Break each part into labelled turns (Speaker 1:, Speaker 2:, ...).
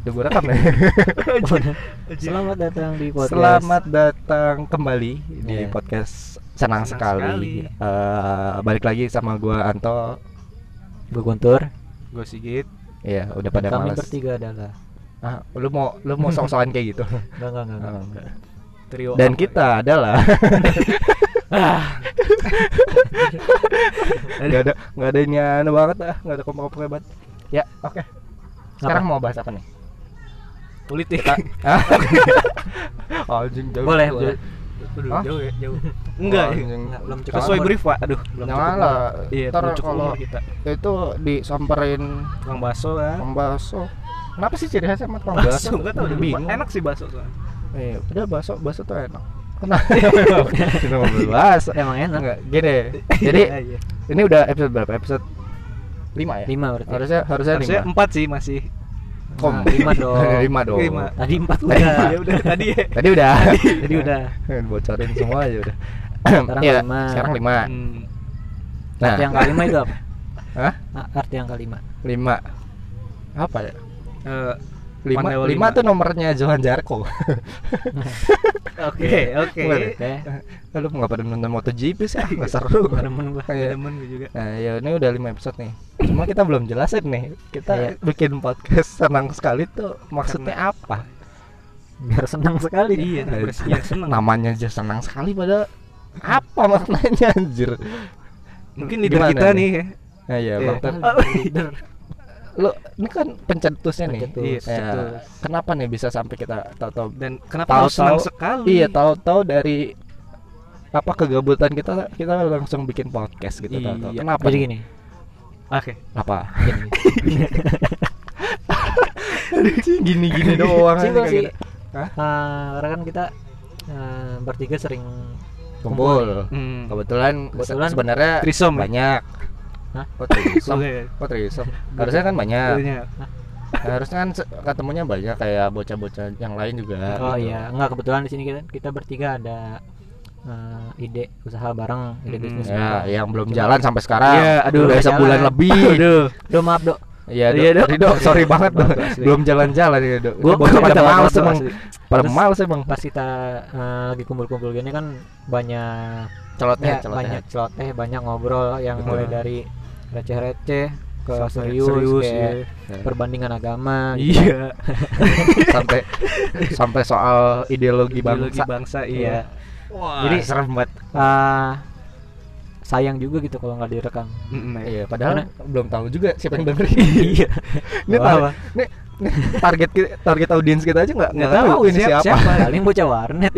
Speaker 1: Udah gue rekam ya.
Speaker 2: Selamat datang di podcast.
Speaker 1: Selamat datang kembali di
Speaker 2: Iya.
Speaker 1: podcast senang,
Speaker 3: Senang
Speaker 1: sekali.
Speaker 3: sekali.
Speaker 1: Eh, balik lagi sama gue Anto.
Speaker 2: Gue Guntur.
Speaker 3: Gue Sigit
Speaker 1: Ya udah pada
Speaker 2: Kami
Speaker 1: malas.
Speaker 2: bertiga adalah.
Speaker 1: Ah, lu mau lu mau sok-sokan kayak gitu.
Speaker 2: Enggak enggak enggak. enggak,
Speaker 1: Ah.
Speaker 2: enggak.
Speaker 3: Trio
Speaker 1: Dan
Speaker 3: apa ya?
Speaker 1: kita adalah nggak ada nggak ada ini anu banget ah nggak ada kompak-kompak hebat. Ya oke. Sekarang mau bahas apa nih?
Speaker 3: Politik
Speaker 1: Ah, Anjing jauh.
Speaker 2: Boleh,
Speaker 1: jauh.
Speaker 2: boleh.
Speaker 3: Aduh,
Speaker 1: Hah?
Speaker 3: jauh ya jauh Enggak ya.
Speaker 1: Anjing.
Speaker 2: Enggak, belum cukup.
Speaker 3: Sesuai
Speaker 2: Umur.
Speaker 3: brief pak Aduh belum
Speaker 1: Jangan
Speaker 3: cukup
Speaker 1: lah.
Speaker 3: umur. Iya
Speaker 1: Ntar
Speaker 3: belum cukup
Speaker 1: kalau-
Speaker 3: umur kita
Speaker 1: Ya Itu disamperin
Speaker 3: Tukang baso kan
Speaker 1: Tukang bakso. Kenapa sih ciri khasnya sama tukang bakso?
Speaker 3: Enggak tau
Speaker 1: bingung.
Speaker 3: Enak sih bakso soalnya
Speaker 1: Iya, udah bakso, bakso tuh enak. Kenapa? Kita mau beli bakso.
Speaker 2: Emang enak.
Speaker 1: Enggak, gini. Jadi
Speaker 3: Iya, iya.
Speaker 1: ini udah episode berapa? Episode 5 ya?
Speaker 2: Lima berarti.
Speaker 1: Harusnya harusnya
Speaker 3: Harusnya
Speaker 1: 5.
Speaker 3: empat sih masih
Speaker 1: Kom.
Speaker 2: Nah, lima dong.
Speaker 1: 5 dong.
Speaker 3: Lima.
Speaker 2: Tadi empat udah.
Speaker 3: Udah ya udah tadi ya
Speaker 1: Tadi Nah. udah.
Speaker 2: Tadi udah.
Speaker 1: Bocorin semua aja udah.
Speaker 2: Sekarang
Speaker 1: Iya,
Speaker 2: lima.
Speaker 1: Sekarang 5.
Speaker 3: Hmm.
Speaker 1: Nah,
Speaker 2: Arti yang kelima itu apa?
Speaker 1: Hah?
Speaker 2: Ah, Arti yang kelima.
Speaker 1: 5. Apa ya?
Speaker 3: Eh,
Speaker 1: 5 5
Speaker 3: Pandewa lima.
Speaker 1: tuh nomornya Johan Jarko. Iya.
Speaker 3: Oke oke
Speaker 1: Boleh.
Speaker 2: Oke.
Speaker 1: Eh, Lu nggak pada nonton MotoGP sih? ah, Nggak seru.
Speaker 2: Temen gua.
Speaker 1: Iya.
Speaker 3: Demen gue juga
Speaker 1: Nah, ya ini udah 5 episode nih. Cuma kita belum jelasin nih. Kita
Speaker 2: Iya.
Speaker 1: bikin podcast senang sekali tuh maksudnya apa?
Speaker 2: Biar senang sekali. Nah,
Speaker 3: Iya
Speaker 1: Eh,
Speaker 3: biar seneng
Speaker 1: Namanya aja senang sekali pada apa maknanya anjir?
Speaker 3: Mungkin leader
Speaker 1: Gimana
Speaker 3: kita
Speaker 1: nih?
Speaker 3: nih ya
Speaker 1: Nah, ya,
Speaker 3: Iya.
Speaker 1: Bang Tan.
Speaker 2: Ah, leader.
Speaker 1: Lu ini kan pencetusnya nih.
Speaker 2: Pencetus,
Speaker 1: Iya.
Speaker 2: pencetus.
Speaker 1: Kenapa nih bisa sampai kita tahu-tahu
Speaker 3: Dan kenapa harus senang
Speaker 1: Tahu-tahu-
Speaker 3: sekali
Speaker 1: Iya, tahu-tahu dari apa kegabutan kita kita langsung bikin podcast gitu
Speaker 3: Iya.
Speaker 1: tahu-tahu. Kenapa?
Speaker 2: Jadi
Speaker 1: nih?
Speaker 2: gini.
Speaker 3: Oke
Speaker 1: Apa? Gini-gini doang
Speaker 2: Simpel
Speaker 1: aja
Speaker 2: sih.
Speaker 1: kayak gitu? Hah?
Speaker 2: Ah, karena kan kita ah, bertiga sering
Speaker 1: gitu. Kumpul.
Speaker 3: Hmm.
Speaker 1: Kebetulan,
Speaker 2: Kebetulan
Speaker 1: se- sebenarnya
Speaker 3: threesome ya?
Speaker 1: banyak.
Speaker 2: Hah?
Speaker 1: Kok threesome?
Speaker 3: Oke.
Speaker 1: Kok threesome? Harusnya kan banyak.
Speaker 3: Jadinya-
Speaker 1: Harusnya kan se- ketemunya banyak kayak bocah-bocah yang lain juga.
Speaker 2: Oh
Speaker 1: gitu.
Speaker 2: iya, enggak kebetulan di sini kita kita bertiga ada eh, ide usaha bareng, ide
Speaker 3: Mm-mm.
Speaker 2: bisnis.
Speaker 1: Ya,
Speaker 2: bareng.
Speaker 1: yang belum jalan sampai sekarang.
Speaker 3: Iya, aduh,
Speaker 1: udah
Speaker 2: belum
Speaker 1: sebulan
Speaker 2: jalan.
Speaker 1: lebih.
Speaker 3: Aduh
Speaker 2: Dok maaf, Dok.
Speaker 1: Iya, Dok.
Speaker 3: Iya, Dok.
Speaker 1: Jadi, Dok, sorry banget, Dok.
Speaker 3: Asli.
Speaker 1: Belum jalan-jalan ya, Dok.
Speaker 2: Gua-
Speaker 1: Bocah
Speaker 2: gua
Speaker 1: pada
Speaker 2: udah
Speaker 1: males
Speaker 2: banget,
Speaker 1: emang.
Speaker 2: asli.
Speaker 1: Pada
Speaker 2: Terus-
Speaker 1: males emang.
Speaker 2: Pas kita eh, lagi kumpul-kumpul gini kan banyak
Speaker 1: Celoteh,
Speaker 2: ya,
Speaker 1: celoteh.
Speaker 2: banyak celoteh, banyak ngobrol yang
Speaker 1: Betul.
Speaker 2: mulai dari receh-receh ke
Speaker 3: Sampai
Speaker 2: serius,
Speaker 3: serius,
Speaker 2: kayak
Speaker 1: iya.
Speaker 2: perbandingan agama. gitu.
Speaker 3: Iya
Speaker 1: sampai sampai soal ideologi bangsa.
Speaker 3: bangsa
Speaker 2: iya.
Speaker 3: iya. Wah.
Speaker 1: Jadi serem banget.
Speaker 2: Ah, sayang juga gitu kalau nggak direkam.
Speaker 3: mm,
Speaker 1: Iya, padahal belum tahu juga siapa yang dengerin.
Speaker 2: Iya.
Speaker 1: Ini
Speaker 2: Nggak
Speaker 1: tar
Speaker 2: apa-apa.
Speaker 1: ini- ini target ki- target audiens kita aja nggak nggak
Speaker 3: Nggak
Speaker 1: tahu
Speaker 3: tahu
Speaker 1: ini
Speaker 3: siap-
Speaker 1: siapa. Iya.
Speaker 3: siapa.
Speaker 2: Paling bocah warnet.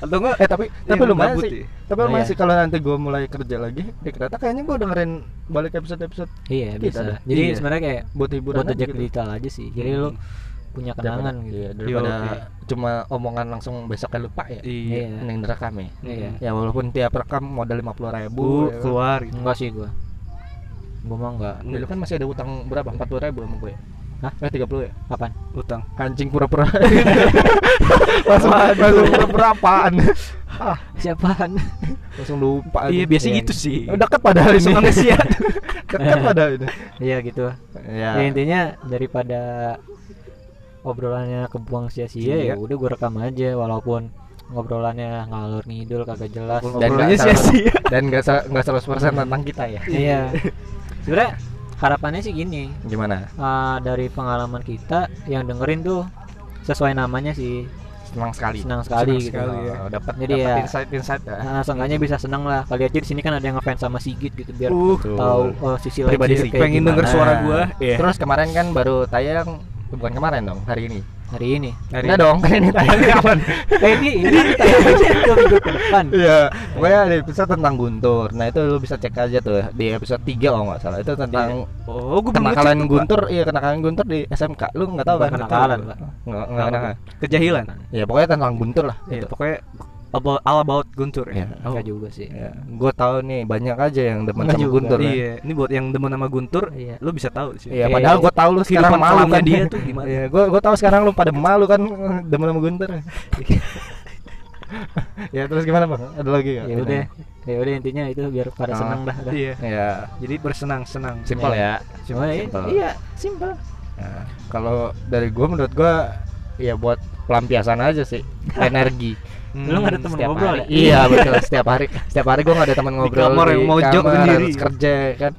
Speaker 3: Atau enggak?
Speaker 1: Eh tapi tapi
Speaker 3: Yang
Speaker 1: lumayan
Speaker 3: gabut
Speaker 1: sih.
Speaker 3: ya?
Speaker 1: Tapi
Speaker 2: Oh,
Speaker 1: lumayan
Speaker 2: iya.
Speaker 1: sih kalau nanti gue mulai kerja lagi di kereta kayaknya gue dengerin balik episode episode
Speaker 2: Iya,
Speaker 1: Gitu
Speaker 2: bisa.
Speaker 1: dah.
Speaker 2: Jadi
Speaker 1: Iya.
Speaker 2: sebenarnya kayak
Speaker 1: buat hiburan
Speaker 2: foto
Speaker 1: aja
Speaker 2: Jack
Speaker 1: gitu. Iya.
Speaker 2: digital aja sih. Jadi lu punya
Speaker 1: Daripada-
Speaker 2: kenangan gitu.
Speaker 1: Iya, daripada
Speaker 3: Yo, iya.
Speaker 1: cuma omongan langsung besoknya lupa ya.
Speaker 3: Iya.
Speaker 2: Iya.
Speaker 1: Mending direkam ya.
Speaker 2: Iya.
Speaker 1: Ya walaupun tiap rekam modal 50.000
Speaker 3: Bu
Speaker 1: ya kan.
Speaker 3: keluar gitu.
Speaker 2: Enggak sih gua. Gua mah enggak.
Speaker 1: Dulu kan masih ada utang berapa? 40 ribu sama gue
Speaker 2: Hah?
Speaker 1: Eh 30 ya?
Speaker 2: Apaan?
Speaker 3: Utang.
Speaker 1: Anjing pura-pura Langsung, langsung pura-pura apaan ah,
Speaker 2: Siapaan?
Speaker 1: Langsung lupa
Speaker 3: Iya,
Speaker 1: aduh.
Speaker 3: biasa
Speaker 2: Iya.
Speaker 3: gitu sih.
Speaker 1: Oh, Dekat padahal ini
Speaker 3: Langsung
Speaker 1: ya?
Speaker 3: amnesia.
Speaker 1: Dekat padahal ini
Speaker 2: Iya gitu.
Speaker 1: Ya,
Speaker 2: Ya intinya daripada obrolannya kebuang sia-sia ya
Speaker 3: Iya.
Speaker 2: udah gua rekam aja walaupun ngobrolannya ngalur ngidul kagak jelas.
Speaker 1: Dan nggak
Speaker 3: Obrolannya
Speaker 1: salah-
Speaker 3: sia-sia.
Speaker 1: Dan gak, sa- gak 100% tentang kita ya
Speaker 2: Iya. Sebenarnya harapannya sih gini.
Speaker 1: Gimana?
Speaker 2: ah, dari pengalaman kita yang dengerin tuh sesuai namanya sih
Speaker 1: Senang sekali
Speaker 2: senang sekali
Speaker 3: Senang
Speaker 2: gitu.
Speaker 3: sekali. ya.
Speaker 1: Oh, dapat
Speaker 2: Jadi
Speaker 1: dapat
Speaker 2: ya-
Speaker 1: insight-insight ya
Speaker 2: Nah, seenggaknya bisa seneng lah. Kali aja di sini kan ada yang ngefans sama Sigit gitu biar
Speaker 3: Uh,
Speaker 1: Betul.
Speaker 2: tahu oh, sisi lain
Speaker 1: Pribadi
Speaker 2: dia
Speaker 1: sih.
Speaker 2: kayak
Speaker 3: pengen
Speaker 2: gimana.
Speaker 3: denger suara gua. Iya.
Speaker 1: Terus kemarin kan baru tayang Bukan kemarin dong, hari ini
Speaker 2: hari ini.
Speaker 3: Hari
Speaker 1: Enggak dong, kan ini tayangnya kapan?
Speaker 2: Eh ini ini kita ke minggu ke depan.
Speaker 1: Iya, pokoknya ada episode tentang Guntur. Nah itu lu bisa cek aja tuh di episode 3 kalau nggak salah. Itu tentang
Speaker 3: Oh, gua belum
Speaker 1: kenakalan
Speaker 3: ngecek tuh, Pak.
Speaker 1: Guntur, iya kenakalan Guntur di SMK. Lu nggak tahu
Speaker 2: Bukan
Speaker 1: kan?
Speaker 2: kenakalan,
Speaker 1: Nggak
Speaker 2: Pak.
Speaker 1: nggak kenakalan.
Speaker 3: Kejahilan.
Speaker 1: Ya pokoknya tentang Guntur lah. Gitu.
Speaker 3: Iya, pokoknya about, all about Guntur
Speaker 1: Iya.
Speaker 3: ya. Oh.
Speaker 2: Enggak juga sih.
Speaker 1: Ya, gue tahu nih banyak aja yang demen
Speaker 2: Nggak
Speaker 1: sama
Speaker 2: juga.
Speaker 1: Guntur. ya.
Speaker 3: Iya, ini buat yang demen sama Guntur,
Speaker 2: Iya.
Speaker 3: lu bisa tahu sih.
Speaker 1: Iya, padahal gue tahu lu sekarang
Speaker 3: Kehidupan
Speaker 1: malu
Speaker 3: kelamnya
Speaker 1: kan
Speaker 3: dia tuh gimana?
Speaker 1: Iya, gue gue tahu sekarang lu pada malu kan demen sama Guntur. ya terus gimana bang? Ada lagi nggak?
Speaker 2: Ya udah. Ya udah intinya itu biar pada
Speaker 1: Ah.
Speaker 2: senang dah. dah.
Speaker 3: Iya.
Speaker 1: Ya,
Speaker 3: Jadi bersenang-senang. Iya.
Speaker 1: simpel ya.
Speaker 2: Cuma ya,
Speaker 1: Simple.
Speaker 2: iya, simpel.
Speaker 1: Nah, kalau dari gue menurut gue ya buat pelampiasan aja sih energi
Speaker 2: Lu nggak ada temen
Speaker 1: setiap
Speaker 2: ngobrol
Speaker 1: hari.
Speaker 2: ya?
Speaker 1: iya betul setiap hari setiap hari gue nggak ada teman ngobrol
Speaker 3: kamar yang mojok
Speaker 1: kamar,
Speaker 3: sendiri.
Speaker 1: harus kerja ya kan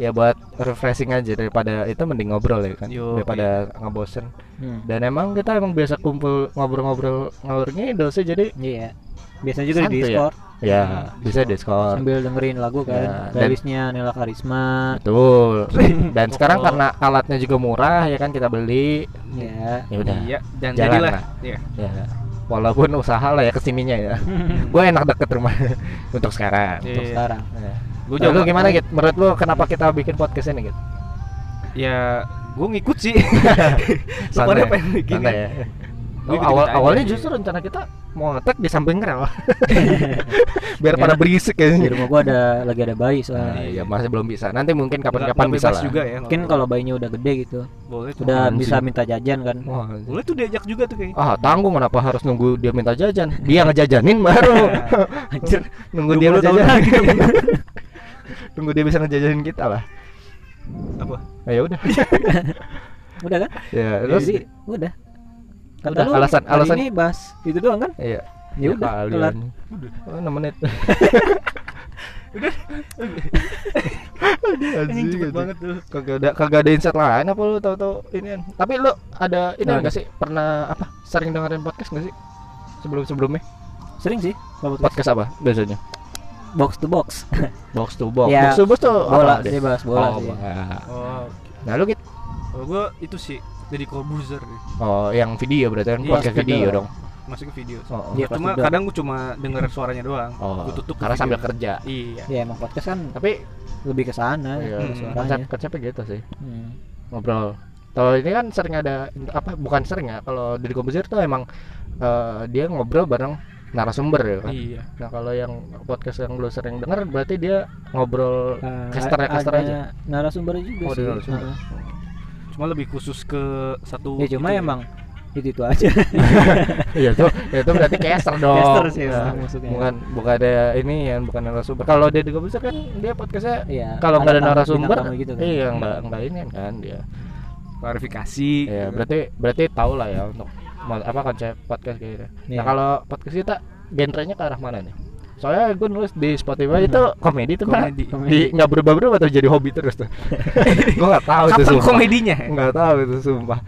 Speaker 1: ya buat refreshing aja daripada itu mending ngobrol ya kan
Speaker 3: Yo,
Speaker 1: daripada ngebosen
Speaker 2: Hmm.
Speaker 1: dan emang kita emang biasa kumpul ngobrol-ngobrol ngalur ngidul sih jadi
Speaker 2: Iya. Biasanya juga di
Speaker 1: Santuy ya?
Speaker 2: Discord Hmm.
Speaker 1: ya bisa diskor
Speaker 2: sambil dengerin lagu kan.
Speaker 1: Ya, dan-
Speaker 2: Playlistnya Nela Karisma.
Speaker 1: betul dan sekarang karena alatnya juga murah ya kan kita beli
Speaker 2: Ya.
Speaker 1: ya udah
Speaker 3: Oh. Iya, dan
Speaker 1: Jalan
Speaker 3: jadilah.
Speaker 1: lah.
Speaker 3: Iya.
Speaker 1: ya walaupun usaha lah ya kesininya ya gue enak deket rumah untuk sekarang
Speaker 2: Untuk
Speaker 3: Iya.
Speaker 2: sekarang.
Speaker 1: ya.
Speaker 3: Gua
Speaker 1: Nah, lu
Speaker 3: juga-
Speaker 1: gimana gitu menurut lu kenapa kita bikin podcast ini gitu
Speaker 3: Ya, gue ngikut sih. Lu pada
Speaker 1: santai
Speaker 3: pengen bikin
Speaker 1: santai
Speaker 3: kan?
Speaker 1: ya
Speaker 3: Gua
Speaker 1: Oh,
Speaker 3: ikut-ikut
Speaker 1: awal
Speaker 3: aja.
Speaker 1: awalnya justru rencana kita mau ngetek di samping rel biar
Speaker 3: Iya.
Speaker 1: pada berisik
Speaker 2: Di
Speaker 1: kayaknya
Speaker 2: rumah gua ada lagi ada bayi
Speaker 1: Nah,
Speaker 2: soalnya.
Speaker 1: iya masih belum bisa nanti mungkin
Speaker 3: Nggak-
Speaker 1: kapan-kapan
Speaker 3: nggak
Speaker 1: bisa
Speaker 3: bebas
Speaker 1: lah
Speaker 3: juga ya.
Speaker 2: Mungkin
Speaker 3: ngobrol.
Speaker 2: kalau bayinya udah gede gitu,
Speaker 3: boleh tuh.
Speaker 2: udah
Speaker 1: Apaan
Speaker 2: bisa
Speaker 1: sih?
Speaker 2: minta jajan kan.
Speaker 1: Wah,
Speaker 3: Boleh tuh diajak juga tuh kayaknya.
Speaker 1: ah tanggung kenapa harus nunggu dia minta jajan dia ngejajanin baru
Speaker 2: Anjir.
Speaker 1: nunggu dia
Speaker 3: 20 tahun
Speaker 1: ngejajanin tunggu dia bisa ngejajanin kita lah
Speaker 3: Apa?
Speaker 1: nah, ya udah
Speaker 2: Udah kan?
Speaker 1: ya terus
Speaker 2: Jadi, udah. Kata
Speaker 1: Udah,
Speaker 2: lu
Speaker 1: alasan-
Speaker 2: hari
Speaker 1: alasan-
Speaker 2: ini bahas itu doang kan?
Speaker 1: iya
Speaker 2: Ya udah,
Speaker 1: kali
Speaker 2: kelar.
Speaker 1: anjing. oh, 6 menit udah
Speaker 3: Anjing cepet banget tuh.
Speaker 1: kagak ada kagak ada insight lain apa lu tahu-tahu ini tapi lu ada ini
Speaker 2: Nggak
Speaker 1: enggak sih pernah apa sering dengerin podcast enggak sih sebelum sebelumnya
Speaker 2: Sering sih kalau podcast
Speaker 1: podcast apa biasanya
Speaker 2: box to box.
Speaker 1: box to box
Speaker 2: Ya,
Speaker 1: box to box tuh
Speaker 2: bola
Speaker 1: apa
Speaker 2: sih
Speaker 1: deh?
Speaker 2: bahas bola
Speaker 1: oh,
Speaker 2: sih.
Speaker 1: bola.
Speaker 3: Oh,
Speaker 1: nah lu gitu
Speaker 3: kalau gue itu sih dari Corbuzier nih.
Speaker 1: oh yang video berarti kan
Speaker 3: Iya,
Speaker 1: podcast
Speaker 2: video.
Speaker 1: video dong
Speaker 3: Masuk ke video.
Speaker 1: oh, oh.
Speaker 2: Iya, pasti
Speaker 3: cuma
Speaker 2: udah.
Speaker 3: kadang gue cuma denger suaranya doang.
Speaker 1: Oh,
Speaker 3: Gua tutup ke
Speaker 1: karena
Speaker 3: video.
Speaker 1: sambil kerja.
Speaker 3: Iya.
Speaker 2: Ya emang podcast kan
Speaker 1: Tapi
Speaker 2: lebih ke sana
Speaker 1: iya,
Speaker 3: hmm,
Speaker 2: suaranya.
Speaker 1: konsep konsepnya gitu sih
Speaker 2: Hmm.
Speaker 1: ngobrol. Kalau ini kan sering ada apa bukan sering ya kalau di komposer tuh emang eh, dia ngobrol bareng narasumber ya kan.
Speaker 3: Iya.
Speaker 1: Nah kalau yang podcast yang lu sering denger berarti dia ngobrol
Speaker 2: Eh,
Speaker 1: casternya
Speaker 2: a-
Speaker 1: caster
Speaker 2: ada
Speaker 1: aja.
Speaker 2: narasumbernya juga
Speaker 1: Oh, ada
Speaker 2: sih.
Speaker 1: narasumber. Oh,
Speaker 2: Heeh.
Speaker 3: Cuma lebih khusus ke satu
Speaker 2: Ya cuma
Speaker 1: gitu
Speaker 3: itu
Speaker 2: emang itu itu aja.
Speaker 1: Iya tuh, itu berarti caster dong.
Speaker 2: Caster sih
Speaker 1: Nah,
Speaker 2: emang maksudnya.
Speaker 1: bukan bukan ada ini yang bukan narasumber. Kalau dia di komposer kan dia podcastnya
Speaker 2: Iya,
Speaker 1: kalau nggak ada
Speaker 2: tamu-
Speaker 1: narasumber,
Speaker 2: bintang tamu gitu kan.
Speaker 1: iya nggak nggak ini kan dia.
Speaker 3: klarifikasi.
Speaker 1: Iya,
Speaker 3: gitu.
Speaker 1: berarti berarti tau lah ya untuk mo- apa konsep podcast gitu.
Speaker 2: Iya.
Speaker 1: Nah, kalau podcast kita genrenya ke arah mana nih? Soalnya gue nulis di Spotify itu Hmm. komedi tuh Pak.
Speaker 3: Komedi.
Speaker 1: Di nggak berubah-berubah atau jadi hobi terus tuh. gue nggak tahu itu
Speaker 3: Kapan
Speaker 1: sumpah.
Speaker 3: komedinya?
Speaker 1: Nggak tahu itu sumpah.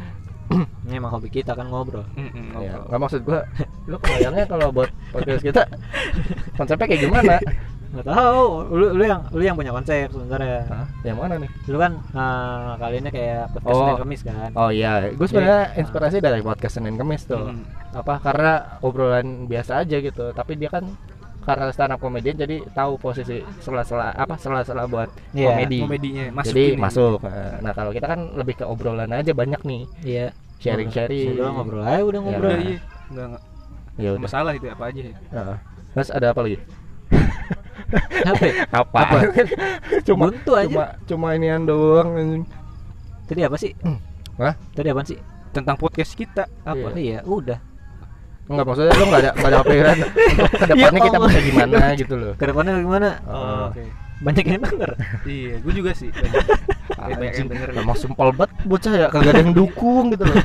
Speaker 2: Ini emang hobi kita kan ngobrol.
Speaker 3: Mm-mm,
Speaker 1: Ya,
Speaker 3: ngobrol.
Speaker 1: nggak maksud gue. Lu kebayangnya kalau buat podcast kita konsepnya kayak gimana?
Speaker 2: Nggak tahu. Lu, lu yang lu yang punya konsep sebenarnya.
Speaker 1: Hah? Yang mana nih?
Speaker 2: Lu kan eh, kali ini kayak podcast
Speaker 1: Oh.
Speaker 2: Senin Kamis kan.
Speaker 1: Oh iya, Hmm. gue sebenarnya inspirasi dari podcast Senin Kamis tuh.
Speaker 3: Mm-mm.
Speaker 1: Apa karena obrolan biasa aja gitu, tapi dia kan karena stand up komedian jadi tahu posisi sela-sela apa sela-sela buat
Speaker 2: Iya,
Speaker 1: komedi.
Speaker 3: Komedinya masuk
Speaker 1: jadi
Speaker 2: ya?
Speaker 3: ini.
Speaker 1: masuk. Nah, kalau kita kan lebih ke obrolan aja banyak nih,
Speaker 2: Iya.
Speaker 1: sharing-sharing.
Speaker 2: Ngobrol ngobrol aja udah ngobrol.
Speaker 3: Udah,
Speaker 1: Iya.
Speaker 3: iya. Nggak, nggak-
Speaker 1: Ya udah.
Speaker 3: masalah itu apa aja ya.
Speaker 1: Heeh. Terus ada apa lagi?
Speaker 2: Apa? ya?
Speaker 1: Apa? cuma
Speaker 2: Buntu aja.
Speaker 1: cuma cuma inian doang anjing.
Speaker 2: Tadi apa sih?
Speaker 1: Hah?
Speaker 2: Tadi apa sih?
Speaker 3: Tentang podcast kita apa?
Speaker 2: Iya, udah.
Speaker 1: Enggak maksudnya lu enggak ada enggak ada pikiran untuk kedepannya
Speaker 2: Ya
Speaker 1: kita
Speaker 2: Allah.
Speaker 1: bisa gimana gitu loh.
Speaker 2: Kedepannya gimana?
Speaker 1: Oh.
Speaker 3: Oke.
Speaker 2: Banyak yang denger.
Speaker 3: Iya, gue juga sih. banyak. Kayak banyak yang
Speaker 1: Anjing,
Speaker 3: denger.
Speaker 1: Emang simpel banget bocah ya, kagak ada yang dukung gitu loh.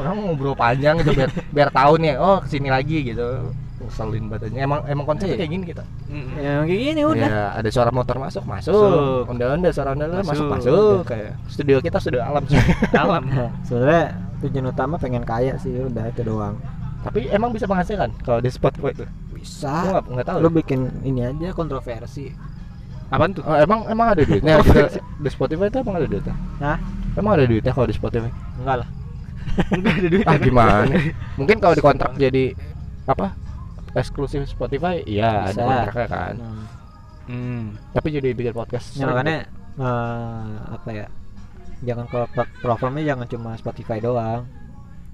Speaker 1: Orang ngobrol panjang gitu biar biar tahu nih, oh kesini lagi gitu. Ngeselin badannya. Emang emang konsepnya
Speaker 2: Iya.
Speaker 1: kayak gini kita.
Speaker 3: Mm-mm.
Speaker 2: Ya kayak gini udah.
Speaker 1: Ya, ada suara motor masuk,
Speaker 3: Masuk.
Speaker 1: masuk. Onda-onda suara onda masuk,
Speaker 3: Masuk.
Speaker 1: masuk. Kayak studio kita studio alam sih.
Speaker 3: Alam.
Speaker 2: Nah, sebenarnya tujuan utama pengen kaya sih udah itu doang.
Speaker 1: Tapi emang bisa menghasilkan kalau di Spotify itu. Gua
Speaker 2: Bisa.
Speaker 1: enggak enggak tahu.
Speaker 2: Lu bikin ini aja kontroversi.
Speaker 3: Apaan tuh?
Speaker 1: Oh, emang emang ada duitnya gitu. di Spotify itu emang ada duitnya.
Speaker 2: Hah?
Speaker 1: Emang ada duitnya kalau di Spotify?
Speaker 2: Enggak lah.
Speaker 3: Nggak ada duit.
Speaker 1: ah gimana mungkin kalau dikontrak jadi apa eksklusif Spotify iya ada
Speaker 2: Bisa.
Speaker 1: kontraknya kan
Speaker 2: Nah,
Speaker 3: Hmm.
Speaker 1: tapi jadi bikin podcast
Speaker 2: ya makanya eh, apa ya? Jangan ke plat- platformnya jangan cuma Spotify doang.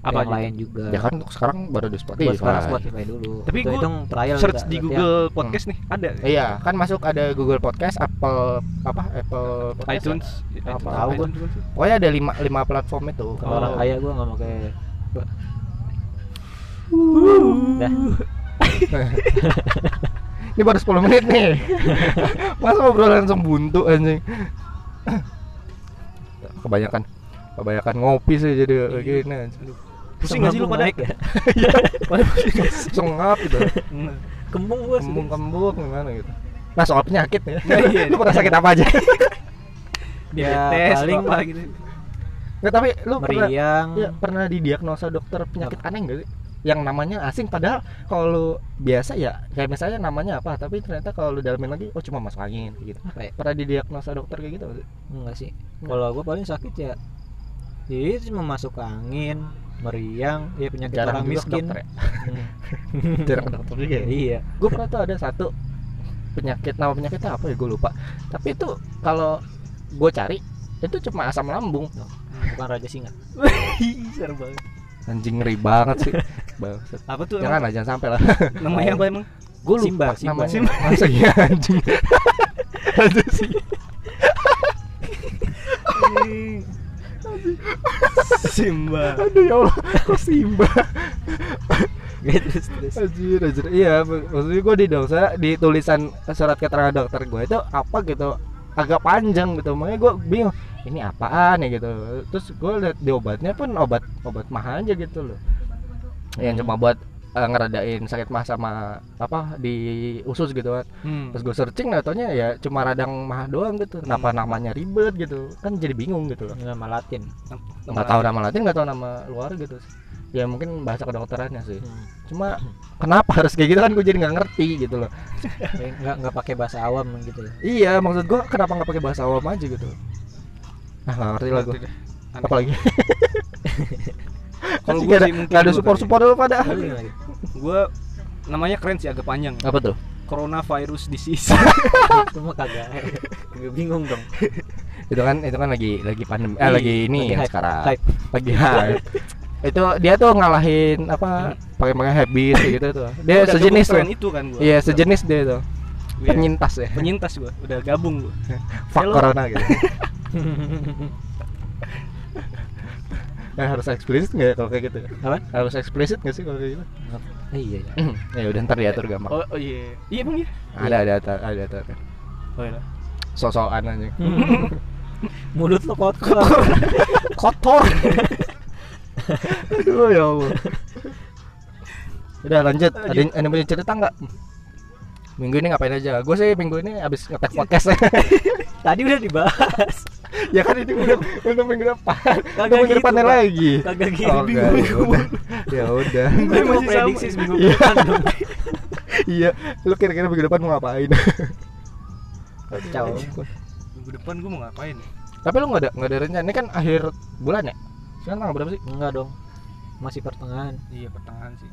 Speaker 3: Apa
Speaker 2: yang
Speaker 3: aja?
Speaker 2: lain juga.
Speaker 1: ya kan untuk sekarang baru di Spotify
Speaker 2: Buat sekarang Spotify dulu.
Speaker 3: Tapi gua
Speaker 2: hitung trial
Speaker 3: Search
Speaker 2: kita,
Speaker 3: di
Speaker 2: berarti
Speaker 3: Google Podcast nih ada.
Speaker 1: iya kan masuk ada Google Podcast Apple apa Apple Podcast
Speaker 3: iTunes.
Speaker 1: Apa?
Speaker 3: iTunes,
Speaker 1: Tahu
Speaker 3: iTunes juga sih.
Speaker 1: ya? pokoknya ada lima lima platform itu
Speaker 2: ya. Kalau
Speaker 3: Oh.
Speaker 2: orang
Speaker 1: Kalau-
Speaker 2: kaya gua nggak mau kayak Dah.
Speaker 1: ini baru 10 menit nih masa ngobrol langsung buntu anjing kebanyakan kebanyakan ngopi sih jadi kayak
Speaker 3: Iya.
Speaker 1: gini
Speaker 3: Aduh. Pusing gak sih lu pada?
Speaker 2: Naik ya?
Speaker 3: Pada pusing nggak sih?
Speaker 1: sengap gitu
Speaker 3: Hmm.
Speaker 2: Kembung gua sih.
Speaker 1: kembung-kembung gimana gitu nah soal penyakit ya
Speaker 3: Nah, iya.
Speaker 1: lu pernah sakit apa aja
Speaker 2: Ya,
Speaker 3: Diabetes
Speaker 2: paling-
Speaker 3: apa gitu.
Speaker 1: nggak tapi lu pernah
Speaker 2: Meriang.
Speaker 1: ya,
Speaker 3: Iya.
Speaker 1: pernah didiagnosa dokter penyakit aneh nggak sih yang namanya asing padahal kalau lu biasa ya kayak misalnya namanya apa tapi ternyata kalau lu dalamin lagi oh cuma masuk angin gitu
Speaker 2: Apa ya?
Speaker 1: pernah didiagnosa dokter kayak gitu nggak sih?
Speaker 2: Enggak sih.
Speaker 1: Enggak.
Speaker 2: Kalau gua paling sakit ya ya itu cuma masuk angin, meriang, ya penyakit
Speaker 1: juga
Speaker 2: orang
Speaker 1: ke
Speaker 2: miskin.
Speaker 1: dokter ya
Speaker 2: Hmm.
Speaker 1: jarang ke dokter juga ya
Speaker 2: Iya.
Speaker 1: gue pernah tuh ada satu penyakit nama penyakitnya apa ya gue lupa tapi itu kalau gue cari itu cuma asam lambung
Speaker 2: Bukan raja singa.
Speaker 3: Ih, serem banget.
Speaker 1: anjing ngeri banget sih Bangsat.
Speaker 3: Apa tuh
Speaker 1: jangan
Speaker 3: emang?
Speaker 1: lah jangan sampai lah
Speaker 3: Namanya apa emang?
Speaker 1: gue lupa
Speaker 2: Simba, Simba.
Speaker 1: namanya
Speaker 2: Simba.
Speaker 1: masa iya anjing Masa sih
Speaker 3: Simba.
Speaker 1: aduh ya allah kok Simba
Speaker 2: Gitu terus.
Speaker 1: anjir anjir iya mak- maksudnya gue di dokter di tulisan surat keterangan dokter gue itu apa gitu agak panjang gitu makanya gue bingung ini apaan ya gitu terus gue lihat di obatnya pun obat obat mahal aja gitu loh yang cuma buat eh, ngeredain sakit mah sama apa di usus gitu kan
Speaker 3: Hmm.
Speaker 1: terus gue searching nah taunya ya cuma radang mah doang gitu kenapa namanya ribet gitu kan jadi bingung gitu loh
Speaker 2: Nama Latin.
Speaker 1: nggak tahu nama latin nggak tahu nama luar gitu ya mungkin bahasa kedokterannya sih
Speaker 2: Hmm.
Speaker 1: cuma kenapa harus kayak gitu kan gue jadi nggak ngerti gitu loh
Speaker 2: Kayak Nggak nggak Ya, pakai bahasa awam gitu ya.
Speaker 1: iya maksud gue kenapa nggak pakai bahasa awam aja gitu ah nggak ngerti lah gue
Speaker 3: Aneh.
Speaker 1: apalagi
Speaker 3: Kalau
Speaker 1: Nggak
Speaker 3: gue
Speaker 1: ada-
Speaker 3: sih mungkin
Speaker 1: nggak ada
Speaker 3: dulu
Speaker 1: support
Speaker 3: kali.
Speaker 1: support lu pada
Speaker 2: Lalu gimana lagi?
Speaker 3: Gue namanya keren sih agak panjang.
Speaker 1: apa tuh
Speaker 3: Coronavirus disease.
Speaker 2: Itu mah kagak. Gue bingung dong.
Speaker 1: itu kan itu kan lagi lagi pandemi eh
Speaker 2: Iya,
Speaker 1: lagi ini
Speaker 2: lagi
Speaker 1: yang
Speaker 2: hype,
Speaker 1: sekarang
Speaker 2: hype.
Speaker 1: lagi hype itu dia tuh ngalahin apa pakai pakai habis gitu tuh dia
Speaker 3: Udah
Speaker 1: sejenis
Speaker 3: gabung
Speaker 1: tuh
Speaker 3: tren itu kan gue.
Speaker 1: iya sejenis dia tuh penyintas ya
Speaker 3: Penyintas gue. Udah gabung gue.
Speaker 1: fuck
Speaker 3: Ya, lu-
Speaker 1: corona gitu Eh, harus eksplisit nggak ya kalau kayak gitu
Speaker 2: Apa?
Speaker 1: harus eksplisit nggak sih kalau kayak gitu
Speaker 2: Eh, Iya. iya.
Speaker 1: ya udah ntar diatur gampang
Speaker 3: Oh, oh iya. Iya bang ya.
Speaker 1: ada ada ada ada ada kan
Speaker 3: Oh iya.
Speaker 1: sosokan aja
Speaker 2: Mulut lo kotor. kotor.
Speaker 1: aduh ya allah udah lanjut ada yang- ada yang punya cerita nggak minggu ini ngapain aja gue sih minggu ini abis ngetek podcast
Speaker 2: Tadi udah dibahas.
Speaker 1: ya kan ini udah untuk minggu depan
Speaker 2: Kagak
Speaker 1: untuk minggu
Speaker 2: gitu,
Speaker 1: depannya
Speaker 2: Pak.
Speaker 1: lagi
Speaker 2: Kagak gitu.
Speaker 1: oh, enggak,
Speaker 3: Bingung,
Speaker 1: ya udah ya udah
Speaker 2: Gue
Speaker 3: Gue
Speaker 2: mau
Speaker 3: masih
Speaker 2: prediksi
Speaker 3: sama.
Speaker 2: seminggu
Speaker 1: Iya.
Speaker 2: depan dong.
Speaker 1: iya lu kira-kira minggu depan mau ngapain
Speaker 2: Kacau.
Speaker 3: Minggu depan gue mau ngapain? ya?
Speaker 1: tapi lu nggak ada nggak ada rencana ini kan akhir bulan ya sekarang tanggal berapa sih
Speaker 2: Enggak dong. Masih pertengahan.
Speaker 3: Iya pertengahan sih.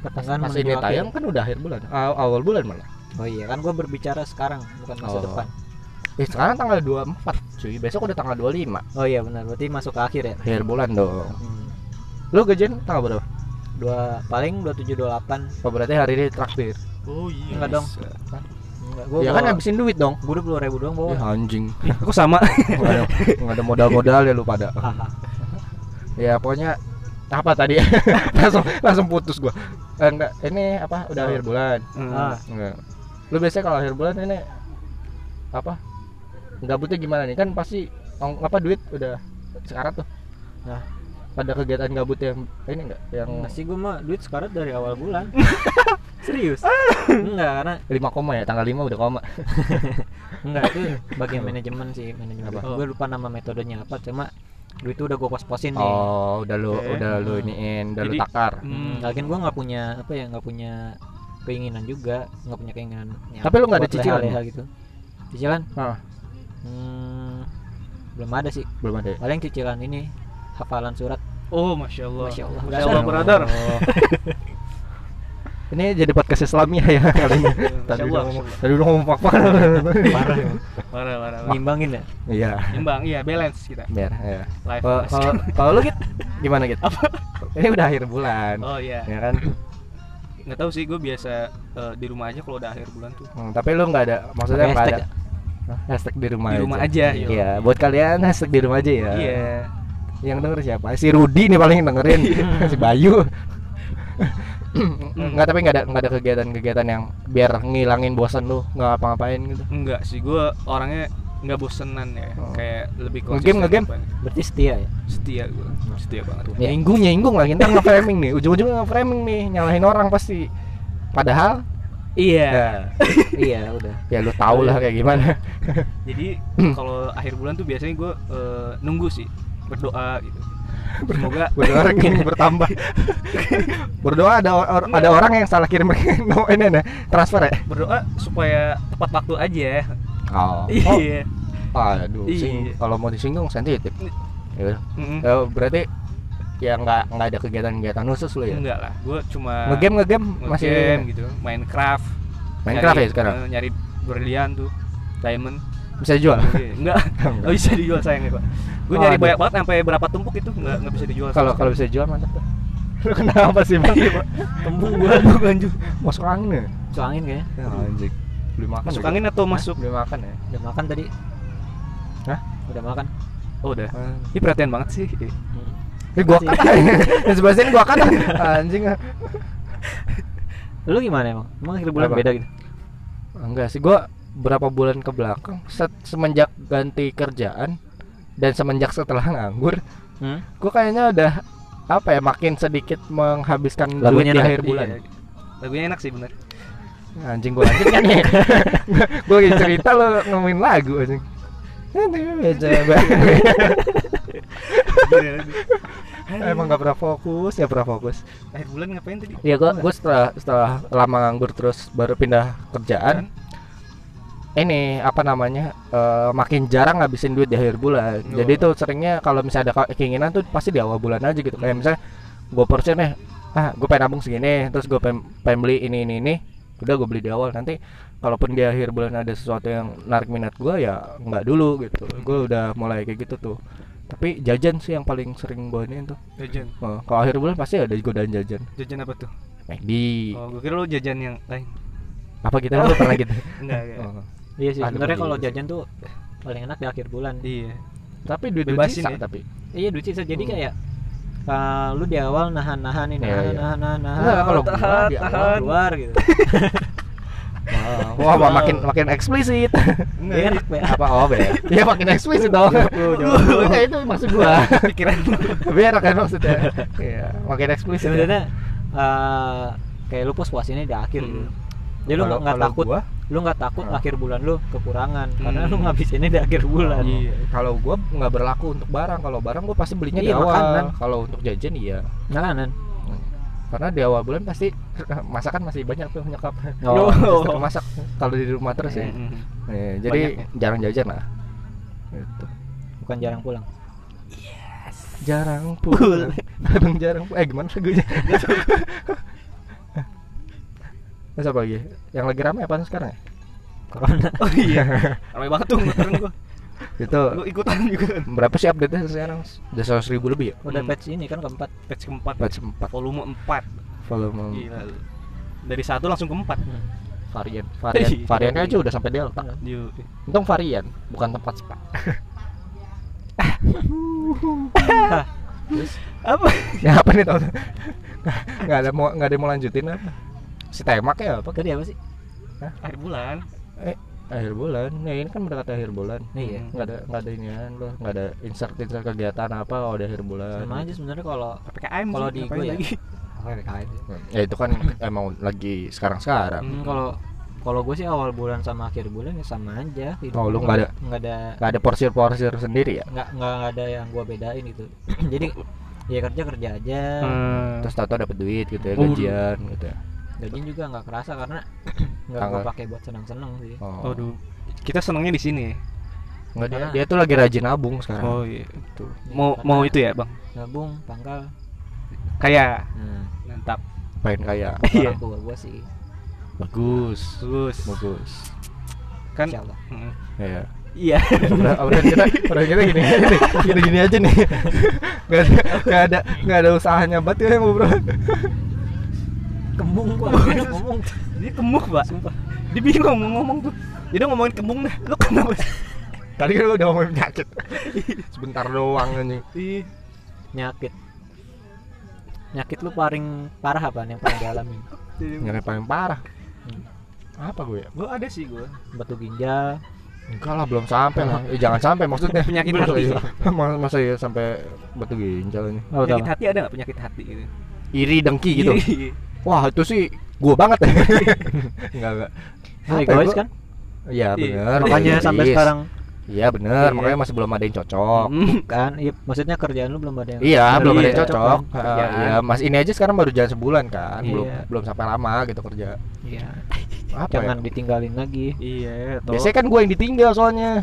Speaker 2: Pertengahan
Speaker 1: pas
Speaker 2: menuju
Speaker 1: ini
Speaker 2: akhir.
Speaker 1: tayang kan udah akhir bulan Aw- awal bulan malah
Speaker 2: Oh iya kan gue berbicara sekarang bukan masa
Speaker 1: Oh.
Speaker 2: depan.
Speaker 1: eh sekarang tanggal 24 cuy besok udah tanggal 25
Speaker 2: Oh iya benar berarti masuk ke akhir ya.
Speaker 1: akhir bulan dong
Speaker 2: Hmm.
Speaker 1: lu gajian tanggal berapa
Speaker 2: Dua paling 27 28.
Speaker 1: Oh, berarti hari ini traktir
Speaker 3: Oh iya.
Speaker 2: Enggak dong. Enggak gua.
Speaker 1: ya kan habisin duit dong
Speaker 2: gue udah 2000 doang bawa.
Speaker 1: Ya, anjing
Speaker 3: Kok sama?
Speaker 1: nggak ada, nggak ada modal-modal ya lu pada
Speaker 2: Haha.
Speaker 1: ya pokoknya apa tadi langsung langsung putus gua Eh, enggak ini apa udah
Speaker 2: Oh.
Speaker 1: akhir bulan
Speaker 2: Ah,
Speaker 1: enggak lu biasanya kalau akhir bulan ini apa gabutnya gimana nih kan pasti tong- apa duit udah sekarat tuh
Speaker 2: Nah.
Speaker 1: pada kegiatan gabut yang eh, ini enggak yang
Speaker 2: masih gue mah duit sekarat dari awal bulan. Serius? enggak karena
Speaker 1: 5 koma ya tanggal 5 udah koma
Speaker 2: enggak itu bagian manajemen sih manajemen.
Speaker 1: Apa?
Speaker 2: Gue lupa nama metodenya apa cuma duit itu udah gue pos-posin nih.
Speaker 1: oh udah lu
Speaker 3: Oke.
Speaker 1: udah lu
Speaker 2: Hmm.
Speaker 1: iniin udah lu
Speaker 3: Jadi-
Speaker 1: takar
Speaker 2: Hmm, lagian gue nggak punya apa ya nggak punya keinginan juga nggak punya keinginan. nyam-
Speaker 1: Tapi lu nggak ada
Speaker 2: buat
Speaker 1: cicilan? ya?
Speaker 2: leha-leha gitu. Cicilan?
Speaker 1: Hah,
Speaker 2: Hmm, belum ada sih.
Speaker 1: belum ada ya?
Speaker 2: Paling cicilan ini hafalan surat.
Speaker 3: Oh masya Allah.
Speaker 2: Masya Allah.
Speaker 3: Masya Allah
Speaker 2: Dasar.
Speaker 3: brother.
Speaker 1: Oh. Ini jadi podcast Islamia ya kali ini. Tadi
Speaker 3: Masya
Speaker 1: udah
Speaker 3: Allah,
Speaker 1: ngomong,
Speaker 3: Masya Allah.
Speaker 1: tadi udah ngomong apa?
Speaker 2: Parah. ya.
Speaker 3: Parah parah. parah.
Speaker 2: Ngimbangin ya.
Speaker 1: Iya,
Speaker 3: Imbang. Iya balance kita.
Speaker 1: biar ya.
Speaker 3: Life.
Speaker 1: Kalau kalau- kalau lu gitu gimana gitu? Apa? Ini udah akhir bulan.
Speaker 3: Oh iya.
Speaker 1: Ya kan?
Speaker 3: Nggak tahu sih gue biasa eh, di rumah aja kalau udah akhir bulan tuh.
Speaker 1: Hmm, tapi lu nggak ada maksudnya
Speaker 2: Pakai
Speaker 1: nggak ada
Speaker 2: hashtag ya?
Speaker 1: Hah? hashtag di rumah
Speaker 3: Di rumah aja, iya.
Speaker 1: Iya, buat kalian hashtag di rumah aja ya.
Speaker 3: Iya.
Speaker 1: Yang denger siapa? Si Rudi nih paling yang dengerin. si Bayu. nggak tapi nggak ada nggak ada kegiatan-kegiatan yang biar ngilangin bosan lu nggak apa-ngapain gitu.
Speaker 3: Enggak sih gue orangnya nggak bosenan ya
Speaker 1: Oh.
Speaker 3: kayak lebih
Speaker 1: Nge-game, nge-game?
Speaker 3: apa-
Speaker 2: berarti setia ya
Speaker 3: setia gue setia banget
Speaker 2: Iya.
Speaker 1: nyinggung nyinggung lagi ntar nge-framing nih ujung-ujungnya nge-framing nih nyalahin orang pasti padahal
Speaker 3: iya
Speaker 1: ya,
Speaker 2: iya udah
Speaker 1: ya lu tau lah kayak gimana
Speaker 3: jadi
Speaker 1: Hmm.
Speaker 3: kalau akhir bulan tuh biasanya gue nunggu sih berdoa gitu semoga
Speaker 1: berdoa rekening bertambah berdoa ada or- or- ada orang yang salah kirim rekening no ini nih transfer ya
Speaker 3: berdoa supaya tepat waktu aja ya.
Speaker 1: oh,
Speaker 3: iya
Speaker 1: aduh
Speaker 3: Iya.
Speaker 1: sing- kalau mau disinggung sensitif ya,
Speaker 3: Mm-mm.
Speaker 1: ya, berarti ya nggak nggak ada kegiatan-kegiatan khusus lu ya
Speaker 3: enggak lah gue cuma
Speaker 1: ngegame ngegame masih ya?
Speaker 3: nge-game gitu Minecraft
Speaker 1: Minecraft
Speaker 3: Nyari-
Speaker 1: ya sekarang
Speaker 3: eh, nyari berlian tuh diamond
Speaker 1: bisa jual
Speaker 3: Iya, enggak nggak bisa dijual sayangnya pak gue
Speaker 1: Oh,
Speaker 3: nyari
Speaker 1: aduh.
Speaker 3: banyak banget sampai berapa tumpuk itu nggak nggak bisa dijual
Speaker 1: kalau kalau bisa jual mantap Iya, tuh. lu kenapa sih bang
Speaker 3: tembung gua gua ganjut
Speaker 1: masuk angin ya
Speaker 2: masuk angin kayaknya
Speaker 1: Ya, anjing beli makan
Speaker 3: masuk
Speaker 1: juga.
Speaker 3: angin
Speaker 1: gitu
Speaker 3: atau
Speaker 1: Hah?
Speaker 3: masuk
Speaker 1: beli makan ya
Speaker 2: udah makan tadi
Speaker 1: Hah?
Speaker 2: udah makan
Speaker 3: oh udah ini perhatian banget sih
Speaker 1: Iya. ini gua kan yang sebelah sini gua kan anjing
Speaker 2: lu gimana emang emang akhir bulan
Speaker 1: Apa?
Speaker 2: beda gitu
Speaker 1: Enggak sih, gua berapa bulan ke belakang set, semenjak ganti kerjaan dan semenjak setelah nganggur,
Speaker 2: hmm?
Speaker 1: gua kayaknya udah apa ya makin sedikit menghabiskan duit di
Speaker 2: Lagunya enak.
Speaker 1: akhir bulan.
Speaker 3: Iya. lagunya enak sih bener
Speaker 1: Anjing gua lanjut kan ya. gua lagi cerita lo ngomongin lagu anjing.
Speaker 3: Iya,
Speaker 1: Emang gak pernah fokus, ya pernah fokus.
Speaker 3: akhir bulan ngapain tadi
Speaker 1: Ya gua gua setelah setelah lama nganggur terus baru pindah
Speaker 3: Kan?
Speaker 1: kerjaan. Ini apa namanya? eh, makin jarang ngabisin duit di akhir bulan.
Speaker 3: Oh.
Speaker 1: Jadi tuh seringnya kalau misalnya ada keinginan tuh pasti di awal bulan aja gitu. Kayak misalnya gue persen ya, ah gue pengen nabung segini, terus gue pengen, pengen beli ini ini ini. Udah gue beli di awal nanti kalaupun di akhir bulan ada sesuatu yang narik minat gua ya nggak dulu gitu. Gue udah mulai kayak gitu tuh. Tapi jajan sih yang paling sering gue ini tuh.
Speaker 3: jajan
Speaker 1: Oh, kalau akhir bulan pasti ada godaan jajan.
Speaker 3: jajan apa tuh
Speaker 1: McD.
Speaker 3: oh gue kira lu jajan yang lain
Speaker 1: apa kita dulu pernah gitu
Speaker 3: enggak enggak
Speaker 1: Oh.
Speaker 2: iya sih
Speaker 1: Aduh,
Speaker 2: sebenarnya
Speaker 1: iya.
Speaker 2: kalau jajan tuh paling enak di akhir bulan
Speaker 3: iya
Speaker 1: tapi duit duit
Speaker 3: Bebasin
Speaker 1: sisa
Speaker 3: ya.
Speaker 1: tapi
Speaker 2: iya duit sisa jadi
Speaker 1: Hmm.
Speaker 2: kayak uh, lu di awal nahan nahan ini
Speaker 1: Iya,
Speaker 2: nahan,
Speaker 1: iya.
Speaker 2: nahan nahan nahan
Speaker 1: Enggak, kalau gua
Speaker 2: Ah, tahan,
Speaker 1: di awal
Speaker 2: tahan, keluar gitu
Speaker 1: wah wah, makin makin eksplisit
Speaker 3: enggak
Speaker 2: Iya, enak ya
Speaker 1: apa oh be ya makin eksplisit dong
Speaker 2: Iya,
Speaker 1: Enggak, itu maksud gua
Speaker 3: pikiran lu
Speaker 1: biar kan maksudnya Iya, makin eksplisit ya.
Speaker 2: sebenarnya eh, kayak lu puas puasinnya di akhir gitu
Speaker 3: Hmm.
Speaker 2: jadi lu
Speaker 1: Kalau-
Speaker 2: nggak nggak
Speaker 1: kalau
Speaker 2: takut
Speaker 1: gua,
Speaker 2: lu nggak takut
Speaker 1: Hmm.
Speaker 2: akhir bulan lu kekurangan karena
Speaker 3: Hmm.
Speaker 2: lu ngabisinnya di akhir bulan
Speaker 3: Iya.
Speaker 1: kalau gua nggak berlaku untuk barang kalau barang gua pasti belinya di
Speaker 2: Iya,
Speaker 1: awal
Speaker 2: makanan.
Speaker 1: kalau untuk jajan iya
Speaker 2: makanan
Speaker 1: karena di awal bulan pasti masakan masih banyak tuh nyokap
Speaker 2: Oh.
Speaker 1: Suster masak kalau di rumah terus ya
Speaker 3: Mm-mm.
Speaker 1: Eh, jadi
Speaker 2: ya?
Speaker 1: jarang jajan lah gitu.
Speaker 2: bukan jarang pulang
Speaker 1: jarang pulang abang jarang pulang eh gimana lagunya Terus apa lagi? Yang lagi rame apa sekarang ya?
Speaker 2: corona
Speaker 3: oh iya ramai banget tuh motoran gua
Speaker 1: Itu
Speaker 3: Gua ikutan juga kan
Speaker 1: berapa sih update-nya sekarang? Udah 100 ribu lebih ya?
Speaker 2: udah
Speaker 3: Hmm.
Speaker 2: patch ini kan keempat
Speaker 3: patch keempat
Speaker 1: Batch Hmm. 4
Speaker 3: volume 4
Speaker 1: volume
Speaker 3: gila lu. dari satu langsung ke empat
Speaker 1: varian varian
Speaker 3: Iya.
Speaker 1: variannya aja udah sampai delta
Speaker 3: Yo.
Speaker 1: untung varian bukan tempat spa
Speaker 3: apa
Speaker 1: ya apa nih tau nggak ada mau nggak ada yang mau lanjutin apa si temak ya apa
Speaker 2: tadi apa sih
Speaker 3: akhir bulan
Speaker 1: akhir bulan ya ini kan mendekati akhir bulan
Speaker 2: iya
Speaker 3: Hmm.
Speaker 1: nggak ada nggak ada inian loh nggak ada insert insert kegiatan apa oh, di akhir bulan
Speaker 2: sama aja sebenarnya kalau
Speaker 3: ppkm
Speaker 2: Kalau
Speaker 3: sih,
Speaker 2: di
Speaker 3: ngapain
Speaker 2: gua ya.
Speaker 3: lagi
Speaker 1: ya itu kan emang lagi sekarang sekarang
Speaker 2: Hmm, kalau kalau gue sih awal bulan sama akhir bulan ya sama aja hidup
Speaker 1: Oh, lu
Speaker 2: gua
Speaker 1: nggak ada-
Speaker 2: nggak ada
Speaker 1: nggak ada porsir porsir sendiri ya
Speaker 2: nggak nggak ada yang gue bedain gitu jadi ya kerja kerja aja
Speaker 1: Hmm.
Speaker 3: Hmm.
Speaker 2: Hmm.
Speaker 1: terus tato dapat duit gitu ya
Speaker 3: Oh,
Speaker 1: gajian gitu ya
Speaker 2: gaji juga nggak kerasa karena nggak
Speaker 1: Tanggal.
Speaker 2: gue pakai buat senang senang sih
Speaker 1: oh
Speaker 3: Aduh, kita senangnya di sini. ya?
Speaker 1: nggak dia,
Speaker 2: Karena-
Speaker 1: dia tuh lagi rajin nabung sekarang
Speaker 3: Oh iya, tuh. Mau mau itu ya, Bang.
Speaker 2: gabung pangkal
Speaker 3: Kayak
Speaker 2: nah
Speaker 3: mantap.
Speaker 1: pengen kaya
Speaker 2: itu
Speaker 3: Iya.
Speaker 2: orang tua gue sih
Speaker 1: bagus
Speaker 3: Bagus.
Speaker 1: bagus
Speaker 3: Kan
Speaker 2: Insya Allah.
Speaker 3: Mm.
Speaker 1: ya
Speaker 3: Iya.
Speaker 1: Udah- udah kita udah kita gini gini gini, gini aja nih nggak ada nggak ada nggak ada usahanya banget ya ngobrol
Speaker 2: kembung gue ngomong
Speaker 3: Dia kemuk, Pak. Sumpah. Dia bingung mau ngomong tuh. Dia udah ngomongin kembung dah. Lu kenapa? sih?
Speaker 1: tadi kan lu udah ngomongin penyakit sebentar doang anjing
Speaker 3: Iya.
Speaker 2: nyakit nyakit lu paling parah apa yang paling dialami
Speaker 1: yang paling parah apa gue ya
Speaker 3: Gue ada sih gue.
Speaker 2: batu ginjal
Speaker 1: Enggak lah belum sampai lah. Eh, jangan sampai maksudnya.
Speaker 3: Penyakit
Speaker 1: masa
Speaker 3: hati.
Speaker 1: iya, masa, masa iya sampai batu ginjal ini.
Speaker 2: Apa tuh?
Speaker 3: penyakit hati ada nggak penyakit hati gitu
Speaker 1: Iri dengki gitu.
Speaker 3: Iya.
Speaker 1: Wah, itu sih gua banget. Enggak enggak.
Speaker 2: Lu
Speaker 1: Apa ya,
Speaker 2: egois
Speaker 1: gua-
Speaker 2: kan?
Speaker 1: Iya
Speaker 3: Iya.
Speaker 1: benar.
Speaker 2: Makanya sampai sekarang
Speaker 1: Iya benar,
Speaker 3: Iya.
Speaker 1: makanya masih belum ada yang cocok.
Speaker 3: Hmm.
Speaker 2: kan, iya, maksudnya kerjaan lu belum ada yang
Speaker 1: Iya, belum ada yang
Speaker 3: Iya.
Speaker 1: cocok.
Speaker 3: Cocok.
Speaker 1: Ah,
Speaker 3: Kerjaan.
Speaker 1: Iya, Mas ini aja sekarang baru jalan sebulan kan, belum
Speaker 2: Iya.
Speaker 1: belum sampai lama gitu kerja.
Speaker 2: Iya.
Speaker 1: Apa
Speaker 2: Jangan
Speaker 1: ya?
Speaker 2: ditinggalin lagi.
Speaker 3: iya toh.
Speaker 1: Biasanya kan gue yang ditinggal soalnya.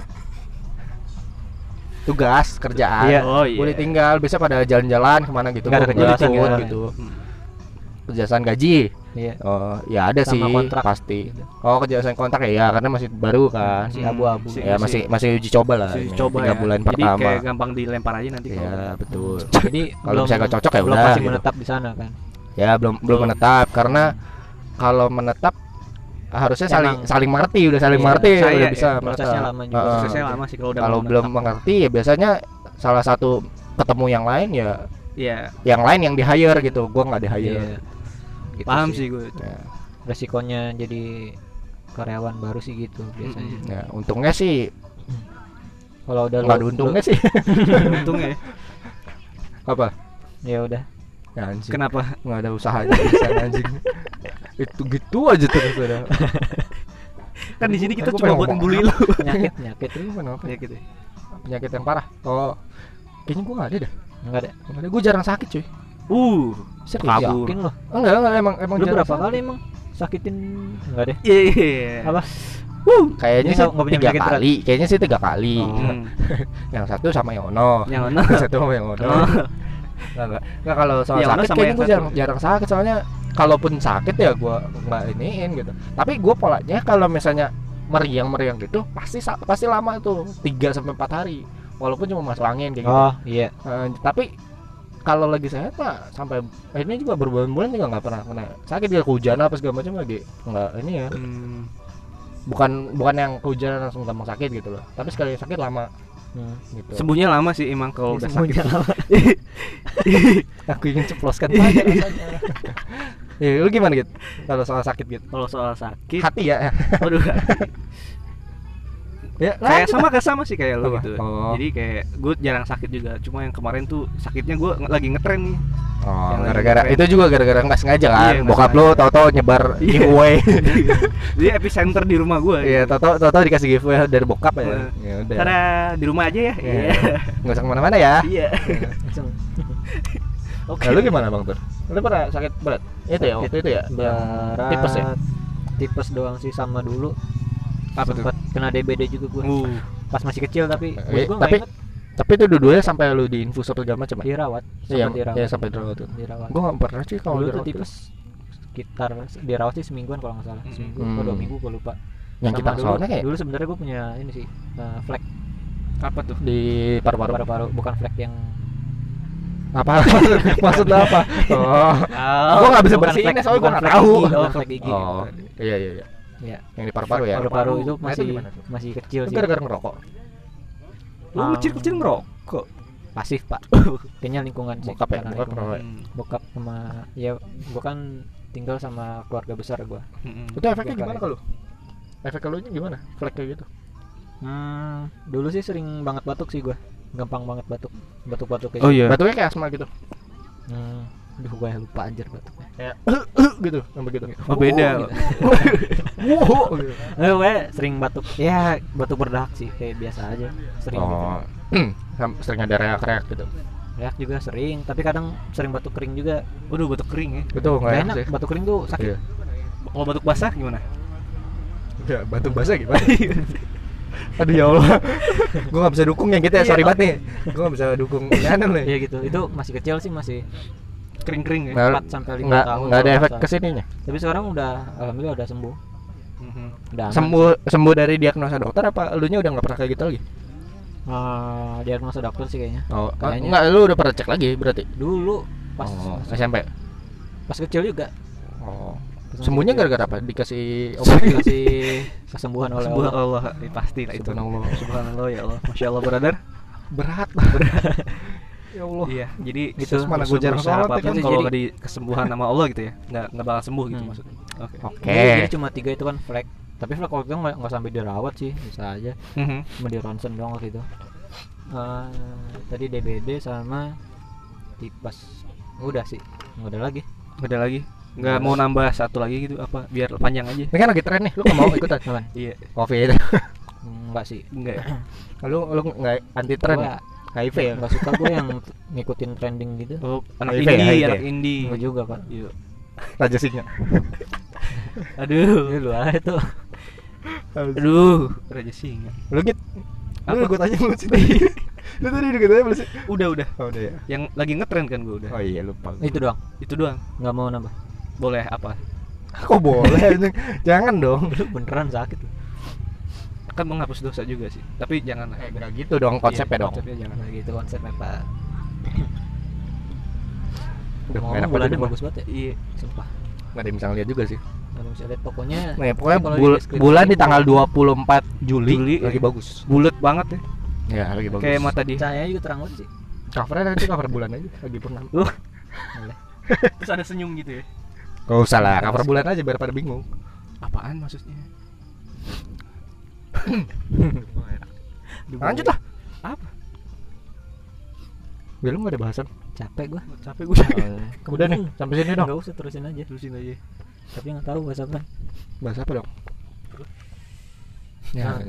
Speaker 1: Tugas, kerjaan.
Speaker 2: Iya.
Speaker 3: oh iya
Speaker 1: Boleh tinggal, biasa pada jalan-jalan kemana gitu.
Speaker 2: Nggak ada kan?
Speaker 1: gua
Speaker 2: kerjaan,
Speaker 1: ikut
Speaker 2: tinggal.
Speaker 1: gitu.
Speaker 3: Hmm.
Speaker 1: Kerjasaan gaji.
Speaker 2: Iya.
Speaker 1: Oh, ya ada
Speaker 2: Sama
Speaker 1: sih
Speaker 2: kontrak.
Speaker 1: pasti.
Speaker 2: Gitu.
Speaker 1: Oh, kerjasaan kontrak ya, karena masih baru kan.
Speaker 2: Si abu-abu.
Speaker 3: Si-
Speaker 1: Ya masih masih uji coba lah.
Speaker 3: masih
Speaker 1: ini,
Speaker 3: coba
Speaker 1: tiga
Speaker 3: ya.
Speaker 1: bulan
Speaker 3: Jadi
Speaker 1: pertama.
Speaker 3: kayak gampang dilempar aja nanti kalau
Speaker 1: Ya, betul.
Speaker 2: Jadi
Speaker 1: Kalau
Speaker 2: belum-
Speaker 1: misalnya nggak cocok ya
Speaker 2: belum
Speaker 1: udah,
Speaker 2: masih
Speaker 1: gitu.
Speaker 2: menetap di sana kan.
Speaker 1: Ya, belum belum
Speaker 3: Belum.
Speaker 1: menetap karena kalau menetap harusnya saling
Speaker 2: Emang.
Speaker 1: saling mengerti, udah saling
Speaker 2: Iya,
Speaker 1: mengerti
Speaker 3: saya- eh,
Speaker 1: udah bisa
Speaker 2: prosesnya
Speaker 1: menetap.
Speaker 2: lama juga.
Speaker 1: Heeh.
Speaker 3: prosesnya ya, lama sih Ah, kalau udah
Speaker 1: Kalau
Speaker 3: mau
Speaker 1: belum
Speaker 3: menetap.
Speaker 1: mengerti ya biasanya salah satu ketemu yang lain ya
Speaker 3: iya
Speaker 1: yang lain yang di hire gitu. Gua nggak di hire.
Speaker 2: Iya. Gitu
Speaker 3: paham sih gue
Speaker 1: Ya,
Speaker 2: Resikonya jadi karyawan baru sih gitu biasanya.
Speaker 3: Mm-mm.
Speaker 1: ya, untungnya sih
Speaker 2: Kalau udah
Speaker 1: nggak ada
Speaker 2: lu-
Speaker 1: untungnya sih
Speaker 3: untungnya ya
Speaker 1: apa?
Speaker 2: lu- ya udah.
Speaker 1: Ya, anjing.
Speaker 3: kenapa
Speaker 1: nggak ada usahanya pisan, anjing itu gitu aja terus ada
Speaker 3: kan di sini kita
Speaker 1: Gua
Speaker 3: cuma
Speaker 1: pengen
Speaker 3: buat
Speaker 1: ngomong
Speaker 3: ngebully lu
Speaker 2: Penyakit penyakit
Speaker 1: itu mana apa
Speaker 3: ya
Speaker 1: ya?
Speaker 3: gitu ya.
Speaker 1: penyakit yang parah oh kayaknya gue nggak ada dah
Speaker 2: enggak ada.
Speaker 1: nggak ada gue jarang sakit cuy
Speaker 3: uh
Speaker 1: serius ya?
Speaker 3: kabur
Speaker 2: Mungkin lo.
Speaker 1: enggak enggak emang emang
Speaker 2: Lu
Speaker 1: jarang
Speaker 2: berapa
Speaker 1: sakit.
Speaker 2: kali emang sakitin enggak deh.
Speaker 3: iya iya, iya.
Speaker 1: Eh.
Speaker 2: Apa?
Speaker 1: kayaknya
Speaker 2: Dia
Speaker 1: sih
Speaker 2: nggak- nggak punya
Speaker 1: tiga
Speaker 2: penyakit berat.
Speaker 1: kali kayaknya sih tiga kali
Speaker 2: Oh.
Speaker 3: Hmm.
Speaker 1: yang satu sama Yono
Speaker 3: yang mana
Speaker 1: yang satu sama Yono
Speaker 3: Oh.
Speaker 1: nggak nggak nggak kalau soal
Speaker 3: Yono
Speaker 1: sakit
Speaker 3: Iya, sama
Speaker 1: kayaknya
Speaker 3: yang
Speaker 1: gue
Speaker 3: satu.
Speaker 1: jarang jarang sakit soalnya kalaupun sakit ya gue nggak iniin gitu tapi gue polanya kalau misalnya meriang-meriang gitu pasti sa- pasti lama tuh 3 sampai empat hari walaupun cuma masuk angin kayak gitu
Speaker 2: Oh, iya.
Speaker 1: Eh, tapi kalau lagi sehat mah sampai ini juga berbulan-bulan juga nggak pernah kena sakit dia kehujanan apa segala macam lagi nggak ini ya
Speaker 3: Hmm.
Speaker 1: bukan bukan yang kehujanan langsung gampang sakit gitu loh tapi sekali sakit lama
Speaker 2: Hmm.
Speaker 1: gitu
Speaker 3: sembuhnya lama sih emang
Speaker 1: Oh,
Speaker 3: kalau udah sakit
Speaker 2: Semuanya lama.
Speaker 1: aku ingin ceploskan saja rasanya ya lu gimana gitu kalau soal sakit gitu
Speaker 3: kalau soal sakit
Speaker 1: hati ya
Speaker 3: waduh
Speaker 1: ya lanjut.
Speaker 3: kayak sama kayak sama sih kayak lu
Speaker 1: Apa?
Speaker 3: gitu
Speaker 1: Oh.
Speaker 3: jadi kayak gue jarang sakit juga cuma yang kemarin tuh sakitnya gue lagi ngetren nih
Speaker 1: oh
Speaker 3: Yang lagi
Speaker 1: gara-gara
Speaker 3: ngetren.
Speaker 1: itu juga gara-gara nggak sengaja kan
Speaker 3: Iya, nggak
Speaker 1: bokap lu tau-tau nyebar
Speaker 3: Iya.
Speaker 1: giveaway
Speaker 3: jadi epicenter di rumah gue
Speaker 1: iya tau-tau tau-tau dikasih giveaway dari bokap ya ya udah
Speaker 3: karena di rumah aja ya
Speaker 1: Iya. nggak usah kemana-mana ya
Speaker 3: iya
Speaker 2: Langsung.
Speaker 3: oke
Speaker 1: Lalu gimana bang Tur? Nah, Lu pernah sakit berat? Itu ya waktu itu ya?
Speaker 2: Berat.
Speaker 1: tipes ya?
Speaker 2: Tipes doang sih sama dulu.
Speaker 1: Apa tuh?
Speaker 2: Sempat kena DBD juga gua.
Speaker 3: Uh,
Speaker 2: Pas masih kecil tapi
Speaker 1: Eh,
Speaker 2: gua, gua nggak
Speaker 1: tapi-
Speaker 2: ingat
Speaker 1: Tapi itu dua-duanya sampai lu diinfus apa segala macam ya?
Speaker 2: dirawat.
Speaker 1: Iya,
Speaker 2: Sempat dirawat.
Speaker 1: iya sampai dirawat tuh.
Speaker 2: Dirawat.
Speaker 1: Gua nggak pernah sih kalau
Speaker 2: Dulu tuh
Speaker 1: dirawat tuh.
Speaker 2: tipes sekitar dirawat sih semingguan kalau nggak salah
Speaker 3: Mm-mm.
Speaker 2: seminggu atau dua
Speaker 1: Hmm.
Speaker 2: minggu gue lupa
Speaker 1: Yang
Speaker 2: Sama
Speaker 1: kita
Speaker 2: dulu,
Speaker 1: soalnya kayak
Speaker 2: dulu sebenarnya gue punya ini sih eh, flek
Speaker 3: apa tuh
Speaker 1: di paru-paru.
Speaker 2: paru-paru bukan flek yang
Speaker 1: Apa? Maksud lu apa? Oh. Gua nggak bisa
Speaker 2: bukan
Speaker 1: bersihin ya,
Speaker 2: flek-
Speaker 1: soalnya gua
Speaker 2: bukan
Speaker 1: nggak
Speaker 2: flek
Speaker 1: tahu.
Speaker 2: gigi, oh, flek gigi
Speaker 1: Oh. Iya iya iya.
Speaker 2: Iya.
Speaker 1: Yang di paru-paru ya.
Speaker 2: paru-paru itu
Speaker 1: Nah, itu
Speaker 2: masih
Speaker 1: gimana tuh?
Speaker 2: masih kecil
Speaker 1: Itu
Speaker 2: sih
Speaker 1: gara-gara ngerokok.
Speaker 3: lu
Speaker 2: Ah.
Speaker 3: kecil kecil ngerokok
Speaker 2: pasif pak kayaknya lingkungan sih
Speaker 1: Bokap ya,
Speaker 2: karena
Speaker 1: bokap
Speaker 2: lingkungan.
Speaker 1: ngerokok. ya.
Speaker 3: Hmm.
Speaker 2: bokap sama ya gue kan tinggal sama keluarga besar gue
Speaker 3: Mm-mm.
Speaker 1: Itu efeknya
Speaker 2: Bokap
Speaker 1: gimana
Speaker 2: ya.
Speaker 1: kalau? Efek kalau gimana? Flek kayak gitu.
Speaker 2: hmm, dulu sih sering banget batuk sih gue gampang banget batuk batuk-batuk kayak
Speaker 3: oh iya
Speaker 1: Batuknya kayak asma gitu.
Speaker 2: hmm, aduh gue lupa anjir batuknya
Speaker 1: Kayak gitu, sampai gitu.
Speaker 3: oh beda
Speaker 1: Wow. gitu.
Speaker 2: Eh, gue sering batuk. Ya, batuk berdahak sih kayak biasa aja. Sering.
Speaker 1: Oh.
Speaker 2: gitu.
Speaker 1: Sam- sering ada reak-reak gitu.
Speaker 2: Reak juga sering, tapi kadang sering batuk kering juga.
Speaker 3: waduh batuk kering ya
Speaker 1: Itu
Speaker 2: Gak
Speaker 1: nggak enak
Speaker 2: enak,
Speaker 1: sih.
Speaker 2: batuk kering tuh
Speaker 1: Iya.
Speaker 2: sakit.
Speaker 3: kalau batuk basah gimana
Speaker 1: Ya, batuk basah gimana? Iya. Aduh ya Allah. gua nggak bisa dukung yang gitu ya, sorry banget nih. Gua nggak bisa dukung Yanan
Speaker 2: Iya
Speaker 1: nih.
Speaker 2: gitu. Itu masih kecil sih masih
Speaker 3: kering kering ya
Speaker 1: Nggak-
Speaker 2: 4 sampai 5
Speaker 1: Nggak
Speaker 2: tahun.
Speaker 1: nggak ada
Speaker 2: kalau
Speaker 1: efek
Speaker 2: nggak
Speaker 1: ke
Speaker 2: salah.
Speaker 1: sininya.
Speaker 2: Tapi sekarang udah alhamdulillah udah sembuh.
Speaker 3: Mhm.
Speaker 2: Udah aman.
Speaker 1: Sembuh sembuh dari diagnosa dokter apa elunya udah nggak pernah kayak gitu lagi?
Speaker 2: Eh, diagnosa dokter sih kayaknya.
Speaker 1: Oh,
Speaker 2: Kayaknya.
Speaker 1: enggak lu udah pernah cek lagi berarti.
Speaker 2: Dulu pas
Speaker 1: oh, SMP.
Speaker 2: pas kecil juga.
Speaker 1: Oh.
Speaker 2: Pas masih
Speaker 1: Sembuhnya
Speaker 2: kecil.
Speaker 1: gara-gara apa? Dikasih obat.
Speaker 2: dikasih kesembuhan oleh
Speaker 3: Sebuah
Speaker 2: Allah.
Speaker 3: Allah, eh, pasti lah itu.
Speaker 1: Subhanallah.
Speaker 3: Subhanallah ya Allah, masya Allah brother.
Speaker 1: Berat. ya Allah
Speaker 3: Iya, jadi
Speaker 1: Itu
Speaker 3: se-
Speaker 1: mana gua jarang
Speaker 3: sebesar
Speaker 1: sholat ya
Speaker 3: apapun
Speaker 2: kan,
Speaker 3: kalau
Speaker 2: jadi-
Speaker 3: nggak di kesembuhan sama Allah gitu ya, nggak nggak bakal sembuh gitu
Speaker 2: Hmm.
Speaker 3: maksudnya. Oke.
Speaker 1: oke
Speaker 2: Jadi- Jadi cuma tiga itu kan flek. Tapi flek waktu itu nggak nggak sampai dirawat sih, bisa aja.
Speaker 1: Oh.
Speaker 3: Mhm.
Speaker 2: Cuma di ronsen doang waktu itu. Eh, tadi DBD sama tipes. Udah sih, nggak ada lagi.
Speaker 3: Ada lagi? Nggak mau nambah satu lagi gitu apa? Biar panjang aja.
Speaker 1: ini kan lagi tren nih lu nggak mau ikutan
Speaker 2: Apaan?
Speaker 3: Iya,
Speaker 1: covid
Speaker 2: Nggak sih.
Speaker 3: enggak. ya?
Speaker 1: lu lu nggak anti tren ya
Speaker 2: Gua
Speaker 1: HIV ya
Speaker 2: nggak suka gue yang ngikutin trending gitu.
Speaker 3: Oh, anak
Speaker 1: HIV,
Speaker 3: indie,
Speaker 1: HIV.
Speaker 3: anak indie.
Speaker 2: Gue juga pak.
Speaker 3: Iya.
Speaker 1: raja singa
Speaker 3: Aduh,
Speaker 2: Dulu Iya, aja tuh.
Speaker 3: aduh, raja singa.
Speaker 1: lu git lu
Speaker 3: Apa?
Speaker 1: gue tanya lu sih lu tadi udah gue tanya belum sih
Speaker 3: Udah udah,
Speaker 1: oh udah ya
Speaker 3: yang lagi ngetren kan gue udah.
Speaker 1: oh iya lupa
Speaker 2: Itu doang.
Speaker 3: Itu doang.
Speaker 2: Nggak mau nambah.
Speaker 3: Boleh apa?
Speaker 1: kok boleh anjing? jangan dong
Speaker 2: Lu beneran sakit. lu.
Speaker 3: Kan menghapus dosa juga sih. Tapi jangan lah.
Speaker 1: Eh, nggak gitu dong konsepnya
Speaker 3: Iya,
Speaker 1: dong
Speaker 3: Konsepnya jangan.
Speaker 2: Nggak gitu konsepnya pak.
Speaker 1: Duh,
Speaker 2: Ngomong
Speaker 1: enak banget
Speaker 2: bulannya
Speaker 1: gua.
Speaker 2: bagus banget ya.
Speaker 3: Iya.
Speaker 2: Sumpah.
Speaker 1: nggak ada yang bisa ngeliat juga sih
Speaker 2: Kalau bisa lihat pokoknya.
Speaker 1: nah ya, pokoknya
Speaker 2: kalau di
Speaker 1: bul-
Speaker 2: deskripsi-
Speaker 1: bulan di tanggal 24 Juli,
Speaker 3: Juli,
Speaker 1: lagi
Speaker 3: iya.
Speaker 1: bagus
Speaker 3: Bulat banget ya.
Speaker 1: ya lagi bagus
Speaker 3: Kayak mata dia.
Speaker 2: Cahaya juga terang banget sih.
Speaker 1: covernya nanti cover bulan aja lagi pernah
Speaker 3: Terus ada senyum gitu ya.
Speaker 1: Gak usah lah, cover bulan aja biar pada bingung.
Speaker 3: Apaan maksudnya? Aduh, gua-
Speaker 1: Lanjut lah.
Speaker 3: Apa?
Speaker 1: Ya lu gak ada bahasan.
Speaker 2: Capek gua.
Speaker 3: Capek gue.
Speaker 1: Udah nih, sampai sini dong.
Speaker 2: Enggak usah terusin aja.
Speaker 3: Terusin aja.
Speaker 2: Tapi nggak tahu bahasa apa.
Speaker 1: Bahas apa dong? Ya.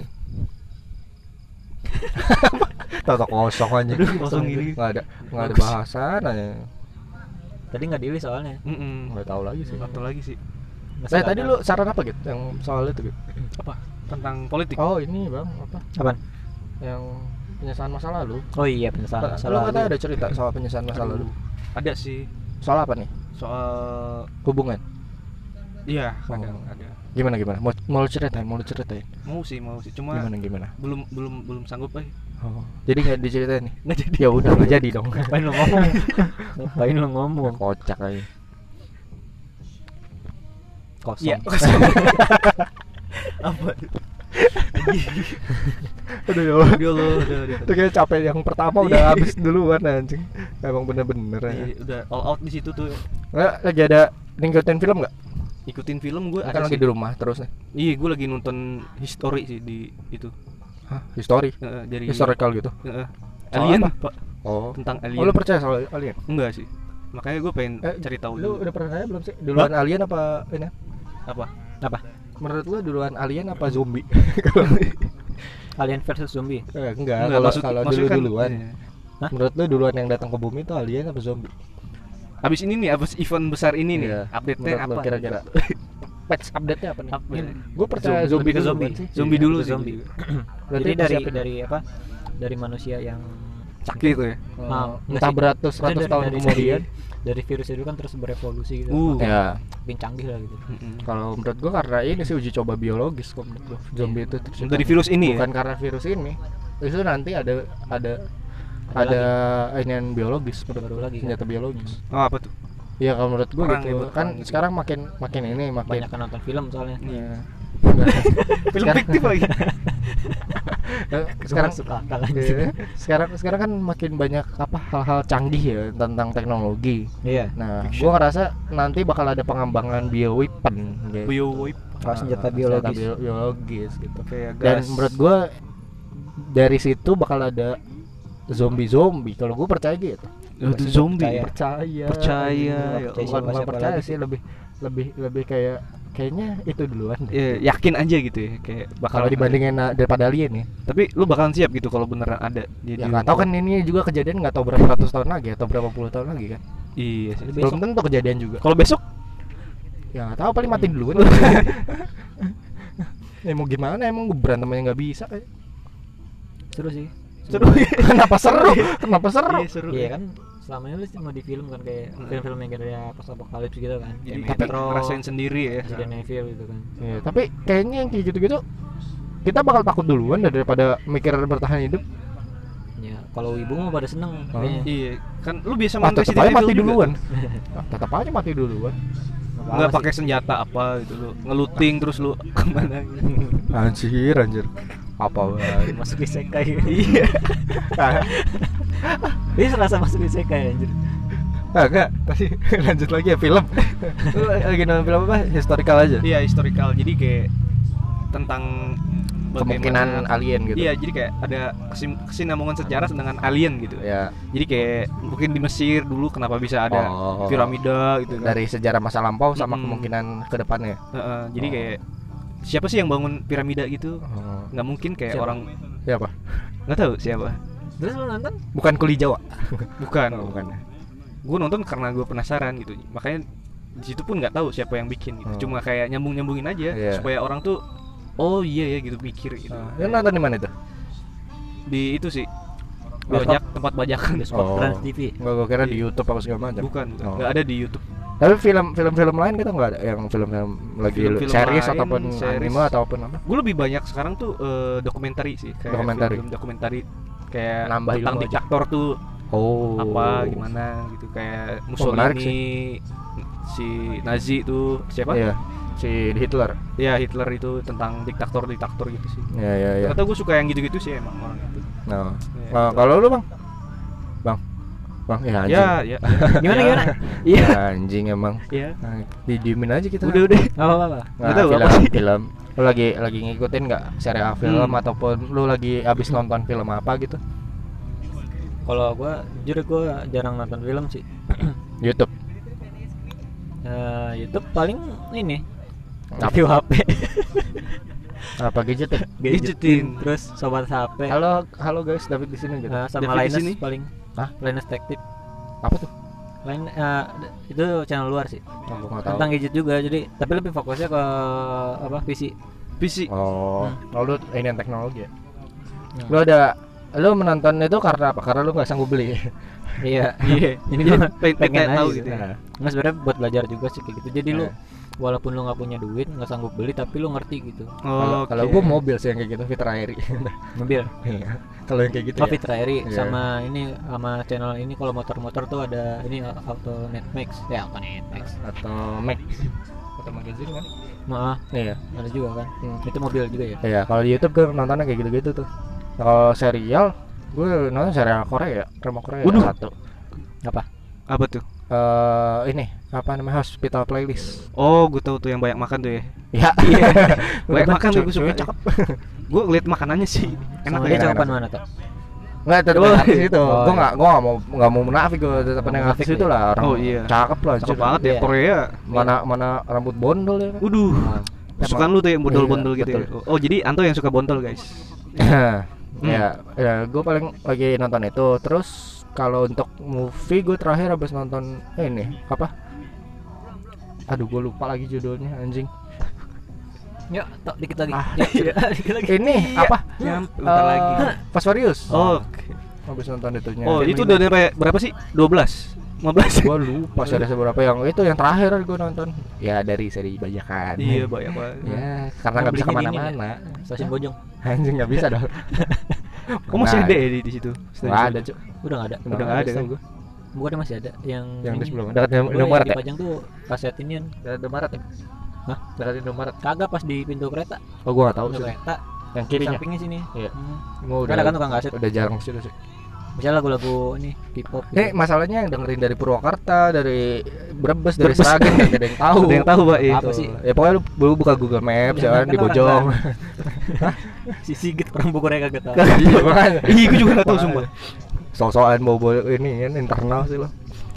Speaker 2: Nah.
Speaker 1: Tahu kosong aja.
Speaker 3: Aduh, kosong gini.
Speaker 1: Gak ada, gak ada
Speaker 3: Bagus.
Speaker 1: bahasan aja.
Speaker 2: Tadi nggak diri soalnya. kan?
Speaker 3: Mm-mm.
Speaker 1: Gak tahu lagi sih.
Speaker 3: Satu lagi sih.
Speaker 2: Eh,
Speaker 1: Saya tadi lu saran apa gitu yang soal itu gitu?
Speaker 3: Apa? Tentang politik.
Speaker 1: Oh ini bang apa
Speaker 2: Apaan?
Speaker 1: yang penyesalan masa lalu?
Speaker 2: Oh iya penyesalan.
Speaker 1: Lu katanya ada cerita soal penyesalan masa
Speaker 3: Aduh,
Speaker 1: lalu.
Speaker 3: Ada sih
Speaker 1: Soal apa nih?
Speaker 3: soal
Speaker 1: Hubungan.
Speaker 3: iya, ada
Speaker 1: Oh.
Speaker 3: ada.
Speaker 1: Gimana gimana? Mau mau lu ceritain, mau lu ceritain.
Speaker 3: Mau sih, mau sih. Cuma
Speaker 1: Gimana gimana?
Speaker 3: belum belum belum sanggup eh. aja.
Speaker 1: Oh. Jadi nggak diceritain nih?
Speaker 3: Nggak jadi.
Speaker 1: Ya udah nggak jadi dong.
Speaker 2: Ngapain lu ngomong? Ngapain lu ngomong?
Speaker 1: Kocak aja.
Speaker 2: Kosong.
Speaker 3: Iya. Apa?
Speaker 1: Aduh ya
Speaker 3: Aduh, lo, udah udah.
Speaker 1: Itu kayak capek yang pertama
Speaker 3: Iya.
Speaker 1: udah habis duluan anjing. Emang bener-bener ya.
Speaker 3: Iya, udah all out di situ tuh.
Speaker 1: Nggak, lagi ada ngikutin film nggak?
Speaker 3: Ikutin film gue
Speaker 1: Kan
Speaker 3: ada
Speaker 1: lagi
Speaker 3: sih.
Speaker 1: di rumah terus nih.
Speaker 3: Iya, gue lagi nonton history sih di itu.
Speaker 1: Hah, history.
Speaker 3: Eh, dari
Speaker 1: Historical gitu.
Speaker 3: Heeh.
Speaker 1: Soal
Speaker 3: alien,
Speaker 1: apa?
Speaker 3: Pak.
Speaker 1: Oh.
Speaker 3: Tentang alien.
Speaker 1: Oh, lu percaya soal alien?
Speaker 3: Enggak sih. Makanya gue pengen
Speaker 1: Eh,
Speaker 3: cari tahu
Speaker 1: Lu
Speaker 3: dulu.
Speaker 1: udah pernah nanya belum sih? Duluan alien apa ini?
Speaker 3: Apa?
Speaker 2: Apa?
Speaker 1: Menurut lu duluan alien apa zombie?
Speaker 2: Alien versus zombie.
Speaker 1: eh, enggak, kalau
Speaker 3: maksud-
Speaker 1: kalau
Speaker 3: maksudnya
Speaker 1: dulu
Speaker 3: kan-
Speaker 1: duluan.
Speaker 3: iya.
Speaker 2: Hah?
Speaker 1: Menurut lu duluan yang datang ke bumi itu alien apa zombie?
Speaker 3: Abis ini nih, abis event besar ini nih,
Speaker 1: Iya.
Speaker 3: update-nya
Speaker 1: Menurut lu
Speaker 3: apa?
Speaker 1: kira-kira? Patch update-nya apa nih?
Speaker 3: Update.
Speaker 1: Gue percaya
Speaker 3: Zombie-
Speaker 1: zombie,
Speaker 3: lebih ke
Speaker 1: duluan
Speaker 3: zombie.
Speaker 1: sih.
Speaker 3: Zombie
Speaker 1: Iya,
Speaker 3: dulu
Speaker 1: lebih
Speaker 3: sih.
Speaker 1: zombie.
Speaker 2: Jadi
Speaker 1: Berarti
Speaker 2: dari
Speaker 1: persiapan-
Speaker 2: dari apa? Dari manusia yang
Speaker 3: Sakit itu ya.
Speaker 2: Ah,
Speaker 1: Eh, entah
Speaker 2: nggak sih.
Speaker 1: beratus ya. ratus
Speaker 2: Maksudnya dari-
Speaker 1: tahun
Speaker 2: dari-
Speaker 1: kemudian
Speaker 2: dari virus itu kan terus berevolusi gitu.
Speaker 3: Uh.
Speaker 1: ya
Speaker 2: Makin canggih lah gitu.
Speaker 3: Mm-mm.
Speaker 1: kalau menurut gua karena ini sih uji coba biologis kok menurut gua zombie itu tercipta.
Speaker 3: Dari virus ini ya?
Speaker 1: bukan karena virus ini itu nanti ada ada
Speaker 2: Ada
Speaker 1: ada, inian biologis menurut
Speaker 2: Baru
Speaker 1: gua,
Speaker 2: lagi kan?
Speaker 1: senjata biologis
Speaker 3: ya? Oh, apa tuh?
Speaker 1: ya kalau menurut gua
Speaker 3: Perang
Speaker 1: gitu
Speaker 3: gitu,
Speaker 1: kan
Speaker 3: perang gitu.
Speaker 1: sekarang makin makin ini makin
Speaker 2: Banyak nonton film soalnya.
Speaker 1: Iya.
Speaker 3: Film fiktif lagi.
Speaker 1: Eh, sekarang
Speaker 2: suka kan. akal
Speaker 1: Iya. sekarang sekarang kan makin banyak apa hal-hal canggih ya tentang teknologi.
Speaker 2: Iya.
Speaker 1: Nah, gua ngerasa nanti bakal ada pengembangan bioweapon gitu.
Speaker 3: Bioweep
Speaker 2: Kalau senjata
Speaker 1: Ah,
Speaker 2: biologis.
Speaker 1: bio- biologis gitu
Speaker 3: kayak
Speaker 1: dan
Speaker 3: gas.
Speaker 1: menurut gua dari situ bakal ada zombie zombie kalau gua percaya gitu
Speaker 3: Oh, itu zombie.
Speaker 2: Percaya.
Speaker 1: percaya
Speaker 3: Percaya, ya
Speaker 1: Iya, bukan,
Speaker 2: Allah.
Speaker 1: bukan
Speaker 2: Siapa
Speaker 1: percaya
Speaker 2: lagi
Speaker 1: sih lebih lebih lebih kayak kayaknya itu duluan deh.
Speaker 3: Ya, yakin aja gitu ya kayak bakal
Speaker 1: kalau dibandingin na- daripada alien ya,
Speaker 3: tapi lu bakalan siap gitu kalau beneran ada di
Speaker 1: ya
Speaker 3: di
Speaker 1: nggak
Speaker 3: rumah
Speaker 1: tahu
Speaker 3: lu.
Speaker 1: kan ini juga kejadian nggak tahu berapa ratus tahun lagi ya, atau berapa puluh tahun lagi kan
Speaker 3: iya sih.
Speaker 1: belum tentu kejadian juga
Speaker 3: kalau besok
Speaker 1: ya nggak tahu paling mati duluan ya mau gimana emang gue berantemnya nggak bisa kayak
Speaker 2: Seru sih.
Speaker 3: seru
Speaker 1: kenapa seru kenapa seru Iya.
Speaker 3: Iya, seru
Speaker 2: Iya kan selama ini lu cuma di film kan kayak
Speaker 3: Hmm.
Speaker 2: film-film yang kayak pas apokalips gitu kan.
Speaker 3: jadi
Speaker 2: Kayak
Speaker 3: kita
Speaker 2: Metro,
Speaker 3: ngerasain sendiri ya
Speaker 2: Resident Evil gitu kan.
Speaker 1: Iya, tapi kayaknya yang kayak gitu-gitu kita bakal takut duluan dah daripada mikir bertahan hidup.
Speaker 2: Ya, kalau ibu mah pada seneng
Speaker 1: Oh.
Speaker 2: kayaknya.
Speaker 3: iya kan lu biasa
Speaker 1: Ah,
Speaker 3: main
Speaker 1: tetap
Speaker 3: Resident
Speaker 1: aja
Speaker 3: Evil
Speaker 1: mati
Speaker 3: juga.
Speaker 1: duluan. Ah, tetap aja mati duluan.
Speaker 2: apa-apa
Speaker 3: nggak
Speaker 2: sih.
Speaker 3: pakai senjata apa gitu lu ngeluting terus lu kemana gitu.
Speaker 2: Iya,
Speaker 1: Anjir, anjir. Apa Iya. Ah,
Speaker 2: masuk isekai
Speaker 3: iya
Speaker 2: Ini serasa masuk isekai anjir.
Speaker 1: Agak ah, tadi lanjut lagi ya film. Lu lagi nonton film apa? Historical aja.
Speaker 3: Iya historical jadi kayak tentang
Speaker 1: Kemungkinan
Speaker 3: bagaimana-
Speaker 1: alien gitu.
Speaker 3: Iya jadi kayak ada kesim- kesinambungan sejarah dengan alien gitu.
Speaker 1: Ya,
Speaker 3: Jadi kayak mungkin di Mesir dulu kenapa bisa ada
Speaker 1: Oh.
Speaker 3: piramida gitu kan.
Speaker 1: dari sejarah masa lampau sama
Speaker 3: Mm-mm.
Speaker 1: kemungkinan ke depannya.
Speaker 3: Heeh, jadi kayak siapa sih yang bangun piramida gitu?
Speaker 1: Oh,
Speaker 3: Nggak mungkin kayak
Speaker 2: Siapa?
Speaker 3: orang
Speaker 1: ya apa?
Speaker 3: nggak tahu siapa.
Speaker 2: Terus lu nonton?
Speaker 1: Bukan kuli Jawa.
Speaker 3: Kan Bukan.
Speaker 1: Oh, bukan.
Speaker 3: Gue nonton karena gue penasaran gitu. Makanya di situ pun nggak tahu siapa yang bikin gitu.
Speaker 1: Oh.
Speaker 3: Cuma kayak nyambung-nyambungin aja
Speaker 1: Iya.
Speaker 3: supaya orang tuh oh iya ya gitu mikir gitu.
Speaker 1: Oh, lu nonton di mana itu?
Speaker 3: Di itu sih
Speaker 1: Bioskop?
Speaker 3: bajak tempat bajakan.
Speaker 2: Bioskop
Speaker 1: Oh.
Speaker 2: Trans TV.
Speaker 1: Enggak gua kira di YouTube apa segala macam.
Speaker 3: Iya. Bukan, bukan.
Speaker 1: Oh.
Speaker 3: nggak ada di YouTube.
Speaker 1: Tapi film film film lain kita nggak ada yang film-film lagi
Speaker 3: Film-film
Speaker 1: series
Speaker 3: lain,
Speaker 1: ataupun
Speaker 3: series.
Speaker 1: anime ataupun apa?
Speaker 3: gue lebih banyak sekarang tuh eh, dokumentari sih kayak
Speaker 1: Dokumentari.
Speaker 3: film dokumentari kayak
Speaker 1: Nambah ilmu
Speaker 3: tentang
Speaker 1: aja.
Speaker 3: diktator tuh
Speaker 1: Oh.
Speaker 3: apa gimana gitu kayak
Speaker 1: menarik
Speaker 3: Mussolini si Nazi tuh siapa
Speaker 1: Iya. Si Hitler.
Speaker 3: ya Hitler itu tentang diktator diktator gitu sih
Speaker 1: Iya iya iya.
Speaker 3: kata gue suka yang gitu-gitu sih emang orang itu
Speaker 1: Nah,
Speaker 3: Ya,
Speaker 1: nah, kalau lu bang, bang, bang, ya anjing,
Speaker 3: ya ya
Speaker 2: Gimana
Speaker 3: Ya.
Speaker 2: gimana?
Speaker 1: Ya, anjing emang.
Speaker 3: ya
Speaker 1: Nah, didiemin aja kita.
Speaker 3: udah udah
Speaker 2: Gak apa-apa.
Speaker 1: Nggak,
Speaker 3: nggak tahu
Speaker 1: Nah, film,
Speaker 3: apa sih.
Speaker 1: film. Lu lagi lagi ngikutin nggak serial film
Speaker 3: Hmm.
Speaker 1: ataupun lu lagi abis nonton film apa gitu?
Speaker 2: Kalau gua jujur gua jarang nonton film sih.
Speaker 1: YouTube.
Speaker 2: Eh, YouTube paling ini
Speaker 1: Apa?
Speaker 2: review HP
Speaker 1: Apa gadget? ya?
Speaker 3: Gadgetin.
Speaker 2: terus sobat HP
Speaker 1: halo, halo guys, David di sini gitu.
Speaker 2: Eh, sama
Speaker 3: David di
Speaker 2: Linus
Speaker 3: sini.
Speaker 2: paling
Speaker 1: Hah?
Speaker 2: Linus Tech Tip
Speaker 1: Apa tuh?
Speaker 2: lain eh, d- itu channel luar sih
Speaker 1: Oh, gua nggak tahu.
Speaker 2: tentang gadget juga jadi tapi lebih fokusnya ke apa PC
Speaker 3: PC
Speaker 1: Oh, lalu ini yang teknologi. Ya?
Speaker 2: Hmm.
Speaker 1: Lu ada lu menonton itu karena apa? Karena lu nggak sanggup beli.
Speaker 2: iya
Speaker 3: iya
Speaker 2: Ini
Speaker 3: Jadi
Speaker 2: gua
Speaker 3: pengen, pengen
Speaker 2: aja
Speaker 3: tahu
Speaker 2: sih.
Speaker 3: gitu ya.
Speaker 1: Nah,
Speaker 2: nggak sebenarnya buat belajar juga sih kayak gitu jadi lu
Speaker 1: Nah.
Speaker 2: walaupun lu nggak punya duit nggak sanggup beli tapi lu ngerti gitu
Speaker 1: kalau
Speaker 3: oh,
Speaker 1: kalau
Speaker 3: oke.
Speaker 1: gua mobil sih yang kayak gitu Fitra Airi.
Speaker 2: mobil
Speaker 1: kalau yang kayak gitu
Speaker 2: Tapi
Speaker 1: ya.
Speaker 2: Trairi
Speaker 1: Iya.
Speaker 2: sama ini sama channel ini kalau motor-motor tuh ada ini uh, auto netmax ya auto netmax
Speaker 1: atau Mac atau magazine kan?
Speaker 2: maaf
Speaker 1: Iya.
Speaker 2: ada juga kan itu mobil juga ya
Speaker 1: Iya, kalau di YouTube gue nontonnya kayak gitu-gitu tuh. Nah, Kalau serial, gue nonton serial Korea, drama Korea
Speaker 3: Waduh.
Speaker 1: satu.
Speaker 2: apa
Speaker 3: apa tuh
Speaker 1: Eh ini apa namanya Hospital Playlist?
Speaker 3: oh gue tahu tuh yang banyak makan tuh ya
Speaker 1: Ya.
Speaker 3: banyak makan tuh gue suka
Speaker 1: cocok.
Speaker 3: cakep gue ngeliat makanannya sih enak
Speaker 2: sama
Speaker 1: enak,
Speaker 2: dia
Speaker 1: enak,
Speaker 2: cakupan
Speaker 1: enak.
Speaker 2: mana tuh
Speaker 1: Nggak tetap
Speaker 3: Oh,
Speaker 1: yang artis itu.
Speaker 2: oh,
Speaker 1: gue
Speaker 2: iya.
Speaker 1: nggak gue nggak mau nggak mau munafik gue tetap
Speaker 2: Nggak
Speaker 1: yang
Speaker 2: munafik
Speaker 1: artis
Speaker 2: ya.
Speaker 1: itu lah. Orang
Speaker 3: Oh, iya.
Speaker 1: Cakep lah.
Speaker 3: cakep
Speaker 1: anjir.
Speaker 3: banget ya
Speaker 2: Iya.
Speaker 3: Korea
Speaker 1: Mana mana rambut bondol ya. kan?
Speaker 3: Waduh, kesukaan lu tuh yang bondol-bondol
Speaker 1: Iya,
Speaker 3: gitu ya. Oh, jadi Anto yang suka bontol, guys.
Speaker 1: ya, ya gue paling lagi nonton itu. Terus kalau untuk movie gue terakhir habis nonton ini apa? Aduh gue lupa lagi judulnya anjing.
Speaker 2: yuk tok dikit lagi
Speaker 1: Ah.
Speaker 2: Yuk, dikit lagi
Speaker 1: Ini apa?
Speaker 3: Yang Iya, bentar
Speaker 1: Eh,
Speaker 3: lagi.
Speaker 1: Fast Furious.
Speaker 3: Oh,
Speaker 1: habis nonton itunya.
Speaker 3: oh itu udah nyampe berapa sih? 12. 15.
Speaker 1: gue lupa seri seberapa yang itu yang terakhir gue nonton. Ya dari seri bajakan.
Speaker 3: Iya, ya. banyak banget.
Speaker 1: Ya, karena nggak bisa
Speaker 2: Belinya di ini
Speaker 1: kemana-mana.
Speaker 2: stasiun Bojong
Speaker 1: Anjing nggak bisa dong.
Speaker 3: Kamu masih
Speaker 1: Nggak
Speaker 3: ada ya di, di situ?
Speaker 1: Nah, iya. Nggak ada cuy.
Speaker 2: udah nggak ada
Speaker 3: Udah nggak ada kan?
Speaker 1: gue.
Speaker 2: bukannya masih ada yang
Speaker 1: Yang di
Speaker 2: ini.
Speaker 1: sebelumnya. Dekat
Speaker 2: Dulu
Speaker 1: Indomaret
Speaker 2: yang
Speaker 1: ya.
Speaker 2: dipajang tuh kaset ini kan
Speaker 1: Dekat Indomaret ya.
Speaker 2: Hah?
Speaker 1: Dekat Indomaret.
Speaker 2: kagak pas di pintu kereta
Speaker 1: Oh gue nggak tahu
Speaker 2: pintu
Speaker 1: sih.
Speaker 2: kereta
Speaker 1: Yang
Speaker 2: di
Speaker 1: kirinya.
Speaker 2: sampingnya sini
Speaker 1: Iya.
Speaker 2: Hmm.
Speaker 1: Gue udah
Speaker 2: ada kan tukang kaset
Speaker 1: udah jarang sih sih.
Speaker 2: misalnya lagu-lagu ini K-pop gitu.
Speaker 1: Eh masalahnya yang dengerin dari Purwakarta, dari Brebes, dari
Speaker 3: Brebes.
Speaker 1: Sragen nggak ada yang tahu.
Speaker 3: Ada yang tahu, Pak, iya.
Speaker 1: Apa sih? Ya pokoknya lu, lu buka Google Maps
Speaker 2: Jangan
Speaker 1: jangan di
Speaker 2: kan orang
Speaker 1: Bojong.
Speaker 2: si Sigit orang Bogornya kagak tahu
Speaker 1: Iya makanya.
Speaker 3: Ih, gue juga enggak tahu sumpah.
Speaker 1: Sosokan bobo ini kan internal sih lo.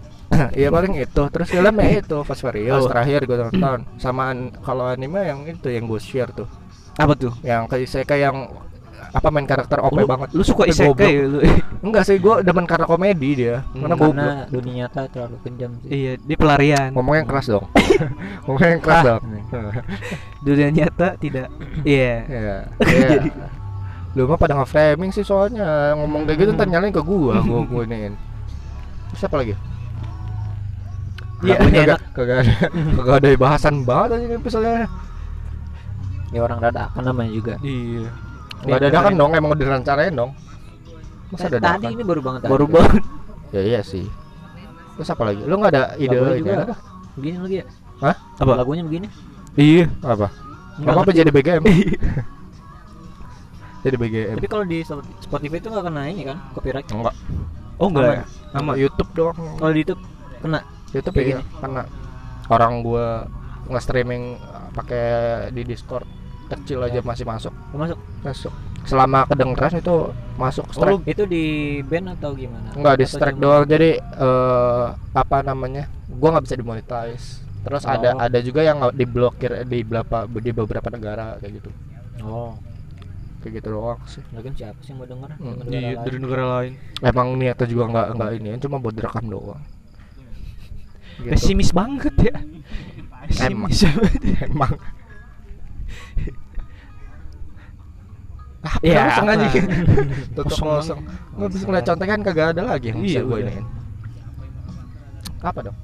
Speaker 1: Iya paling itu. Terus filmnya itu Fast Furious
Speaker 3: Oh.
Speaker 1: terakhir gue nonton. Samaan kalau anime yang itu yang gue share tuh.
Speaker 3: Apa tuh?
Speaker 1: Yang ke isekai yang apa main karakter OP
Speaker 3: lu,
Speaker 1: banget.
Speaker 3: Lu suka
Speaker 1: Tapi
Speaker 3: isekai
Speaker 1: goblok.
Speaker 3: ya lu.
Speaker 1: Enggak sih gue demen karena komedi dia.
Speaker 3: Hmm,
Speaker 1: Karena
Speaker 2: karena
Speaker 1: goblok.
Speaker 2: dunia nyata terlalu kejam sih
Speaker 3: iya, dia pelarian.
Speaker 1: Ngomongnya yang keras dong. Ngomongnya yang keras dong.
Speaker 3: Dunia nyata tidak. Iya.
Speaker 1: Iya. Iya. Lu mah pada nge-framing sih soalnya ngomong kayak gitu ntar nyalain ke gua, gua gua iniin. Terus apa lagi?
Speaker 3: Iya,
Speaker 1: Kagak-
Speaker 2: ini
Speaker 1: kagak kagak ada kagak ada bahasan banget aja nih episodenya.
Speaker 2: ya orang dadakan namanya juga
Speaker 3: Iya.
Speaker 1: Enggak ada dadakan dong, emang udah direncanain dong. Masa ada
Speaker 2: Eh, tadi
Speaker 1: dadakan?
Speaker 2: ini baru banget
Speaker 3: Baru
Speaker 2: banget
Speaker 3: banget.
Speaker 1: Ya iya sih. Terus apa lagi? Lu enggak ada ide
Speaker 2: boleh
Speaker 1: ini
Speaker 2: juga.
Speaker 1: apa?
Speaker 2: begini lagi ya
Speaker 3: Apa?
Speaker 2: lagunya begini
Speaker 3: Iya.
Speaker 1: Apa?
Speaker 2: Nggak
Speaker 1: Enggak apa jadi BGM. jadi BGM.
Speaker 2: tapi kalau di Spotify itu nggak kena ini kan copyright
Speaker 1: Enggak. Iya. Oh
Speaker 2: enggak ya?
Speaker 1: Sama YouTube doang.
Speaker 2: Kalau di YouTube kena.
Speaker 1: YouTube
Speaker 2: kayak
Speaker 1: ya karena orang gua nge-streaming uh, pakai di Discord kecil aja masih masuk.
Speaker 2: Lu Masuk.
Speaker 1: Masuk. Selama kedengeran itu masuk
Speaker 2: Oh,
Speaker 1: strike.
Speaker 2: lu- itu di band atau gimana?
Speaker 1: Enggak di
Speaker 2: Atau
Speaker 1: strike
Speaker 2: cuma-
Speaker 1: doang. Jadi eh apa namanya? Gua nggak bisa dimonetize. Terus
Speaker 2: Oh.
Speaker 1: ada ada juga yang nggak diblokir di beberapa di beberapa negara kayak gitu.
Speaker 2: Oh,
Speaker 1: Kayak gitu doang sih.
Speaker 2: lagian siapa sih yang mau denger?
Speaker 1: Hmm,
Speaker 2: Dengar
Speaker 3: Iya,
Speaker 2: orang
Speaker 3: dari negara lain.
Speaker 1: Emang niatnya juga nggak nggak ini, cuma buat direkam doang. Gitu.
Speaker 3: Pesimis banget ya. Pesimis banget.
Speaker 1: Emang. Ah,
Speaker 2: Ya,
Speaker 1: kosong aja.
Speaker 2: apa?
Speaker 1: Tutup
Speaker 3: Kosong
Speaker 1: kosong. Nggak bisa ngeliat contekan kagak ada lagi yang bisa
Speaker 3: Iya,
Speaker 1: gue
Speaker 3: udah.
Speaker 1: ini. Apa dong?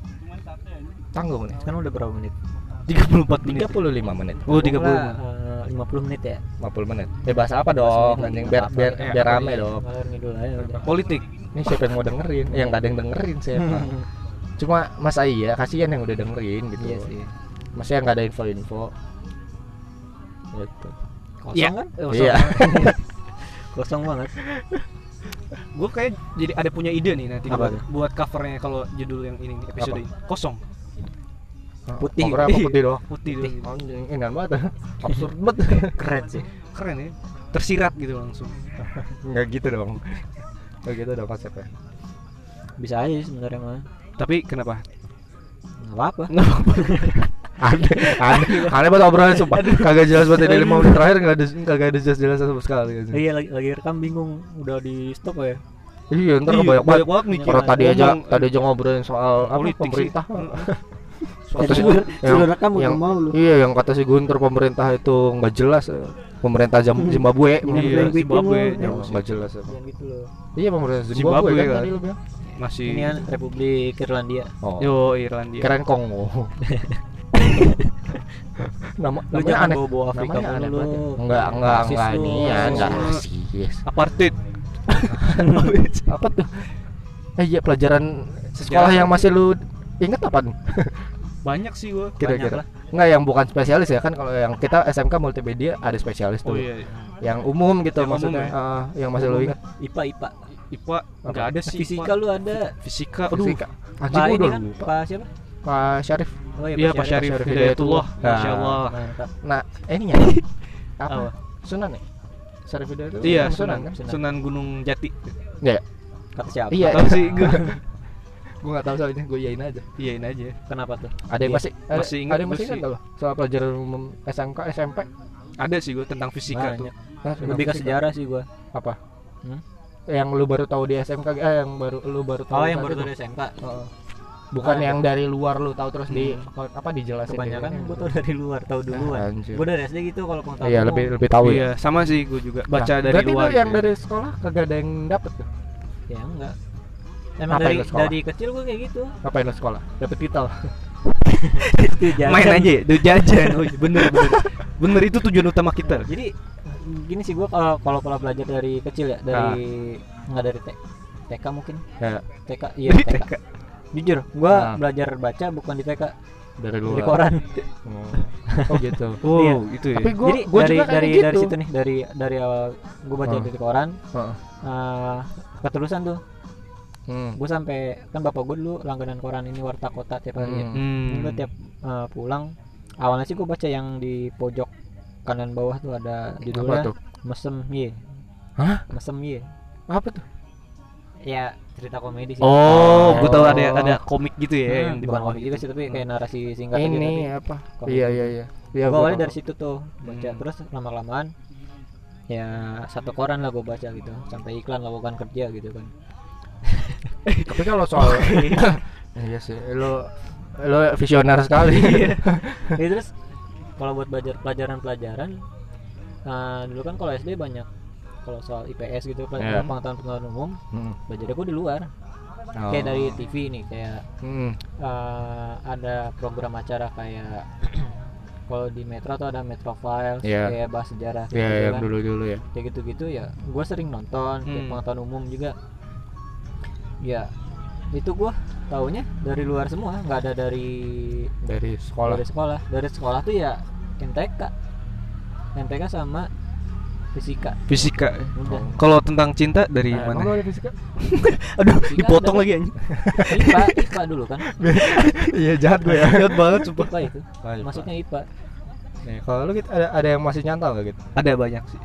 Speaker 1: Tanggung nih.
Speaker 2: Sekarang Kan udah berapa menit?
Speaker 3: 34 menit.
Speaker 1: 35 menit.
Speaker 3: Oh, 30.
Speaker 2: lima puluh menit ya.
Speaker 1: 50 menit. Eh bahasa apa dong? Anjing biar biar
Speaker 3: Apa-apa.
Speaker 1: biar rame dong.
Speaker 2: Ngalir ngidul aja udah. Iya
Speaker 3: Politik.
Speaker 1: Ini siapa yang mau dengerin? Ya nggak ada yang dengerin siapa. Cuma Mas Iya kasihan yang udah dengerin gitu.
Speaker 2: Iya sih.
Speaker 1: Masih nggak ada info-info. Gitu.
Speaker 2: Kosong
Speaker 3: Iya.
Speaker 2: kan? Eh,
Speaker 1: Iya.
Speaker 2: banget. Kosong banget.
Speaker 3: Gue kayak jadi ada punya ide nih nanti
Speaker 2: Apa
Speaker 3: buat,
Speaker 2: tuh?
Speaker 3: buat covernya kalau judul yang ini episode
Speaker 1: Apa?
Speaker 3: ini. Kosong.
Speaker 2: Putih.
Speaker 1: Covernya apa putih doang.
Speaker 3: Putih.
Speaker 2: Putih.
Speaker 3: doang.
Speaker 1: Anjing, enak banget. Absurd banget.
Speaker 2: Keren sih.
Speaker 3: Keren ya. Tersirat gitu langsung.
Speaker 1: Enggak gitu dong. Enggak gitu dong konsepnya.
Speaker 2: Bisa aja sih sebenarnya mah.
Speaker 3: Tapi kenapa?
Speaker 2: Enggak apa-apa.
Speaker 1: Aneh, aneh, aneh banget obrolan sumpah. Kagak jelas banget dari lima menit terakhir enggak ada kagak ada jelas-jelas sama sekali. gitu. anjing.
Speaker 2: Iya lagi, lagi rekam bingung udah di stop ya.
Speaker 1: Iya, ntar
Speaker 3: Iya,
Speaker 1: banyak banget.
Speaker 3: mikir.
Speaker 1: Kalau tadi aja
Speaker 3: Ngomong,
Speaker 1: tadi aja ngobrolin soal apa
Speaker 3: Politik sih.
Speaker 1: pemerintah.
Speaker 2: Eh,
Speaker 1: Kata si
Speaker 2: sudah-
Speaker 1: yang-
Speaker 2: sudah rekam
Speaker 1: yang-
Speaker 2: enggak mau lu.
Speaker 1: Iya, yang kata si Guntur pemerintah itu nggak jelas. eh. Pemerintah Zam- Zimbabwe.
Speaker 2: Ini
Speaker 1: Iya,
Speaker 2: yang
Speaker 3: Zimbabwe.
Speaker 2: bikin
Speaker 1: yang
Speaker 2: lu.
Speaker 1: nggak jelas. emang.
Speaker 2: Yang gitu loh.
Speaker 1: Iya, pemerintah Zimbabwe,
Speaker 3: Zimbabwe
Speaker 1: kan
Speaker 3: kan.
Speaker 1: tadi lu bilang.
Speaker 3: masih
Speaker 2: Ini kan Republik Irlandia.
Speaker 1: Oh.
Speaker 3: Yo Irlandia.
Speaker 1: Keren Kongo. Nama
Speaker 2: Lu
Speaker 1: namanya
Speaker 2: jangan
Speaker 1: aneh.
Speaker 2: bawa-bawa Afrika
Speaker 1: namanya aneh
Speaker 2: mulu.
Speaker 1: banget. ya. Enggak, enggak,
Speaker 2: Rasis
Speaker 1: enggak
Speaker 2: lu.
Speaker 1: ini ya, enggak
Speaker 3: Rasis.
Speaker 1: rasis.
Speaker 3: Apartheid.
Speaker 1: Apa tuh? Eh iya pelajaran sekolah
Speaker 3: Sejarah.
Speaker 1: yang masih lu inget apa nih?
Speaker 3: Banyak sih gue.
Speaker 1: Kira-kira. Enggak yang bukan spesialis ya kan kalau yang kita SMK multimedia ada spesialis
Speaker 3: Oh
Speaker 1: tuh.
Speaker 3: iya.
Speaker 1: Yang umum gitu
Speaker 3: Yang umum
Speaker 1: maksudnya.
Speaker 3: ya.
Speaker 1: eh, yang masih lu inget.
Speaker 2: IPA IPA.
Speaker 3: IPA enggak ada sih.
Speaker 2: Fisika lu ada.
Speaker 3: Fisika. Aduh.
Speaker 1: Fisika. Anjing
Speaker 2: Pak
Speaker 1: gua
Speaker 2: ini
Speaker 1: udah
Speaker 2: kan
Speaker 1: lupa.
Speaker 2: Pak siapa?
Speaker 1: Pak Syarif.
Speaker 2: Oh
Speaker 3: Iya Pak
Speaker 1: Syarif.
Speaker 3: Syarif
Speaker 1: Syarif Hidayatullah.
Speaker 3: Hidayatullah. Masya
Speaker 1: Nah.
Speaker 3: Allah.
Speaker 2: Mantap.
Speaker 1: Nah, eh, ini ya.
Speaker 3: Apa?
Speaker 1: apa? Sunan ya? Syarif Hidayatullah.
Speaker 3: Iya,
Speaker 1: Nama
Speaker 3: Sunan.
Speaker 1: kan?
Speaker 2: Sunan.
Speaker 3: Sunan Gunung Jati.
Speaker 2: Kata siapa?
Speaker 1: Iya.
Speaker 3: Tahu sih gue.
Speaker 1: Gua enggak tahu soalnya, gua iyain aja.
Speaker 3: Iyain Iya, aja.
Speaker 2: Kenapa tuh?
Speaker 1: Ada yang
Speaker 2: Iya.
Speaker 1: masih ada-
Speaker 3: Masih ingat
Speaker 1: ada yang
Speaker 3: gua
Speaker 1: masih
Speaker 3: sih.
Speaker 1: ingat nggak lo? soal pelajaran umum SMK, SMP.
Speaker 3: Ada sih gue tentang fisika tuh.
Speaker 2: Banyak.
Speaker 1: Nah,
Speaker 2: Lebih ke sejarah sih gua.
Speaker 1: apa?
Speaker 2: Hmm?
Speaker 1: Yang lu baru tahu di SMK eh yang baru lu baru tahu.
Speaker 2: Oh yang
Speaker 1: saat
Speaker 2: baru
Speaker 1: itu.
Speaker 2: dari SMK.
Speaker 1: Heeh. Bukan
Speaker 2: Ada.
Speaker 1: yang dari luar lu tahu terus di apa dijelasin.
Speaker 2: Hmm. Kebanyakan
Speaker 1: gitu.
Speaker 2: gua tau dari luar, tahu
Speaker 1: Ah,
Speaker 2: duluan.
Speaker 1: anjir.
Speaker 2: Gua dari SD gitu kalau pengetahuan.
Speaker 1: Iya, lebih lebih tahu ya.
Speaker 3: Iya, sama sih gue juga baca
Speaker 1: Nah,
Speaker 3: dari
Speaker 1: berarti
Speaker 3: luar.
Speaker 1: lu yang
Speaker 3: gitu.
Speaker 1: dari sekolah kagak ada yang dapet tuh.
Speaker 2: Ya enggak. Emang
Speaker 1: Apa
Speaker 2: dari,
Speaker 1: yang lu sekolah?
Speaker 2: dari kecil gua kayak gitu.
Speaker 1: Ngapain lu sekolah? Dapet titel.
Speaker 2: Itu
Speaker 3: main
Speaker 2: jajan.
Speaker 3: aja, ya, duit jajan. Oh, iya, bener, bener. Bener itu tujuan utama kita.
Speaker 2: Jadi gini sih gua kalau kalau pola belajar dari kecil ya, dari
Speaker 1: Ah.
Speaker 2: enggak dari T- TK mungkin.
Speaker 1: Ya,
Speaker 2: TK iya TK. Jujur, gua
Speaker 1: Nah.
Speaker 2: belajar baca bukan di TK,
Speaker 1: dari luar.
Speaker 2: dari koran.
Speaker 1: Oh. Oh gitu.
Speaker 3: Wow,
Speaker 2: Iya.
Speaker 3: itu ya.
Speaker 1: Tapi gua
Speaker 2: Jadi
Speaker 1: gua
Speaker 2: dari
Speaker 1: juga kayak
Speaker 2: dari
Speaker 1: gitu.
Speaker 2: dari situ nih, dari dari awal gua baca
Speaker 1: Ah.
Speaker 2: dari koran,
Speaker 1: Heeh.
Speaker 2: eh, keterusan tuh
Speaker 1: Hmm.
Speaker 2: gue sampai kan bapak gue dulu langganan koran ini warta kota tiap hari ya.
Speaker 1: Hmm.
Speaker 3: Hmm.
Speaker 2: gue tiap eh, pulang awalnya sih gue baca yang di pojok kanan bawah tuh ada
Speaker 1: Apa
Speaker 2: judulnya
Speaker 1: tuh?
Speaker 2: mesem ye
Speaker 1: Hah?
Speaker 2: mesem iya. ye
Speaker 1: Apa tuh?
Speaker 2: ya cerita komedi sih
Speaker 3: Oh, gue tahu
Speaker 1: Oh.
Speaker 3: ada ada komik gitu ya
Speaker 2: Hmm,
Speaker 3: yang di
Speaker 2: bukan
Speaker 3: bawah
Speaker 2: komedi
Speaker 3: gitu.
Speaker 2: juga sih tapi kayak narasi singkat
Speaker 1: Ini
Speaker 2: gitu
Speaker 1: apa?
Speaker 2: Komedi.
Speaker 1: Iya, iya, iya. Iya,
Speaker 2: gue
Speaker 1: gua tahu.
Speaker 2: awalnya dari situ tuh baca
Speaker 3: Hmm.
Speaker 2: terus lama lamaan ya satu koran lah gue baca gitu sampai iklan lakukan kerja gitu kan
Speaker 1: Tapi kalau soal Oh, Iya sih, lo lo visioner sekali.
Speaker 2: Ya, terus kalau buat belajar pelajaran-pelajaran eh, dulu kan kalau SD banyak kalau soal IPS gitu
Speaker 1: Iya.
Speaker 2: pelajaran pengetahuan umum
Speaker 1: Hmm. Oh.
Speaker 2: belajar gue di luar kayak dari
Speaker 3: Oh.
Speaker 2: TV nih kayak
Speaker 1: Hmm.
Speaker 2: eh, ada program acara kayak kalau di Metro tuh ada Metro Files
Speaker 1: Iya.
Speaker 2: kayak bahas sejarah
Speaker 1: Ya,
Speaker 2: gitu
Speaker 1: yang
Speaker 2: kan.
Speaker 1: dulu-dulu ya.
Speaker 2: kayak gitu-gitu ya gue sering nonton kayak
Speaker 3: Hmm.
Speaker 2: pengetahuan umum juga ya itu gue taunya dari luar semua nggak ada dari
Speaker 1: Dari sekolah.
Speaker 2: dari sekolah dari sekolah tuh ya MTK MTK sama fisika
Speaker 4: Fisika.
Speaker 1: Oh,
Speaker 2: udah
Speaker 4: Kalau tentang cinta dari
Speaker 1: iya,
Speaker 2: Ah,
Speaker 4: mana?
Speaker 1: ada fisika?
Speaker 4: Aduh,
Speaker 2: Fisika
Speaker 4: dipotong
Speaker 2: ada.
Speaker 4: lagi anjing.
Speaker 2: IPA IPA dulu kan
Speaker 1: Iya jahat gue ya.
Speaker 4: Jahat banget sumpah.
Speaker 2: IPA itu masuknya IPA
Speaker 1: Nih, kalau lu gitu ada ada yang masih nyantol gak gitu?
Speaker 4: Ada banyak sih.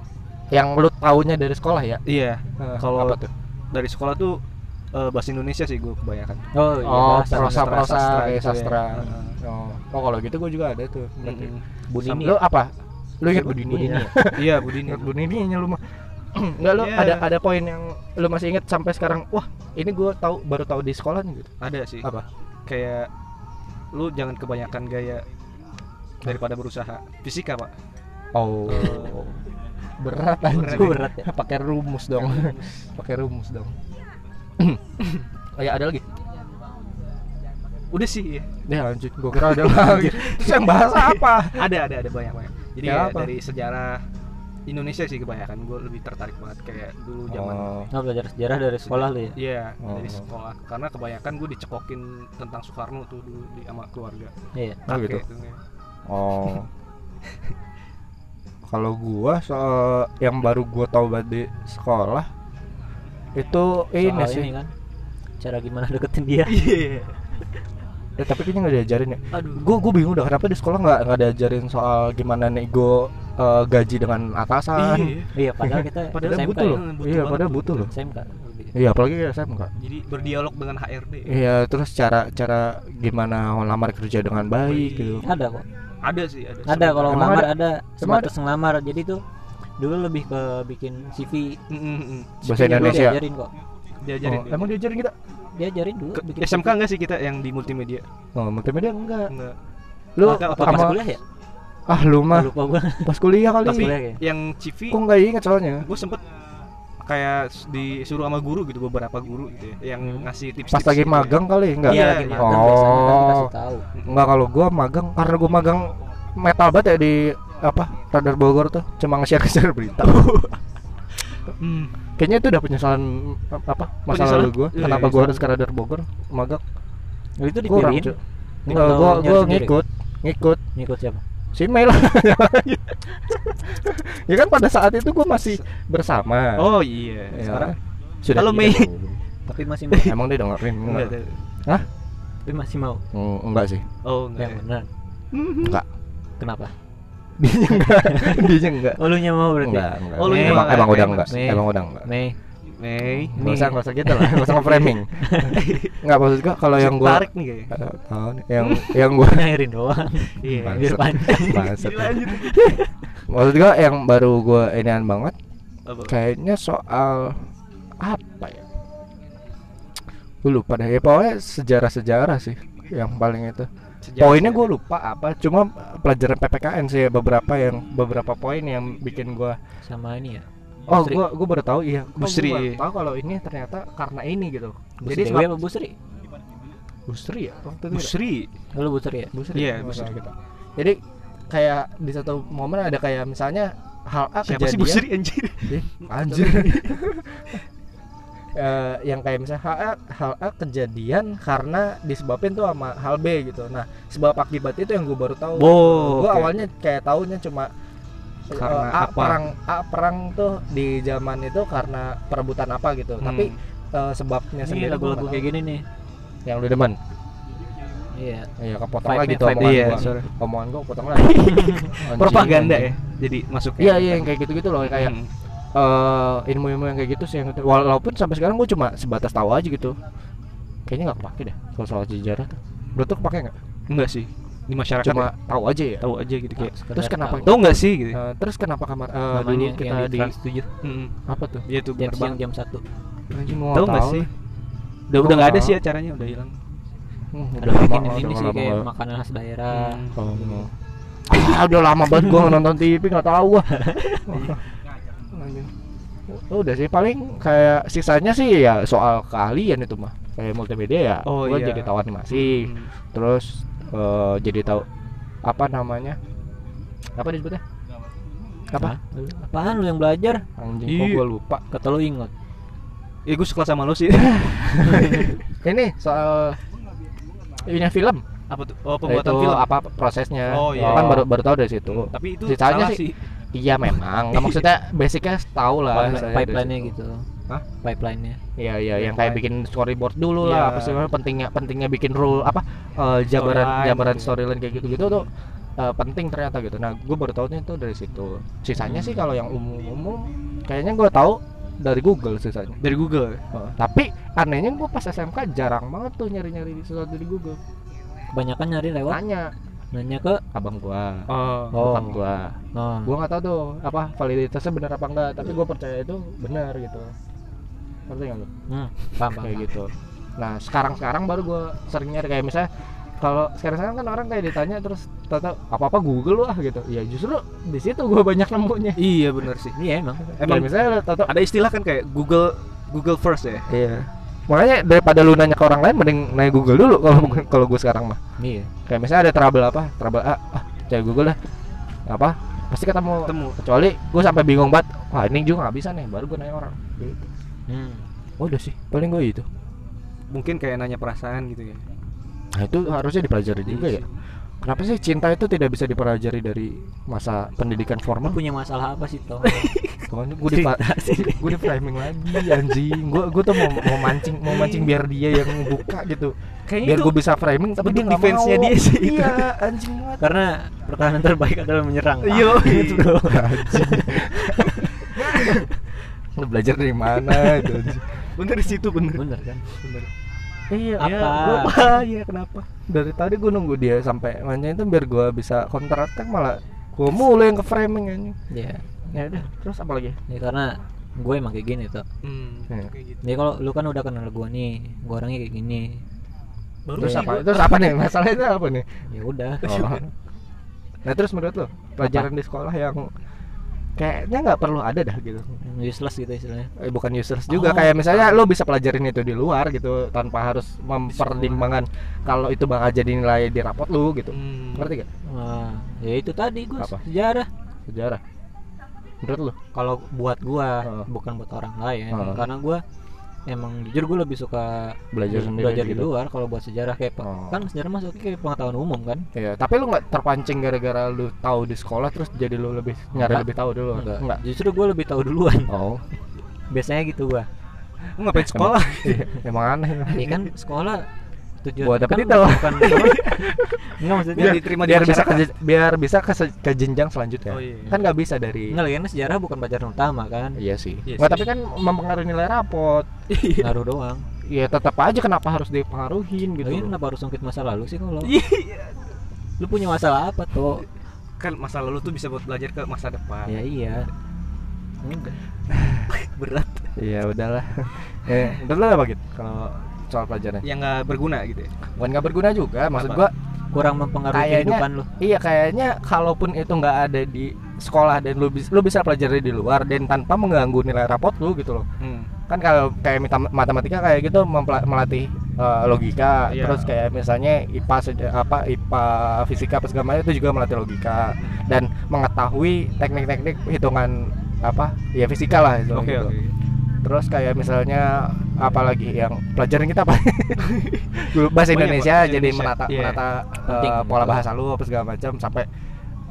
Speaker 1: Yang lu taunya dari sekolah ya?
Speaker 4: Iya,
Speaker 1: Eh,
Speaker 3: Kalau-
Speaker 1: apa tuh?
Speaker 3: dari sekolah tuh eh, bahasa Indonesia sih gue kebanyakan
Speaker 2: oh iya
Speaker 1: Oh,
Speaker 2: bahasa.
Speaker 1: prosa-prosa
Speaker 3: sastra
Speaker 1: kayak
Speaker 3: gitu ya.
Speaker 1: sastra.
Speaker 3: Heeh.
Speaker 1: Oh, oh kalau gitu gue juga ada tuh. berarti.
Speaker 3: Mm-mm.
Speaker 2: Bunini
Speaker 1: Lu apa? Lu ingat
Speaker 4: Budini
Speaker 1: Budini?
Speaker 4: ya?
Speaker 1: ya?
Speaker 3: iya Budini
Speaker 1: Ingat Budini nya lu mah. Enggak lu
Speaker 3: Iya.
Speaker 1: ada ada poin yang lu masih inget sampai sekarang. Wah, ini gue tahu baru tahu di sekolah nih gitu.
Speaker 3: ada sih
Speaker 1: Apa?
Speaker 3: kayak lu jangan kebanyakan gaya daripada berusaha fisika pak
Speaker 1: Oh. Berat anjir.
Speaker 2: Itu berat ya
Speaker 1: Pakai rumus dong. Pakai rumus dong. oh ya ada lagi.
Speaker 3: udah sih iya.
Speaker 1: Ya lanjut, gue kira ada lagi. Terus yang bahas apa?
Speaker 3: ada ada ada banyak banyak jadi
Speaker 1: Kayak
Speaker 3: ya,
Speaker 1: apa?
Speaker 3: dari sejarah Indonesia sih kebanyakan gue lebih tertarik banget kayak dulu zaman
Speaker 1: Oh.
Speaker 2: oh, belajar sejarah dari sekolah lu ya
Speaker 3: Iya,
Speaker 1: Oh.
Speaker 3: dari sekolah. Karena kebanyakan gue dicekokin tentang Soekarno tuh dulu di sama keluarga.
Speaker 2: iya
Speaker 1: Oh gitu.
Speaker 3: Kayak itu, kayak.
Speaker 1: Oh. Kalau gua soal yang baru gua tahu banget di sekolah itu ini
Speaker 2: soal
Speaker 1: sih.
Speaker 2: ini kan cara gimana deketin dia
Speaker 3: Iya.
Speaker 1: Ya, tapi kayaknya nggak diajarin ya.
Speaker 3: Aduh.
Speaker 1: Gua gua bingung dah kenapa di sekolah nggak nggak diajarin soal gimana nego eh, gaji dengan atasan.
Speaker 3: Iya.
Speaker 2: iya padahal kita
Speaker 3: Padahal
Speaker 2: SMK
Speaker 1: Ah, butuh
Speaker 2: ya.
Speaker 1: loh.
Speaker 3: butuh
Speaker 1: iya,
Speaker 3: banget,
Speaker 1: padahal
Speaker 3: butuh.
Speaker 1: butuh loh.
Speaker 2: SMK lebih.
Speaker 1: Iya, apalagi ya saya enggak.
Speaker 3: Jadi berdialog dengan HRD.
Speaker 1: Iya, terus cara cara gimana ngelamar kerja dengan baik gitu.
Speaker 2: ada kok
Speaker 3: Ada sih, ada.
Speaker 2: ada kalau
Speaker 1: Emang
Speaker 2: ngelamar
Speaker 1: ada?
Speaker 2: ada
Speaker 1: Emang ada?
Speaker 2: status ngelamar jadi tuh dulu lebih ke bikin CV
Speaker 3: Mm-mm.
Speaker 1: Bahasa
Speaker 2: CV -nya dulu
Speaker 1: Indonesia.
Speaker 2: diajarin kok
Speaker 3: Diajarin.
Speaker 1: Oh, emang diajarin kita?
Speaker 2: diajarin dulu
Speaker 3: Ke-
Speaker 2: bikin
Speaker 3: SMK
Speaker 2: CV.
Speaker 3: enggak sih kita yang di multimedia?
Speaker 1: Oh, multimedia enggak.
Speaker 3: Enggak.
Speaker 1: Lu
Speaker 3: Maka
Speaker 2: apa pas
Speaker 1: sama-
Speaker 2: kuliah ya
Speaker 1: ah lu mah
Speaker 2: lupa gua
Speaker 1: pas kuliah kali.
Speaker 2: pas
Speaker 1: Tapi,
Speaker 2: kuliah ya
Speaker 3: Yang CV
Speaker 1: Kok nggak inget soalnya?
Speaker 3: gue sempet kayak s- disuruh sama guru gitu beberapa guru gitu ya, yang
Speaker 2: Hmm.
Speaker 3: ngasih gitu ya. tips
Speaker 1: Pas lagi magang kali enggak?
Speaker 3: Iya,
Speaker 2: lagi
Speaker 3: iya.
Speaker 2: magang biasanya kan
Speaker 1: Oh.
Speaker 2: dikasih tahu
Speaker 1: Enggak kalau gua magang karena gua magang metal banget ya di apa radar Bogor tuh cuma nge-share share berita.
Speaker 3: Hmm.
Speaker 1: Kayaknya itu udah penyesalan apa masalah
Speaker 3: Penyesalan?
Speaker 1: lu gua
Speaker 3: Iya,
Speaker 1: kenapa
Speaker 3: iya,
Speaker 1: gua
Speaker 3: iya.
Speaker 1: harus ke radar Bogor magang?
Speaker 2: Nah, itu
Speaker 1: Kurang,
Speaker 2: dipilihin
Speaker 1: Cuk. Enggak gua
Speaker 2: nyari
Speaker 1: gua
Speaker 2: sendiri?
Speaker 1: ngikut ngikut
Speaker 2: ngikut siapa
Speaker 1: si Mei lah. ya kan pada saat itu gua masih bersama.
Speaker 3: Oh iya.
Speaker 1: Ya.
Speaker 3: Sekarang
Speaker 1: sudah
Speaker 3: Halo,
Speaker 1: tidak
Speaker 3: Mei.
Speaker 1: dong.
Speaker 2: tapi masih mau
Speaker 1: Emang dia dengerin?
Speaker 3: enggak.
Speaker 1: Enggak,
Speaker 3: ada.
Speaker 2: tapi masih mau
Speaker 1: Mm, enggak sih.
Speaker 3: Oh, enggak.
Speaker 2: yang
Speaker 1: ya.
Speaker 2: benar
Speaker 3: Hmm.
Speaker 1: Enggak.
Speaker 2: kenapa
Speaker 1: Dia enggak. Dia enggak.
Speaker 2: oh lu nya mau berarti
Speaker 1: Enggak, enggak.
Speaker 3: Oh, lu
Speaker 1: emang,
Speaker 3: nyimak.
Speaker 1: emang udah
Speaker 3: Emang
Speaker 1: enggak.
Speaker 2: sih.
Speaker 1: Emang udah enggak.
Speaker 2: Mei
Speaker 3: Mei.
Speaker 1: Enggak usah, enggak usah gitu lah. Enggak usah framing. Enggak maksud gua kalau yang gua
Speaker 3: tarik nih kayaknya.
Speaker 1: Eh, tahu nih, yang yang gua
Speaker 2: nyairin doang
Speaker 3: Iya.
Speaker 1: Bangsat.
Speaker 2: biar panjang
Speaker 1: Bangsat.
Speaker 3: Lanjut.
Speaker 1: Maksud gua yang baru gua inian banget
Speaker 3: Apa?
Speaker 1: kayaknya soal apa ya? Gue lupa deh. Ya, pokoknya sejarah-sejarah sih yang paling itu.
Speaker 3: Sejarah-
Speaker 1: Poinnya gua lupa apa, cuma pelajaran PPKN sih ya, beberapa yang beberapa poin yang bikin gua
Speaker 2: sama ini ya
Speaker 1: Oh,
Speaker 2: Busri.
Speaker 1: gua gua baru tahu iya. Kok gua
Speaker 3: Busri.
Speaker 1: baru tahu kalau ini ternyata karena ini gitu.
Speaker 2: Bu
Speaker 1: Jadi
Speaker 2: Sri Dewi
Speaker 1: sebab
Speaker 2: apa Bu Sri?
Speaker 1: Busri ya. Waktu itu ya?
Speaker 3: Busri.
Speaker 2: Lu Bu Sri ya?
Speaker 1: Busri.
Speaker 3: Iya,
Speaker 1: kalau
Speaker 3: Busri.
Speaker 1: salah Kita. gitu. Jadi kayak di satu momen ada kayak misalnya hal A
Speaker 3: Siapa
Speaker 1: kejadian
Speaker 3: sih Busri anjir?
Speaker 1: anjir. Eh, yang kayak misalnya hal A, hal A kejadian karena disebabin tuh sama hal B gitu. Nah, sebab akibat itu yang gue baru tahu.
Speaker 3: Oh,
Speaker 1: gue
Speaker 3: oke.
Speaker 1: awalnya kayak taunya cuma eh,
Speaker 3: Karena
Speaker 1: A
Speaker 3: apa?
Speaker 1: perang A perang tuh di zaman itu karena perebutan apa
Speaker 3: Hmm.
Speaker 1: gitu. Tapi eh, sebabnya
Speaker 2: Ini
Speaker 1: sendiri
Speaker 2: lagu-lagu
Speaker 1: gua nggak
Speaker 2: kayak gini nih.
Speaker 1: tahu. yang lu demen
Speaker 2: Iya.
Speaker 1: iya kepotong
Speaker 2: Vibe-nya,
Speaker 1: lagi tuh
Speaker 2: vibe-nya.
Speaker 1: omongan
Speaker 3: Iya,
Speaker 1: gua
Speaker 3: sorry.
Speaker 1: omongan gua potong lagi Anjing,
Speaker 3: propaganda
Speaker 1: anjing.
Speaker 3: ya. Jadi masuknya.
Speaker 1: gitu. iya iya yang kayak gitu gitu loh kayak
Speaker 3: Hmm.
Speaker 1: eh, ilmu-ilmu yang kayak gitu sih yang walaupun sampai sekarang gua cuma sebatas tahu aja gitu kayaknya nggak kepake deh kalau soal sejarah tuh lu tuh kepake nggak
Speaker 3: enggak sih di masyarakat
Speaker 1: cuma
Speaker 3: ya,
Speaker 1: tahu aja ya
Speaker 3: tahu aja gitu
Speaker 2: Nah,
Speaker 3: kayak.
Speaker 1: Terus kenapa?
Speaker 3: Tahu enggak sih gitu?
Speaker 1: Eh, terus kenapa kamar eh, dulu
Speaker 2: Namanya
Speaker 1: kita
Speaker 2: yang di
Speaker 1: di
Speaker 2: Trans 7
Speaker 3: Hmm.
Speaker 1: apa tuh
Speaker 3: Iya tuh
Speaker 2: jam
Speaker 3: bener
Speaker 2: siang
Speaker 3: banget.
Speaker 2: jam 1.
Speaker 1: anjing gua
Speaker 3: Tahu enggak
Speaker 1: tahu.
Speaker 3: sih? Udah
Speaker 1: Gua
Speaker 3: udah enggak ada
Speaker 1: nggak
Speaker 3: sih
Speaker 1: tahu.
Speaker 3: acaranya udah hilang.
Speaker 1: Hmm,
Speaker 2: Ada
Speaker 1: udah lama
Speaker 2: bikin ini
Speaker 1: udah
Speaker 2: sih
Speaker 1: lama
Speaker 2: kayak
Speaker 1: banget.
Speaker 2: makanan khas
Speaker 3: Eh,
Speaker 2: daerah.
Speaker 1: Oh, no. ah, udah lama banget gua nggak nonton TV nggak tahu gua. Oh, udah sih paling kayak sisanya sih ya soal keahlian itu mah kayak multimedia ya
Speaker 3: Oh,
Speaker 1: gua
Speaker 3: iya.
Speaker 1: jadi tahu animasi
Speaker 3: Hmm.
Speaker 1: terus eh, jadi tahu apa namanya apa disebutnya apa
Speaker 2: Apaan lu yang belajar?
Speaker 1: anjing kok
Speaker 3: Iya.
Speaker 1: gua lupa
Speaker 2: Kata lu inget.
Speaker 3: Ya gue sekelas sama lo sih.
Speaker 1: ini soal ini film
Speaker 3: apa tuh? Oh, pembuatan
Speaker 1: Itu
Speaker 3: film.
Speaker 1: apa prosesnya
Speaker 3: Oh, iya.
Speaker 1: Gua kan baru baru tahu dari situ
Speaker 3: Tapi itu
Speaker 1: Ceritanya
Speaker 3: salah
Speaker 1: sih-
Speaker 3: sih.
Speaker 1: Iya memang. Nggak maksudnya basicnya tahu lah.
Speaker 2: Pipeline-
Speaker 1: saya
Speaker 2: pipeline-nya
Speaker 1: dari situ.
Speaker 2: gitu.
Speaker 1: Hah?
Speaker 2: Pipeline-nya.
Speaker 1: Iya iya yang kayak bikin storyboard dulu lah
Speaker 3: Iya.
Speaker 1: apa sih namanya, pentingnya pentingnya bikin rule apa eh, jabaran
Speaker 3: Storyline
Speaker 1: jabaran
Speaker 3: gitu.
Speaker 1: storyline kayak gitu-gitu tuh eh, penting ternyata gitu. Nah, gue baru tahunya itu dari situ. Sisanya sih kalau yang umum-umum kayaknya gue tahu dari Google sisanya.
Speaker 3: dari Google
Speaker 1: Heeh. Tapi anehnya gue pas SMK jarang banget tuh nyari-nyari sesuatu di Google.
Speaker 2: Kebanyakan nyari lewat
Speaker 1: Tanya
Speaker 2: nanya ke
Speaker 1: abang gua,
Speaker 3: oh
Speaker 1: bukan gua.
Speaker 2: Oh.
Speaker 1: Gua nggak tahu tuh apa validitasnya benar apa enggak, tapi gua percaya itu benar gitu. Ngerti nggak lu?
Speaker 2: Hmm, paham, paham.
Speaker 1: kayak gitu nah sekarang sekarang baru gue sering nyari kayak misalnya kalau sekarang sekarang kan orang kayak ditanya terus tata apa apa Google lah gitu ya justru di situ gue banyak nemunya
Speaker 3: iya benar sih
Speaker 2: Iya emang.
Speaker 1: emang
Speaker 3: Emang-
Speaker 1: misalnya tata
Speaker 3: ada istilah kan kayak Google Google first ya
Speaker 1: iya makanya daripada lu nanya ke orang lain mending nanya Google dulu kalau kalau gue sekarang mah
Speaker 2: Iya.
Speaker 1: kayak misalnya ada trouble apa trouble A ah cari Google lah apa pasti ketemu
Speaker 3: ketemu
Speaker 1: kecuali gue sampai bingung banget wah ini juga nggak bisa nih baru gue nanya orang gitu.
Speaker 2: Hmm.
Speaker 1: udah sih paling gue itu
Speaker 3: mungkin kayak nanya perasaan gitu ya
Speaker 1: Nah itu harusnya dipelajari juga ya. Kenapa sih cinta itu tidak bisa dipelajari dari masa pendidikan
Speaker 2: Lu
Speaker 1: formal?
Speaker 2: punya masalah apa sih toh?
Speaker 1: gue di gue di framing lagi anjing. Gue gue tuh mau, mau mancing mau mancing biar dia yang buka gitu. Biar gue bisa framing tapi dia
Speaker 3: bentuk
Speaker 1: nggak
Speaker 3: defense-nya
Speaker 1: mau.
Speaker 3: dia sih itu.
Speaker 1: Iya anjing banget.
Speaker 2: Karena pertahanan terbaik adalah menyerang.
Speaker 3: Iya.
Speaker 2: Ah, gitu dong.
Speaker 1: Anjing. Lu belajar dari mana itu anjing?
Speaker 3: bener di situ bener
Speaker 2: Bener kan?
Speaker 1: Iya,
Speaker 2: Apa?
Speaker 1: gua- ah, iya kenapa? Dari tadi gue nunggu dia sampai mancing itu biar gue bisa counter attack malah gue mulai yang ke framing anjing.
Speaker 2: Iya.
Speaker 1: Ya udah, terus apa lagi?
Speaker 2: Ya karena gue emang kayak gini toh.
Speaker 3: Hmm,
Speaker 1: Iya.
Speaker 3: kayak gitu.
Speaker 2: Ya kalau lu kan udah kenal gue nih, gue orangnya kayak gini.
Speaker 3: baru
Speaker 1: Terus
Speaker 3: sih
Speaker 1: apa?
Speaker 3: gua-
Speaker 1: Iya. Terus apa nih? Masalahnya apa nih?
Speaker 2: Ya udah.
Speaker 1: Oh. Nah, terus menurut lo pelajaran di sekolah yang kayaknya nggak perlu ada dah gitu.
Speaker 2: Useless gitu istilahnya.
Speaker 1: Eh, bukan users juga
Speaker 2: Oh.
Speaker 1: kayak misalnya lo bisa pelajarin itu di luar gitu tanpa harus mempertimbangkan kalau itu bakal jadi nilai di rapot lo gitu.
Speaker 3: Hmm.
Speaker 1: Ngerti gak?
Speaker 2: Wah, ya itu tadi gue
Speaker 1: Apa?
Speaker 2: sejarah.
Speaker 1: Sejarah. Menurut lo?
Speaker 2: Kalau buat gue,
Speaker 1: Heeh.
Speaker 2: bukan buat orang lain.
Speaker 1: Heeh.
Speaker 2: Karena gue emang jujur gue lebih suka
Speaker 1: Belajar sendiri
Speaker 2: belajar di
Speaker 1: gitu.
Speaker 2: luar kalau buat sejarah kayak pe-
Speaker 1: Oh.
Speaker 2: kan sejarah masuk kayak pengetahuan umum kan
Speaker 1: Iya, tapi lo nggak terpancing gara-gara lo tahu di sekolah terus jadi lo lebih nyari
Speaker 2: Nggak.
Speaker 1: lebih tahu dulu
Speaker 2: Enggak. Nah, Justru gue lebih tahu duluan.
Speaker 1: Oh,
Speaker 2: Biasanya gitu gua.
Speaker 3: Lu ngapain sekolah
Speaker 1: iya, emang aneh.
Speaker 2: Ya kan sekolah tujuan
Speaker 1: Buat dapet Iya.
Speaker 2: kan
Speaker 1: titel.
Speaker 2: bukan Enggak maksudnya
Speaker 3: Biar diterima di
Speaker 1: biar bisa ke,
Speaker 3: masyarakat.
Speaker 1: biar bisa ke, se- ke jenjang selanjutnya.
Speaker 3: Oh, iya.
Speaker 1: Kan nggak bisa dari
Speaker 2: Enggak lah, karena sejarah bukan pelajaran utama kan.
Speaker 1: Iya sih.
Speaker 3: Iya
Speaker 1: Nggak,
Speaker 3: sih.
Speaker 1: tapi kan mempengaruhi nilai rapot.
Speaker 2: Ngaruh doang.
Speaker 1: Ya tetap aja kenapa harus dipengaruhin
Speaker 3: Oh,
Speaker 1: gitu. Iya.
Speaker 3: iya.
Speaker 2: Gitu.
Speaker 1: loh.
Speaker 2: kenapa harus ngungkit masa lalu sih kalau lu punya masalah apa tuh?
Speaker 3: kan masa lalu tuh bisa buat belajar ke masa
Speaker 1: Ah.
Speaker 3: depan
Speaker 2: Ya iya. Enggak.
Speaker 3: berat
Speaker 1: Iya udahlah. eh, udah lah apa gitu kalau soal pelajaran.
Speaker 3: yang nggak berguna gitu ya
Speaker 1: Bukan nggak berguna juga, maksud gua
Speaker 3: Apa?
Speaker 2: Kurang mempengaruhi
Speaker 1: Kayaknya-
Speaker 2: kehidupan lu.
Speaker 1: iya kayaknya kalaupun itu nggak ada di sekolah dan lu, bis- lu bisa pelajari di luar dan tanpa mengganggu nilai rapot lu gitu loh.
Speaker 3: hmm.
Speaker 1: Kan kalau kayak mita- matematika kayak gitu mempla- melatih eh, logika,
Speaker 3: Iya.
Speaker 1: terus kayak misalnya IPA se- apa IPA fisika apa segala macam itu juga melatih logika. dan mengetahui teknik-teknik hitungan apa ya fisika lah itu
Speaker 3: oke
Speaker 1: gitu.
Speaker 3: oke
Speaker 1: Terus kayak misalnya apalagi yang pelajaran kita apa? Guru bahasa
Speaker 3: Banyak,
Speaker 1: Indonesia
Speaker 3: Pak.
Speaker 1: jadi
Speaker 3: Indonesia.
Speaker 1: menata
Speaker 3: Iya.
Speaker 1: menata
Speaker 2: Penting.
Speaker 1: eh, pola bahasa lu apa segala macam sampai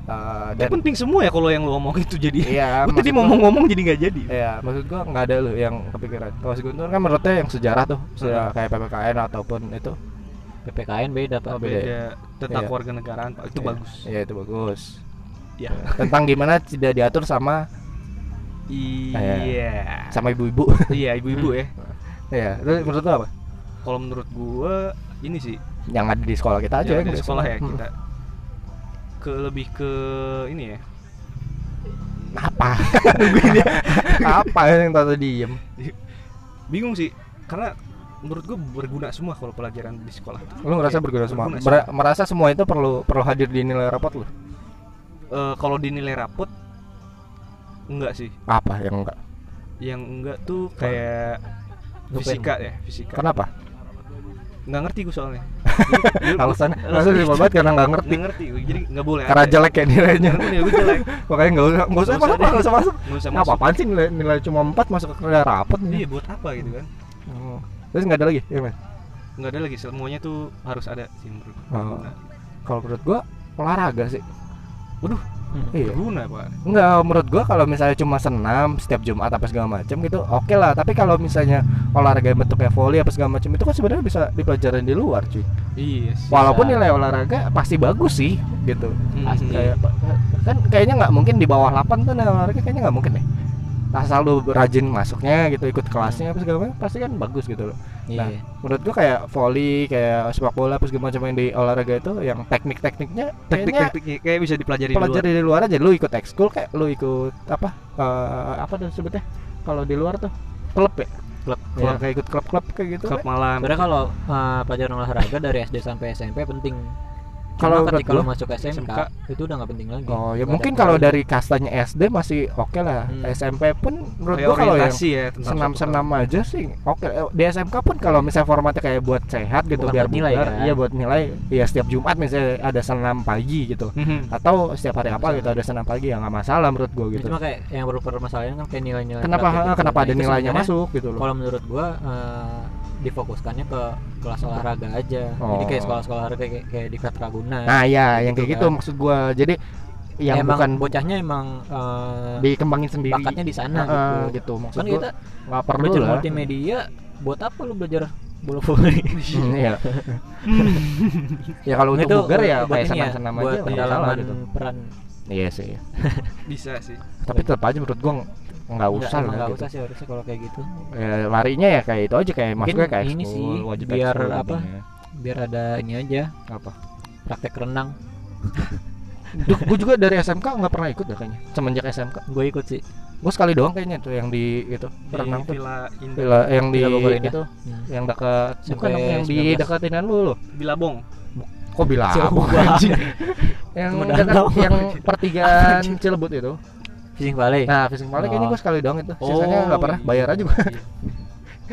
Speaker 1: eh,
Speaker 3: Itu
Speaker 1: dan
Speaker 3: penting semua ya kalau yang lu omong itu jadi
Speaker 1: iya
Speaker 3: Gua tadi
Speaker 1: maksud
Speaker 3: mau
Speaker 1: gua-
Speaker 3: ngomong-ngomong jadi nggak jadi
Speaker 1: Iya, maksud gua nggak ada lu yang kepikiran. Kalau si Guntur kan menurutnya yang sejarah tuh, sejarah kayak PPKN ataupun itu.
Speaker 2: PPKN beda, Pak.
Speaker 1: Oh, beda ya?
Speaker 3: tentang
Speaker 1: Iya.
Speaker 3: keluarga negaraan pak itu
Speaker 1: Iya.
Speaker 3: bagus
Speaker 1: Iya, itu bagus.
Speaker 3: Iya.
Speaker 1: Tentang gimana tidak diatur sama
Speaker 3: iya
Speaker 1: sama ibu-ibu.
Speaker 3: iya ibu-ibu ya
Speaker 1: Iya, itu menurut lu apa?
Speaker 3: kalau menurut gua ini sih
Speaker 1: Yang ada di sekolah kita aja
Speaker 3: yang
Speaker 1: yang
Speaker 3: dari
Speaker 1: di
Speaker 3: sekolah ya
Speaker 1: Hmm.
Speaker 3: kita ke lebih ke ini ya
Speaker 1: Hmm, apa apa yang tata diem
Speaker 3: bingung sih karena menurut gue berguna semua kalau pelajaran di sekolah tuh.
Speaker 1: lu ngerasa berguna semua
Speaker 3: Berguna
Speaker 1: Mer- merasa semua itu perlu perlu hadir di nilai rapot lu
Speaker 3: Eh, kalau dinilai rapot enggak sih
Speaker 1: apa yang enggak
Speaker 3: yang enggak tuh kayak
Speaker 2: Lu
Speaker 3: fisika ya fisika
Speaker 1: kenapa
Speaker 3: nggak ngerti gue soalnya
Speaker 1: alasan alasan simpel banget karena nggak ngerti
Speaker 3: nggak ngerti gue jadi nggak boleh
Speaker 1: karena
Speaker 3: ada.
Speaker 1: jelek ya nilainya
Speaker 3: Karena nilai gue jelek
Speaker 1: makanya nggak usah nggak usah
Speaker 3: Nggak usah
Speaker 1: masuk
Speaker 3: deh.
Speaker 1: nggak usah masuk
Speaker 3: nggak usah
Speaker 1: ngapa
Speaker 3: masuk
Speaker 1: apaan sih nilai, nilai cuma 4 masuk ke nilai rapot
Speaker 3: iya buat apa gitu kan
Speaker 1: Hmm. terus nggak ada lagi ya men
Speaker 3: nggak ada lagi semuanya tuh harus ada sih menurut Nah, gue.
Speaker 1: Oh. kalau menurut gua olahraga sih
Speaker 3: Waduh,
Speaker 2: Hmm.
Speaker 1: Iya.
Speaker 3: berguna pak
Speaker 1: Enggak, menurut gua kalau misalnya cuma senam setiap Jumat apa segala macam gitu, oke lah. Tapi kalau misalnya olahraga yang bentuknya volley apa segala macam itu kan sebenarnya bisa dipelajarin di luar, cuy.
Speaker 3: iya sih.
Speaker 1: Walaupun nilai olahraga pasti bagus sih, gitu.
Speaker 3: Mm,
Speaker 2: Pasti.
Speaker 1: Kayak
Speaker 3: iya.
Speaker 1: kan kayaknya nggak mungkin di bawah 8 tuh nilai olahraga kayaknya nggak mungkin deh. Asal lu rajin masuknya gitu, ikut kelasnya apa segala macam pasti kan bagus gitu loh.
Speaker 2: Iya.
Speaker 1: Menurut gua kayak volley, kayak sepak bola apa segala macam yang di olahraga itu yang teknik-tekniknya kayaknya
Speaker 3: teknik-teknik kayak bisa dipelajari di luar.
Speaker 1: pelajari di luar aja lu ikut ekskul kayak lu ikut apa eh, apa tuh sebutnya kalau di luar tuh klub ya
Speaker 2: Klub.
Speaker 1: Ya,
Speaker 3: Klub.
Speaker 1: kayak ikut klub klub kayak gitu
Speaker 3: klub
Speaker 1: kayak.
Speaker 3: malam
Speaker 2: Sebenarnya kalau uh, pelajaran olahraga dari SD sampai SMP penting.
Speaker 1: Kalau
Speaker 2: Cuma
Speaker 1: menurut
Speaker 2: ketika lo
Speaker 1: gua-
Speaker 2: masuk SMK,
Speaker 3: SMK,
Speaker 2: itu udah nggak penting lagi.
Speaker 1: oh ya
Speaker 2: Nggak
Speaker 1: mungkin
Speaker 2: ada
Speaker 1: kalau
Speaker 2: pengaruh.
Speaker 1: dari kastanya SD masih oke lah
Speaker 2: Hmm.
Speaker 1: SMP pun menurut
Speaker 3: kayak
Speaker 1: gua kalau yang
Speaker 3: orientasi ya tentang
Speaker 1: senam-senam aja sih oke Eh, di SMK pun kalau misalnya formatnya kayak buat sehat gitu
Speaker 2: Bukan
Speaker 1: biar
Speaker 2: buat nilai
Speaker 1: bugar,
Speaker 2: kan?
Speaker 1: iya buat nilai ya setiap Jumat misalnya ada senam pagi gitu atau setiap hari apa gitu ada senam pagi ya nggak masalah menurut gua
Speaker 2: Ya,
Speaker 1: gitu
Speaker 2: Cuma kayak yang perlu permasalahan kan kayak nilai-nilai.
Speaker 1: kenapa ah, eh,
Speaker 2: praktik gitu.
Speaker 1: kenapa
Speaker 2: Nah,
Speaker 1: ada
Speaker 2: itu
Speaker 1: nilainya
Speaker 2: sebenarnya
Speaker 1: masuk gitu loh
Speaker 2: Kalau menurut gua uh, difokuskannya ke kelas olahraga aja. Jadi
Speaker 1: Oh.
Speaker 2: kayak sekolah-sekolah olahraga kayak, kayak di Fatraguna.
Speaker 1: Nah, ya yang kayak
Speaker 2: gitu
Speaker 1: gitu
Speaker 2: kan.
Speaker 1: maksud gua. Jadi yang
Speaker 2: emang
Speaker 1: bukan
Speaker 2: bocahnya emang uh,
Speaker 1: dikembangin sendiri.
Speaker 2: bakatnya di sana
Speaker 1: Heeh,
Speaker 2: gitu.
Speaker 1: gitu. Maksud
Speaker 2: Kan
Speaker 1: gua
Speaker 2: kita
Speaker 1: nggak perlu
Speaker 2: belajar
Speaker 1: lah.
Speaker 2: multimedia buat apa lu belajar bola voli?
Speaker 1: Hmm, iya.
Speaker 3: Hmm.
Speaker 1: ya kalau untuk
Speaker 2: Itu
Speaker 1: bugar ya
Speaker 2: buat
Speaker 1: kayak
Speaker 2: ini
Speaker 1: senam-senam aja
Speaker 2: buat
Speaker 1: nggak salah
Speaker 2: pendalaman
Speaker 1: gitu.
Speaker 2: peran
Speaker 1: Iya sih.
Speaker 3: bisa sih
Speaker 1: Tapi tetap aja menurut gua nggak usah
Speaker 2: Iya.
Speaker 1: lah
Speaker 2: Nggak- nggak
Speaker 1: gitu.
Speaker 2: usah sih harusnya kalau kayak gitu
Speaker 1: Ya, larinya ya kayak itu aja kayak masuknya kayak
Speaker 2: ini sih,
Speaker 1: ekskul, wajib
Speaker 2: biar
Speaker 1: ekskul
Speaker 2: apa?
Speaker 1: jadinya.
Speaker 2: biar ada ini aja
Speaker 1: Apa?
Speaker 2: praktek renang
Speaker 1: Duh, gua juga dari SMK nggak pernah ikut dah kayaknya. Semenjak SMK,
Speaker 2: gue ikut sih
Speaker 1: gua sekali doang kayaknya tuh yang di itu
Speaker 3: di
Speaker 1: renang tuh.
Speaker 3: Villa Indah
Speaker 1: Bila, yang di
Speaker 2: Villa Bogor Indah.
Speaker 1: itu
Speaker 2: Hmm.
Speaker 1: yang dekat bukan
Speaker 2: Sampai
Speaker 1: yang di kan
Speaker 2: 19.
Speaker 1: dekatinan lu loh.
Speaker 3: Bilabong
Speaker 1: Kok bilang
Speaker 2: Jauh
Speaker 1: aku?
Speaker 2: banget.
Speaker 1: yang
Speaker 2: Cuma
Speaker 1: dekat
Speaker 2: danau.
Speaker 1: yang pertigaan Cilebut itu.
Speaker 2: Fishing Valley
Speaker 1: Nah, fishing valley kayaknya
Speaker 2: Oh.
Speaker 1: gue sekali doang itu. Sisanya
Speaker 3: Oh.
Speaker 1: nggak pernah bayar aja Iya. gue.
Speaker 3: Iya,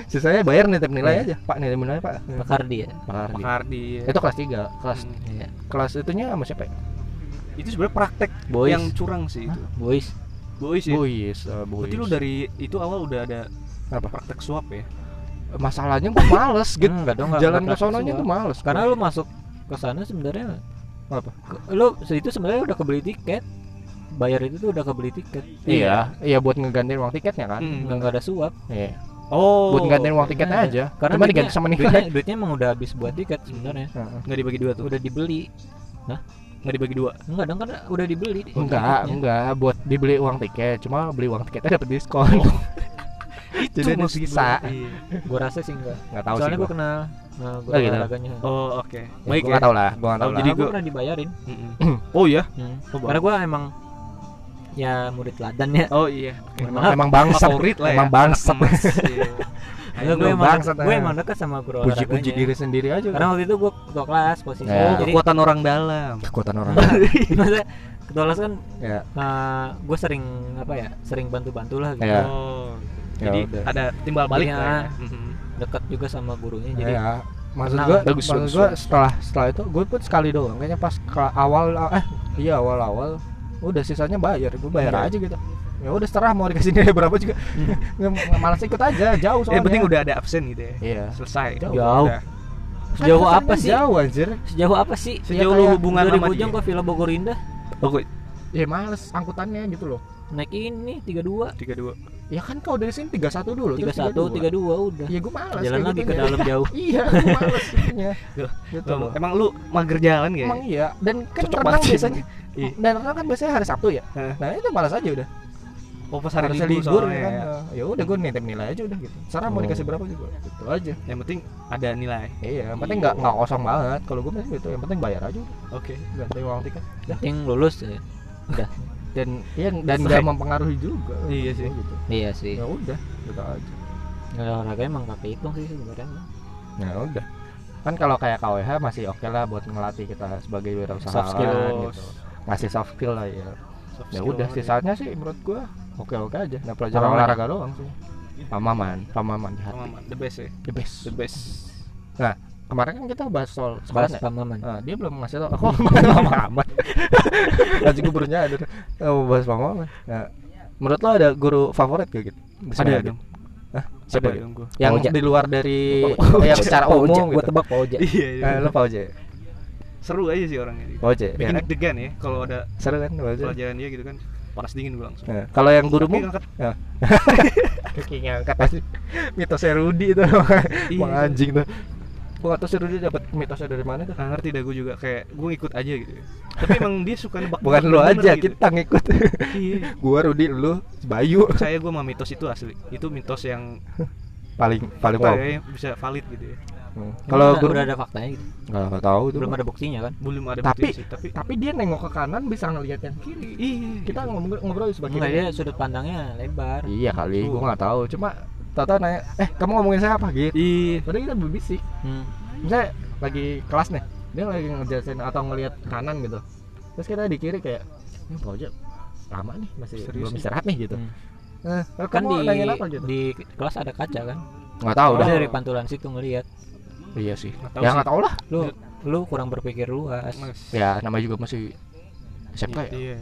Speaker 1: Sisanya bayar nitip nilai aja. Pak nitip nilai Pak.
Speaker 2: Pakardi ya
Speaker 1: Pak Ardi.
Speaker 3: Makardi
Speaker 1: Itu kelas 3 kelas
Speaker 3: Hmm.
Speaker 2: Iya.
Speaker 1: kelas itunya sama siapa ya?
Speaker 3: itu sebenarnya praktek
Speaker 2: boys
Speaker 3: yang curang sih itu
Speaker 2: boys
Speaker 3: boys ya
Speaker 1: Buis, eh, Buis.
Speaker 3: berarti lu dari itu awal udah ada
Speaker 1: Apa?
Speaker 3: praktek suap ya
Speaker 1: masalahnya gue males gitu.
Speaker 2: enggak dong nggak-
Speaker 1: Jalan ke
Speaker 2: nggak praktek
Speaker 1: sononya
Speaker 2: semua.
Speaker 1: tuh males
Speaker 2: karena lu masuk ke sana sebenarnya
Speaker 1: Apa?
Speaker 2: ke- lu itu sebenarnya udah kebeli tiket bayar itu tuh udah kebeli tiket
Speaker 1: iya, iya buat ngegantiin uang tiketnya kan.
Speaker 3: Hmm.
Speaker 2: nggak nggak ada suap
Speaker 1: Iya.
Speaker 3: oh
Speaker 1: Buat ngegantiin uang
Speaker 2: Nggak
Speaker 1: tiketnya
Speaker 2: ada.
Speaker 1: aja.
Speaker 2: karena
Speaker 1: Cuma diganti sama nilai.
Speaker 2: duitnya, duitnya emang udah habis buat tiket sebenarnya
Speaker 1: Heeh.
Speaker 3: nggak dibagi dua tuh
Speaker 2: udah dibeli
Speaker 3: nggak dibagi dua
Speaker 2: enggak dong karena udah dibeli
Speaker 1: Enggak,
Speaker 2: tiketnya.
Speaker 1: enggak buat dibeli uang tiket. Cuma beli uang tiketnya dapat diskon. Jadi
Speaker 3: Itu
Speaker 1: ada
Speaker 3: maksud
Speaker 1: sisa.
Speaker 3: gua. Iya.
Speaker 2: gua rasa sih enggak
Speaker 1: Enggak tahu sih.
Speaker 2: soalnya
Speaker 1: gua.
Speaker 2: gua kenal nah, gua
Speaker 1: Oh, gitu.
Speaker 2: olahraganya
Speaker 3: oh oke
Speaker 1: Ya,
Speaker 3: baik
Speaker 1: gua
Speaker 3: ya
Speaker 1: nggak tahu lah, gua nggak tahu
Speaker 3: Oh,
Speaker 1: lah.
Speaker 2: jadi
Speaker 3: jadi
Speaker 2: gua
Speaker 3: gua-
Speaker 2: pernah dibayarin
Speaker 3: Mm-mm. oh iya
Speaker 2: Hmm.
Speaker 3: Oh,
Speaker 2: karena gua emang ya murid teladannya
Speaker 3: oh iya
Speaker 1: Emang,
Speaker 2: Maaf,
Speaker 1: emang bangsat.
Speaker 3: favorit lah ya
Speaker 1: Emang bangsat.
Speaker 3: Mas, iya.
Speaker 2: Enggak, gue
Speaker 1: lu
Speaker 2: emang
Speaker 1: bangsat,
Speaker 2: gue
Speaker 1: ah.
Speaker 2: emang dekat sama guru
Speaker 1: Puji-puji
Speaker 2: olahraganya.
Speaker 1: diri sendiri aja.
Speaker 2: karena waktu itu gue ketua kelas posisi
Speaker 1: Ya.
Speaker 3: oh
Speaker 2: jadi
Speaker 3: kekuatan orang dalam
Speaker 1: kekuatan orang.
Speaker 2: maksudnya ketua kelas kan
Speaker 1: ya,
Speaker 2: gue Nah, sering apa ya sering bantu bantulah gitu
Speaker 1: Ya.
Speaker 3: oh
Speaker 1: ya
Speaker 3: jadi
Speaker 1: udah.
Speaker 3: ada timbal balik
Speaker 2: Iya.
Speaker 3: lah ya. Mm-mm.
Speaker 2: dekat juga sama gurunya
Speaker 1: Ya,
Speaker 2: jadi
Speaker 1: ya. Maksud
Speaker 2: kenal.
Speaker 1: gua,
Speaker 2: Bagus,
Speaker 1: maksud
Speaker 2: bagus,
Speaker 1: gua
Speaker 2: bagus.
Speaker 1: setelah setelah itu gue pun sekali doang kayaknya pas ke awal eh iya awal-awal udah sisanya bayar gue bayar
Speaker 2: Iya.
Speaker 1: aja gitu ya udah serah mau dikasih nilai berapa juga Nggak- malas ikut aja jauh soalnya
Speaker 3: Eh, yang penting udah ada absen gitu ya
Speaker 1: iya
Speaker 3: selesai
Speaker 1: Jauh.
Speaker 2: Jauh.
Speaker 3: Udah.
Speaker 2: sejauh
Speaker 1: Kan
Speaker 2: apa
Speaker 1: kesannya
Speaker 2: sih
Speaker 1: jauh anjir
Speaker 2: sejauh apa sih
Speaker 3: sejauh
Speaker 1: Ya,
Speaker 3: lu
Speaker 1: kayak
Speaker 3: hubungan
Speaker 2: dari
Speaker 3: sama dia Oh,
Speaker 2: Bojong ke Villa Bogor Indah
Speaker 3: oke
Speaker 1: ya males angkutannya gitu loh
Speaker 2: naik ini 32
Speaker 3: tiga dua
Speaker 1: ya kan kalau dari sini 31 dulu
Speaker 2: 31
Speaker 1: terus 32.
Speaker 2: 32 udah
Speaker 1: ya gue males
Speaker 2: jalan
Speaker 1: kayak
Speaker 2: lagi
Speaker 1: gitu
Speaker 2: ke
Speaker 1: ya.
Speaker 2: dalam jauh
Speaker 1: iya gue males itunya.
Speaker 3: Loh,
Speaker 1: gitu loh
Speaker 3: emang lu mager jalan ya? kayak
Speaker 1: Emang iya. Dan kan
Speaker 3: Cocok
Speaker 1: renang
Speaker 3: banget sih.
Speaker 1: biasanya.
Speaker 3: Iya.
Speaker 1: Dan renang kan biasanya hari Sabtu ya.
Speaker 3: Heeh.
Speaker 1: Nah itu malas aja udah.
Speaker 3: oh pas hari
Speaker 1: Harusnya
Speaker 3: libur,
Speaker 1: libur
Speaker 3: soalnya
Speaker 1: ya kan.
Speaker 3: ya.
Speaker 1: Ya udah gue nitip nilai aja udah gitu. Sarah mau
Speaker 2: Oh.
Speaker 1: dikasih berapa juga? Gitu aja.
Speaker 3: yang penting ada nilai
Speaker 1: Iya, yang penting nggak nggak kosong banget. Kalau gue mah gitu, yang penting bayar aja udah.
Speaker 3: oke
Speaker 1: Ganti uang tiket. Dah.
Speaker 2: yang lulus ya.
Speaker 1: Dan iya dan
Speaker 3: Selesai.
Speaker 1: nggak mempengaruhi juga.
Speaker 3: Iya sih.
Speaker 1: Gitu.
Speaker 2: iya sih
Speaker 1: Ya udah, gitu aja.
Speaker 2: olahraga emang gak kehitung sih sebenarnya
Speaker 1: Ya udah. Kan kalau kayak KWH masih oke lah buat ngelatih kita sebagai wirausahawan
Speaker 2: Soft skill.
Speaker 1: gitu. Ngasih soft skill lah ya.
Speaker 3: Soft
Speaker 1: ya
Speaker 3: skill
Speaker 1: udah
Speaker 3: banget ya.
Speaker 1: sisanya sih menurut gua oke oke aja nah pelajaran
Speaker 2: Pamaman.
Speaker 1: olahraga doang sih pamaman pamaman jahat
Speaker 3: Sama, sama. the best ya
Speaker 1: the best
Speaker 3: the best
Speaker 1: kemarin kan kita bahas soal sekolah
Speaker 2: bahas
Speaker 1: ya
Speaker 2: pamaman
Speaker 1: Nah, dia belum ngasih tau aku lama amat Nanti gue baru nyadar Eh, mau bahas pamaman nah, menurut lo ada guru favorit gak gitu
Speaker 3: ada
Speaker 1: Bismillah,
Speaker 3: dong
Speaker 1: Dit. siapa
Speaker 3: ada
Speaker 1: gitu
Speaker 3: dong gua
Speaker 1: yang
Speaker 2: Pauja.
Speaker 1: di luar dari yang secara umum
Speaker 2: gue
Speaker 1: gitu
Speaker 2: tebak Pauja
Speaker 3: iya iya
Speaker 1: eh, lo Pauja
Speaker 3: seru aja sih orangnya gitu.
Speaker 1: Oce.
Speaker 3: bikin
Speaker 1: Ya,
Speaker 3: deg-degan ya kalau ada
Speaker 1: seru kan Oce?
Speaker 3: pelajaran dia gitu kan panas dingin gue langsung
Speaker 1: Nah, kalau yang
Speaker 3: Tapi
Speaker 1: gurumu
Speaker 3: ngangkat
Speaker 1: kaki ngangkat pasti mitosnya Rudi itu
Speaker 3: Iya.
Speaker 1: Wah, anjing tuh gua gak tau si Rudi dapat mitosnya dari mana tuh
Speaker 3: nggak ngerti dah gue juga kayak gue ngikut aja gitu tapi emang dia suka nebak
Speaker 1: bukan lu aja
Speaker 3: gitu.
Speaker 1: kita ngikut
Speaker 3: iya
Speaker 1: gua Rudi lu Bayu
Speaker 3: saya gue mah mitos itu asli itu mitos yang
Speaker 1: paling paling
Speaker 3: apa
Speaker 1: wow
Speaker 3: ya, bisa valid gitu ya
Speaker 1: Hmm.
Speaker 2: Emang
Speaker 1: kalau
Speaker 2: udah,
Speaker 1: guru
Speaker 2: udah ada faktanya gitu
Speaker 1: nggak tahu tuh
Speaker 2: belum ada buktinya kan
Speaker 3: belum ada
Speaker 1: Tapi-
Speaker 3: buktinya sih, tapi
Speaker 1: tapi dia nengok ke kanan bisa ngelihat yang kiri
Speaker 3: iya
Speaker 1: kita ngomong ngobrol sebagai
Speaker 2: Enggak, dia sudut pandangnya lebar
Speaker 1: iya kali
Speaker 3: Tuh.
Speaker 1: gua nggak tahu cuma Tata nanya eh kamu ngomongin saya apa gitu
Speaker 3: iya
Speaker 1: padahal kita berbisik
Speaker 2: Hmm.
Speaker 1: misalnya lagi kelas nih dia lagi ngejelasin atau ngelihat kanan gitu terus kita di kiri kayak ini Pak Ojo lama nih masih
Speaker 3: Serius
Speaker 1: belum
Speaker 3: nih."
Speaker 1: istirahat nih gitu
Speaker 2: Hmm.
Speaker 1: Eh,
Speaker 2: kan
Speaker 1: kamu
Speaker 2: di
Speaker 1: nanyain apa gitu
Speaker 2: di kelas ada kaca kan
Speaker 1: nggak tahu
Speaker 2: oh,
Speaker 1: dah
Speaker 2: dari pantulan situ ngelihat
Speaker 1: iya sih
Speaker 3: Nggak tahu
Speaker 1: ya
Speaker 3: sih.
Speaker 1: nggak tahu lah
Speaker 2: lu lu kurang berpikir luas
Speaker 3: Mas.
Speaker 1: ya namanya juga masih SMK ya
Speaker 3: iya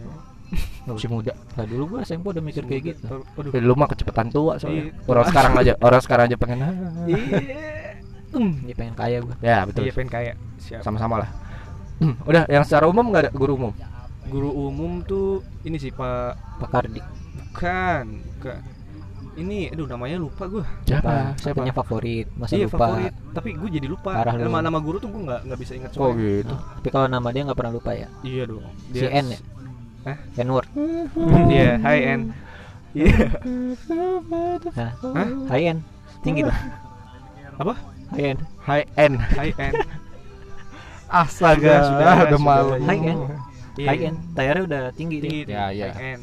Speaker 1: masih muda
Speaker 2: lah dulu gua SMP udah mikir kayak gitu
Speaker 3: Ter- aduh
Speaker 1: Eh, lu mah kecepatan tua soalnya
Speaker 3: Iya.
Speaker 1: orang sekarang aja orang sekarang aja pengen "Ah."
Speaker 3: iya
Speaker 2: dia pengen kaya gua
Speaker 1: ya betul
Speaker 3: iya pengen kayak siap
Speaker 1: sama-sama lah Hmm, udah yang secara umum nggak ada guru umum
Speaker 3: guru umum tuh ini sih pak
Speaker 2: Pak Kardi
Speaker 3: bukan bukan ini aduh namanya lupa gue
Speaker 2: Pak, punya favorit masa
Speaker 3: iya
Speaker 2: lupa
Speaker 3: favorit tapi gue jadi lupa
Speaker 2: Parah lu.
Speaker 3: nama nama guru tuh gue nggak nggak bisa ingat
Speaker 1: oh
Speaker 3: soalnya
Speaker 1: gitu
Speaker 2: tapi kalau nama dia nggak pernah lupa ya
Speaker 3: iya dong
Speaker 2: si N ya
Speaker 3: Hah?
Speaker 2: N-word
Speaker 3: iya hi N iya
Speaker 2: Hah?
Speaker 3: Hah?
Speaker 2: high end Nah. tinggi lah
Speaker 3: Apa?
Speaker 2: high end
Speaker 1: high end
Speaker 3: hi N
Speaker 1: astaga
Speaker 3: Sudah, sudah,
Speaker 1: udah
Speaker 3: sudah.
Speaker 1: malam
Speaker 2: High end.
Speaker 3: Iya,
Speaker 2: high end tayarnya udah tinggi,
Speaker 3: tinggi
Speaker 1: Ya, iya.
Speaker 3: hi N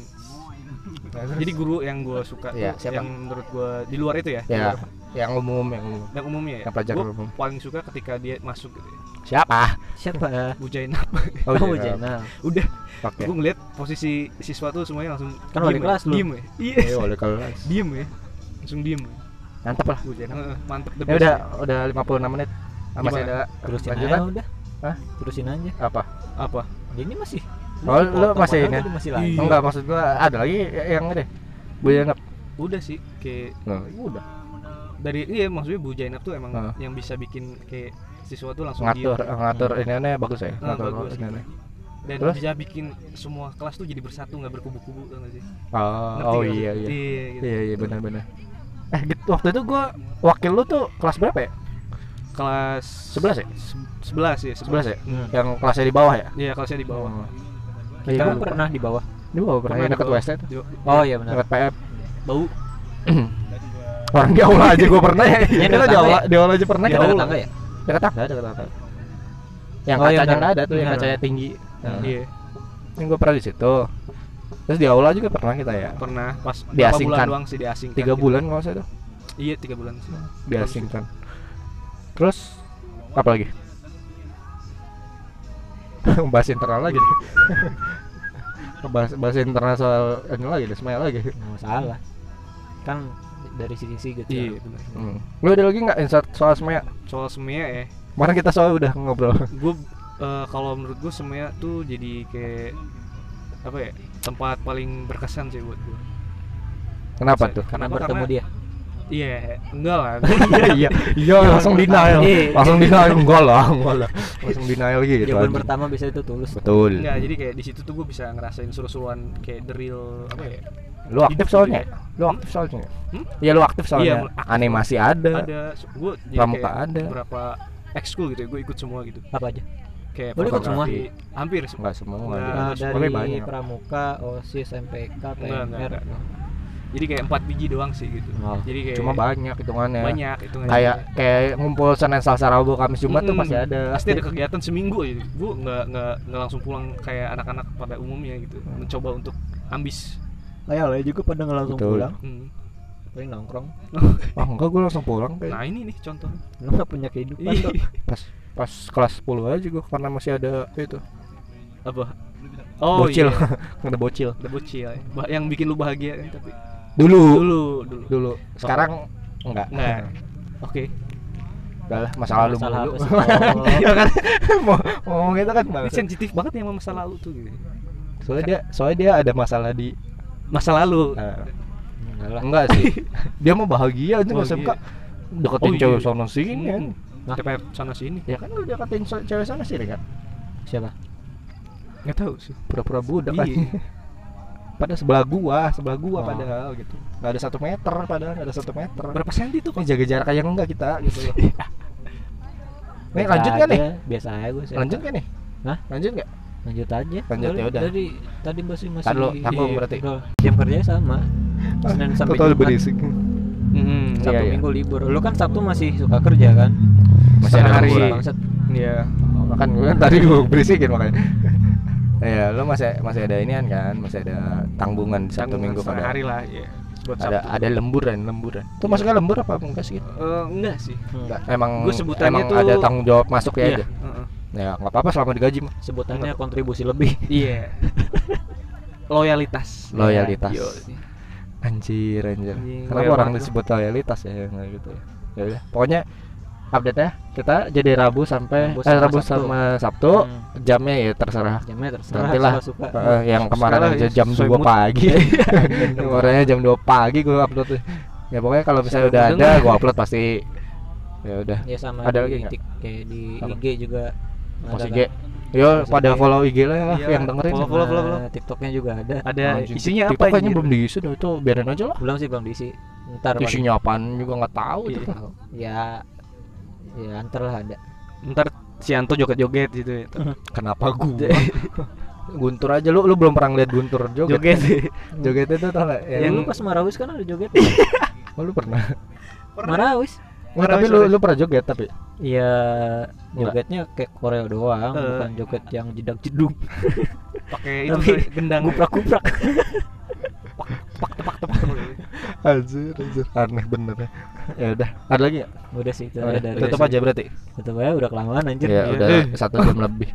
Speaker 3: jadi guru yang gue suka
Speaker 1: Iya,
Speaker 3: tuh,
Speaker 1: siapa?
Speaker 3: yang menurut gue di luar itu ya, di
Speaker 1: ya
Speaker 3: luar
Speaker 1: yang umum yang umum
Speaker 3: yang umumnya ya
Speaker 1: Yang pelajar
Speaker 3: Gua
Speaker 1: umum.
Speaker 3: paling suka ketika dia masuk gitu ya.
Speaker 1: siapa
Speaker 2: siapa
Speaker 3: Bu Jainab
Speaker 1: oh,
Speaker 2: oh,
Speaker 1: iya.
Speaker 2: Jenab.
Speaker 3: udah
Speaker 1: oke
Speaker 3: gue ngeliat posisi siswa tuh semuanya langsung
Speaker 2: Kan wali
Speaker 3: diem ya,
Speaker 2: kelas lu.
Speaker 3: diem ya iya
Speaker 1: Ayo, oleh kelas
Speaker 3: diem ya langsung diem ya.
Speaker 1: mantap lah
Speaker 3: Bu Jainab eh, mantep the
Speaker 1: ya
Speaker 3: best
Speaker 1: udah
Speaker 3: ya.
Speaker 1: udah 56 menit Ah, masih
Speaker 3: Gimana?
Speaker 1: ada
Speaker 2: terusin
Speaker 1: lanjutan
Speaker 2: aja udah
Speaker 1: Hah?
Speaker 2: terusin aja
Speaker 1: apa
Speaker 3: apa
Speaker 2: Dia ini masih
Speaker 1: Oh, lu
Speaker 2: potong,
Speaker 1: masih ini
Speaker 2: padahal
Speaker 1: ya?
Speaker 2: tadi masih
Speaker 3: Iya.
Speaker 2: lain
Speaker 1: enggak maksud gua ada lagi yang ini Bu Yanap
Speaker 3: udah sih kayak
Speaker 1: udah
Speaker 3: dari iya maksudnya Bu Jainab tuh emang
Speaker 1: Heeh.
Speaker 3: yang bisa bikin kayak siswa tuh langsung
Speaker 1: ngatur
Speaker 3: diem
Speaker 1: ngatur ini aneh bagus ya
Speaker 3: Ah,
Speaker 1: ngatur
Speaker 3: bagus.
Speaker 1: ini aneh
Speaker 3: dan
Speaker 1: Terus?
Speaker 3: bisa bikin semua kelas tuh jadi bersatu nggak berkubu-kubu tau nggak sih Ngerti
Speaker 1: oh oh
Speaker 3: nggak sih?
Speaker 1: iya iya
Speaker 3: gitu.
Speaker 1: Iya iya benar benar. Eh gitu, waktu itu gua wakil lu tuh kelas berapa ya?
Speaker 3: kelas
Speaker 1: 11 ya?
Speaker 3: Se- 11 ya
Speaker 1: 11 ya?
Speaker 3: Hmm.
Speaker 1: Yang kelasnya di bawah ya?
Speaker 3: Iya kelasnya di bawah
Speaker 1: Iya,
Speaker 2: kamu
Speaker 1: gua
Speaker 2: pernah di bawah
Speaker 1: di bawah pernah
Speaker 3: Pernah
Speaker 1: yang
Speaker 3: di
Speaker 1: deket
Speaker 3: bawah.
Speaker 1: West ya itu.
Speaker 3: Di bawah.
Speaker 2: oh iya benar
Speaker 1: Deket PF.
Speaker 3: bau
Speaker 1: Orang di aula aja gua pernah ya.
Speaker 2: Iya,
Speaker 1: Kita di
Speaker 2: deket tangga
Speaker 1: aula di aula aja pernah
Speaker 2: Di
Speaker 1: kita
Speaker 2: aula
Speaker 1: aula.
Speaker 2: tangga ya
Speaker 1: Deket tangga, deket tangga. Yang
Speaker 2: Oh, iya,
Speaker 1: kacanya
Speaker 2: benar.
Speaker 1: nggak ada tuh, yang
Speaker 2: Benar.
Speaker 1: kacanya tinggi. Nah,
Speaker 3: iya
Speaker 1: Yang gua pernah di situ. Terus di aula juga pernah kita ya.
Speaker 3: pernah pas berapa
Speaker 1: Diasingkan.
Speaker 3: bulan doang sih diasingkan
Speaker 1: Tiga
Speaker 3: gitu.
Speaker 1: bulan kalau saya tuh
Speaker 3: iya tiga bulan sih
Speaker 1: diasingkan. Terus apa lagi? bahas internal lagi nih. bahas, bahas internal soal ini lagi deh, Ismail lagi
Speaker 2: Nggak masalah kan dari sisi gitu
Speaker 3: iya benar
Speaker 1: hmm. lu ada lagi nggak insight soal Ismail
Speaker 3: soal semia ya
Speaker 1: kemarin kita soal udah ngobrol
Speaker 3: gue eh, kalau menurut gue semia tuh jadi kayak apa ya tempat paling berkesan sih buat gue
Speaker 1: kenapa tuh
Speaker 2: karena
Speaker 3: Kenapa?
Speaker 2: bertemu dia
Speaker 3: iya enggak lah
Speaker 1: iya iya langsung denial
Speaker 2: Iya.
Speaker 1: langsung denial enggak lah enggak lah langsung denial gitu
Speaker 2: jawaban
Speaker 1: anjing.
Speaker 2: pertama biasanya itu tulus
Speaker 1: betul
Speaker 3: enggak jadi kayak di situ tuh gue bisa ngerasain seru-seruan kayak the real apa ya
Speaker 1: lu aktif
Speaker 3: hidup
Speaker 1: soalnya lu aktif soalnya
Speaker 3: Hmm?
Speaker 1: ya lu aktif soalnya
Speaker 3: Iya, aktif.
Speaker 1: animasi ada
Speaker 3: ada gue jadi
Speaker 1: pramuka
Speaker 3: kayak
Speaker 1: ada
Speaker 3: berapa ekskul gitu ya gue ikut semua gitu
Speaker 2: apa aja
Speaker 3: kayak
Speaker 2: Lu ikut
Speaker 3: fotografi, hampir semua
Speaker 1: enggak semua
Speaker 3: Nggak,
Speaker 1: gitu.
Speaker 2: Eh,
Speaker 1: Pokoknya
Speaker 2: dari
Speaker 1: banyak
Speaker 2: pramuka osis mpk
Speaker 1: Oh,
Speaker 3: Nggak, nggak,
Speaker 2: pmr
Speaker 3: nggak. jadi kayak empat biji doang sih gitu
Speaker 2: Oh.
Speaker 3: jadi kayak
Speaker 1: cuma banyak hitungannya
Speaker 3: banyak itu
Speaker 1: kayak kayak ngumpul Senin Selasa Rabu Kamis Jumat tuh
Speaker 3: Mm-mm.
Speaker 1: pasti ada
Speaker 3: Hmm. pasti ada kegiatan seminggu aja gue nggak nggak nggak langsung pulang kayak anak-anak pada umumnya gitu
Speaker 1: Hmm.
Speaker 3: mencoba untuk ambis
Speaker 2: Ayah lah juga ya, pada nggak langsung
Speaker 1: Betul.
Speaker 2: pulang
Speaker 3: Hmm.
Speaker 2: paling nongkrong
Speaker 1: Wah, Ah, enggak gue langsung pulang kayak
Speaker 3: nah ini nih contoh
Speaker 2: lu nggak punya kehidupan
Speaker 3: Ih,
Speaker 2: tuh
Speaker 1: pas pas kelas 10 aja gue karena masih ada itu
Speaker 3: apa oh
Speaker 1: bocil
Speaker 3: iya
Speaker 1: karena bocil
Speaker 3: ada bocil ya. Ba- yang bikin lu bahagia kan tapi
Speaker 1: dulu
Speaker 3: dulu dulu
Speaker 1: dulu sekarang enggak
Speaker 3: nah oke
Speaker 1: enggak lah masa lalu
Speaker 2: Masalah
Speaker 1: mulu
Speaker 2: apa sih? Oh.
Speaker 1: Iya kan mau ngomong itu kan
Speaker 3: ini
Speaker 1: banget
Speaker 3: sensitif banget ya sama masa lalu tuh gitu
Speaker 1: soalnya dia soalnya dia ada masalah di
Speaker 3: masa lalu
Speaker 1: eh,
Speaker 2: enggak lah
Speaker 1: enggak sih dia mau bahagia aja
Speaker 3: Bahagia.
Speaker 1: masuk kak deketin
Speaker 3: Oh, iya.
Speaker 2: Hmm.
Speaker 1: cewek sana sini kan
Speaker 3: Hmm. TPF sana sini
Speaker 1: ya kan lu deketin so- cewek sana sini kan
Speaker 2: siapa
Speaker 1: nggak tahu sih pura-pura budak
Speaker 3: Iya.
Speaker 1: kan pada sebelah gua sebelah gua
Speaker 2: Oh.
Speaker 1: padahal gitu nggak ada satu meter padahal nggak ada satu meter
Speaker 3: Berapa senti tuh
Speaker 1: ini
Speaker 3: kok?
Speaker 1: jaga jarak kayak enggak kita gitu loh
Speaker 2: Iya.
Speaker 1: nih
Speaker 2: Biasa
Speaker 1: Eh, lanjut nggak nih
Speaker 2: aja, biasa aja gue
Speaker 1: lanjut nggak nih
Speaker 2: Hah?
Speaker 1: lanjut nggak
Speaker 2: lanjut aja
Speaker 1: Lanjut, ya
Speaker 2: Dari-
Speaker 1: yaudah.
Speaker 2: dari tadi masih masih
Speaker 1: Tar dulu, tanggung
Speaker 2: Iya,
Speaker 1: berarti.
Speaker 2: udah. jam kerjanya sama Senin sampai
Speaker 1: Total
Speaker 2: Jumat
Speaker 1: berisik
Speaker 3: Hmm,
Speaker 1: Iya,
Speaker 2: Sabtu
Speaker 1: iya. Hmm.
Speaker 2: minggu libur lu kan Sabtu masih suka kerja kan
Speaker 1: masih ada
Speaker 2: Setengah
Speaker 1: hari
Speaker 2: liburan, bangsat. Hmm.
Speaker 1: iya kan gue tadi gue berisikin makanya Iya, lo masih masih ada inian kan, masih ada tanggungan di Sabtu
Speaker 3: Tanggungan
Speaker 1: Minggu
Speaker 3: setengah
Speaker 1: pada
Speaker 3: hari lah ya. Buat
Speaker 1: ada
Speaker 3: Sabtu.
Speaker 1: ada lemburan, lemburan. Itu masuknya lembur apa enggak sih?
Speaker 3: Eh, enggak sih.
Speaker 1: Enggak, emang
Speaker 3: Gua sebutannya
Speaker 1: emang
Speaker 3: tuh-
Speaker 1: ada tanggung jawab masuk ya aja.
Speaker 3: heeh.
Speaker 1: Ya, enggak apa-apa selama digaji mah.
Speaker 2: sebutannya kontribusi lebih
Speaker 3: Iya. Loyalitas.
Speaker 1: Loyalitas.
Speaker 3: Yo.
Speaker 2: Iya.
Speaker 1: Anjir, anjir.
Speaker 3: Anjing,
Speaker 1: Kenapa
Speaker 3: loyal
Speaker 1: orang
Speaker 3: banget
Speaker 1: disebut loyalitas ya yang kayak gitu ya. Ya udah, pokoknya update ya. Kita jadi Rabu sampai
Speaker 2: Rabu
Speaker 1: eh,
Speaker 2: sama
Speaker 1: Rabu
Speaker 2: Sabtu.
Speaker 1: sama Sabtu,
Speaker 2: Hmm.
Speaker 1: jamnya ya terserah.
Speaker 2: jamnya terserah
Speaker 1: Nantilah.
Speaker 2: suka
Speaker 1: Eh, yang kemarin
Speaker 3: Sekarang
Speaker 1: aja
Speaker 3: ya,
Speaker 1: jam
Speaker 3: sesuai
Speaker 1: 2
Speaker 3: mood.
Speaker 1: pagi. Kemarinnya jam 2 pagi gue upload tuh. Ya pokoknya kalau misalnya
Speaker 3: Sesuai
Speaker 1: udah
Speaker 3: mood
Speaker 1: ada
Speaker 3: dong.
Speaker 1: gue upload pasti ya udah.
Speaker 2: ya sama
Speaker 1: Ada
Speaker 2: di
Speaker 1: lagi nggak?
Speaker 2: Tik- kayak di
Speaker 1: Apa?
Speaker 2: IG juga
Speaker 1: Mas
Speaker 2: ada
Speaker 1: IG.
Speaker 2: kan.
Speaker 1: Yo
Speaker 2: Mas
Speaker 1: pada
Speaker 2: IG.
Speaker 1: follow IG lah ya,
Speaker 3: Iya,
Speaker 1: yang dengerin.
Speaker 3: follow, follow, follow, follow.
Speaker 2: Nah, TikToknya juga ada
Speaker 3: Ada
Speaker 1: Anjing,
Speaker 3: isinya apa?
Speaker 1: TikTok kayaknya
Speaker 3: anjir?
Speaker 1: belum diisi dah itu biarin aja lah.
Speaker 2: belum sih belum diisi ntar paling.
Speaker 1: Isinya apaan juga nggak tahu itu.
Speaker 2: ya
Speaker 3: Iya.
Speaker 2: ya ntar lah ada
Speaker 3: Ntar si Anto joget-joget gitu ya.
Speaker 1: Kenapa gua? Guntur aja lu lu belum pernah ngeliat Guntur joget.
Speaker 3: Joget.
Speaker 1: Jogetnya tuh tau gak? Ya, lu,
Speaker 2: yang lu pas Marawis kan ada joget
Speaker 1: oh, lu pernah.
Speaker 2: Marawis
Speaker 1: Nggak, tapi lu lu pernah joget tapi.
Speaker 2: Iya
Speaker 1: Enggak.
Speaker 2: jogetnya kayak Korea doang
Speaker 3: Eh.
Speaker 2: bukan joget yang jedak jeduk
Speaker 3: Pakai itu
Speaker 2: Tapi
Speaker 3: tuh, gendang. ya.
Speaker 2: guprak guprak
Speaker 3: tepak tepak tepak.
Speaker 1: Anjir, anjir. Aneh bener ya. Ya udah, ada lagi nggak?
Speaker 2: udah Iya, sih itu
Speaker 1: Udah,
Speaker 2: aja dari
Speaker 1: tutup
Speaker 3: sini.
Speaker 1: Oh, iya. aja berarti.
Speaker 2: tutup aja udah kelamaan anjir
Speaker 1: Iya,
Speaker 3: iya.
Speaker 1: udah
Speaker 3: Eh.
Speaker 1: satu jam lebih.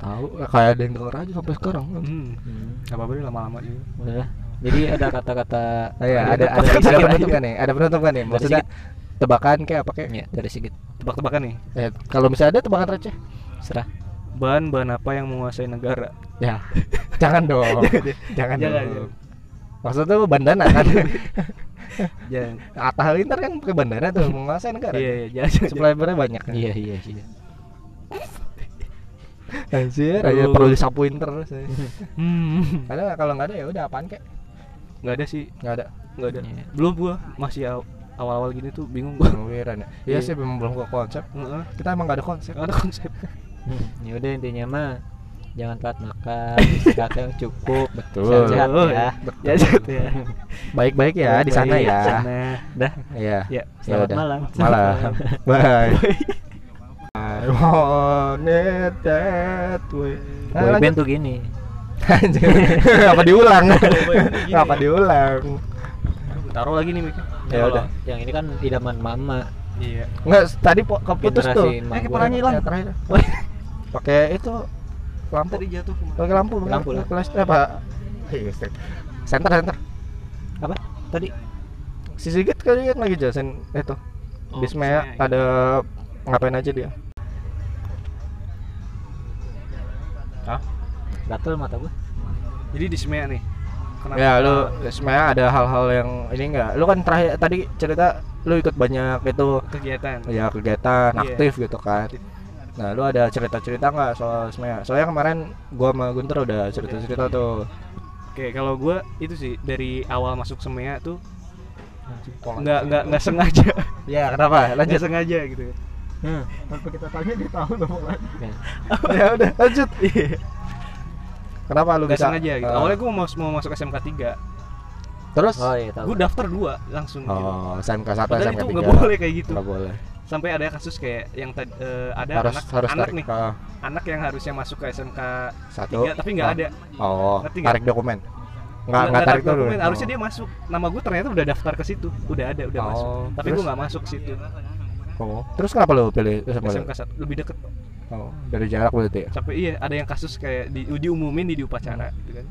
Speaker 1: Ah, Tahu kayak ada yang denger aja sampai sekarang.
Speaker 3: Hmm.
Speaker 2: Hmm,
Speaker 3: Gak apa-apa deh, lama-lama juga.
Speaker 2: udah lah. jadi ada kata-kata
Speaker 1: Iya, ada ada
Speaker 2: dari
Speaker 1: ada
Speaker 2: Sigit
Speaker 1: penutup
Speaker 2: aja.
Speaker 1: kan nih? Ada Iya. penutup kan nih? Maksudnya tebakan kayak apa kayak?
Speaker 2: ya dari sigit
Speaker 3: Tebak-tebakan nih.
Speaker 1: Eh, kalau misalnya ada tebakan receh.
Speaker 2: serah
Speaker 3: Bahan-bahan apa yang menguasai negara?
Speaker 1: Ya. Jangan dong. Jangan
Speaker 3: Jangan,
Speaker 1: dong. Maksudnya tuh bandana kan.
Speaker 3: Jangan.
Speaker 1: Atta Halilintar kan pakai bandana tuh menguasai negara.
Speaker 3: Iya, iya, jangan, jangan.
Speaker 1: Subscribernya banyak. kan?
Speaker 2: iya iya iya
Speaker 1: Anjir, aja
Speaker 3: Lu-
Speaker 1: perlu disapuin terus. ya.
Speaker 3: Hmm.
Speaker 1: Karena kalau nggak ada ya udah apaan kek?
Speaker 3: Gak ada sih,
Speaker 1: Nggak ada.
Speaker 3: gak ada.
Speaker 2: Iya.
Speaker 3: Belum gua masih aw- awal-awal gini tuh bingung gua.
Speaker 1: Pengawiran ya. Iya
Speaker 3: Iya.
Speaker 1: sih memang belum ke konsep.
Speaker 3: Heeh.
Speaker 1: Kita emang nggak ada konsep.
Speaker 3: Gak ada konsep.
Speaker 2: ya udah intinya mah jangan telat makan istirahat yang cukup
Speaker 1: Betul.
Speaker 2: sehat ya
Speaker 3: Ya, ya.
Speaker 1: Baik-baik ya di sana ya.
Speaker 3: Sana. Dah.
Speaker 1: Iya.
Speaker 3: Ya.
Speaker 2: selamat
Speaker 1: udah.
Speaker 2: malam
Speaker 1: Malam. Bye. I want it that way. Nah,
Speaker 2: boy
Speaker 1: lanjut.
Speaker 2: band tuh gini
Speaker 1: Anjir. Apa diulang?
Speaker 3: gini.
Speaker 1: Apa diulang?
Speaker 3: Taruh lagi nih mic.
Speaker 1: Ya
Speaker 2: Kalau
Speaker 1: udah.
Speaker 2: yang ini kan idaman mama
Speaker 3: Iya.
Speaker 1: Enggak, tadi po- keputus
Speaker 2: Generasi
Speaker 1: tuh.
Speaker 2: emak
Speaker 1: Eh,
Speaker 2: gua.
Speaker 1: kepalanya hilang.
Speaker 2: Ya, terakhir.
Speaker 1: Pakai itu lampu.
Speaker 3: Kan Tadi jatuh kemana?
Speaker 1: Pakai lampu, bener.
Speaker 2: Lampu lah.
Speaker 1: Flash- eh, Pak. iya. Center, center.
Speaker 2: apa tadi
Speaker 1: Si Sigit kali kan lagi jelasin itu. Bismaya
Speaker 3: Oh, Bismaya, iya.
Speaker 1: ada ngapain aja dia?
Speaker 2: gatel mata gua
Speaker 3: Jadi di semea nih. Kenapa?
Speaker 1: Ya lu Bismaya ada hal-hal yang ini enggak? Lu kan terakhir tadi cerita lu ikut banyak itu
Speaker 3: kegiatan.
Speaker 1: ya kegiatan
Speaker 3: Iya.
Speaker 1: aktif gitu kan.
Speaker 3: Aktif.
Speaker 1: Nah, lu ada cerita-cerita nggak soal Bismaya? Soalnya kemarin gua sama Gunter udah cerita-cerita tuh.
Speaker 3: Oke, kalau gua itu sih dari awal masuk semea tuh
Speaker 1: Tolong.
Speaker 3: nggak nggak nggak sengaja,
Speaker 1: Ya, kenapa?
Speaker 3: nggak
Speaker 1: Lanjut.
Speaker 3: sengaja gitu.
Speaker 1: ya?
Speaker 2: hmm.
Speaker 1: Sampai kita tanya dia tahu loh
Speaker 2: Ya.
Speaker 1: ya udah, lanjut. Kenapa lu
Speaker 3: Iya. Nggak
Speaker 1: bisa?
Speaker 3: sengaja gitu.
Speaker 1: eh,
Speaker 3: Awalnya gua mau mau masuk SMK 3
Speaker 1: terus
Speaker 2: oh iya tahu
Speaker 3: Gua daftar dua langsung gitu.
Speaker 1: Oh, SMK 1
Speaker 3: Padahal
Speaker 1: SMK
Speaker 3: itu
Speaker 1: 3.
Speaker 3: nggak boleh kayak gitu.
Speaker 1: Nggak boleh.
Speaker 3: Sampai ada kasus kayak yang tadi eh, ada
Speaker 1: harus
Speaker 3: anak
Speaker 1: harus
Speaker 3: anak
Speaker 1: tarik
Speaker 3: nih,
Speaker 1: eh,
Speaker 3: anak yang harusnya masuk ke SMK
Speaker 1: satu
Speaker 3: 3 tapi nggak
Speaker 1: Ah.
Speaker 3: ada.
Speaker 1: oh
Speaker 3: Ngerti nggak?
Speaker 1: tarik dokumen nggak
Speaker 3: Nggak-
Speaker 1: nggak
Speaker 3: nggak
Speaker 1: tarik dulu
Speaker 3: dokumen. Harusnya dia masuk. Nama gua ternyata udah daftar ke situ, udah ada, udah
Speaker 1: Oh,
Speaker 3: masuk. Tapi
Speaker 1: terus?
Speaker 3: gua nggak masuk ke situ.
Speaker 1: oh. terus kenapa lo pilih SMK,
Speaker 3: SMK satu lebih deket
Speaker 1: Oh, dari jarak berarti ya
Speaker 3: sampai iya ada yang kasus kayak di diumumin di, di upacara gitu kan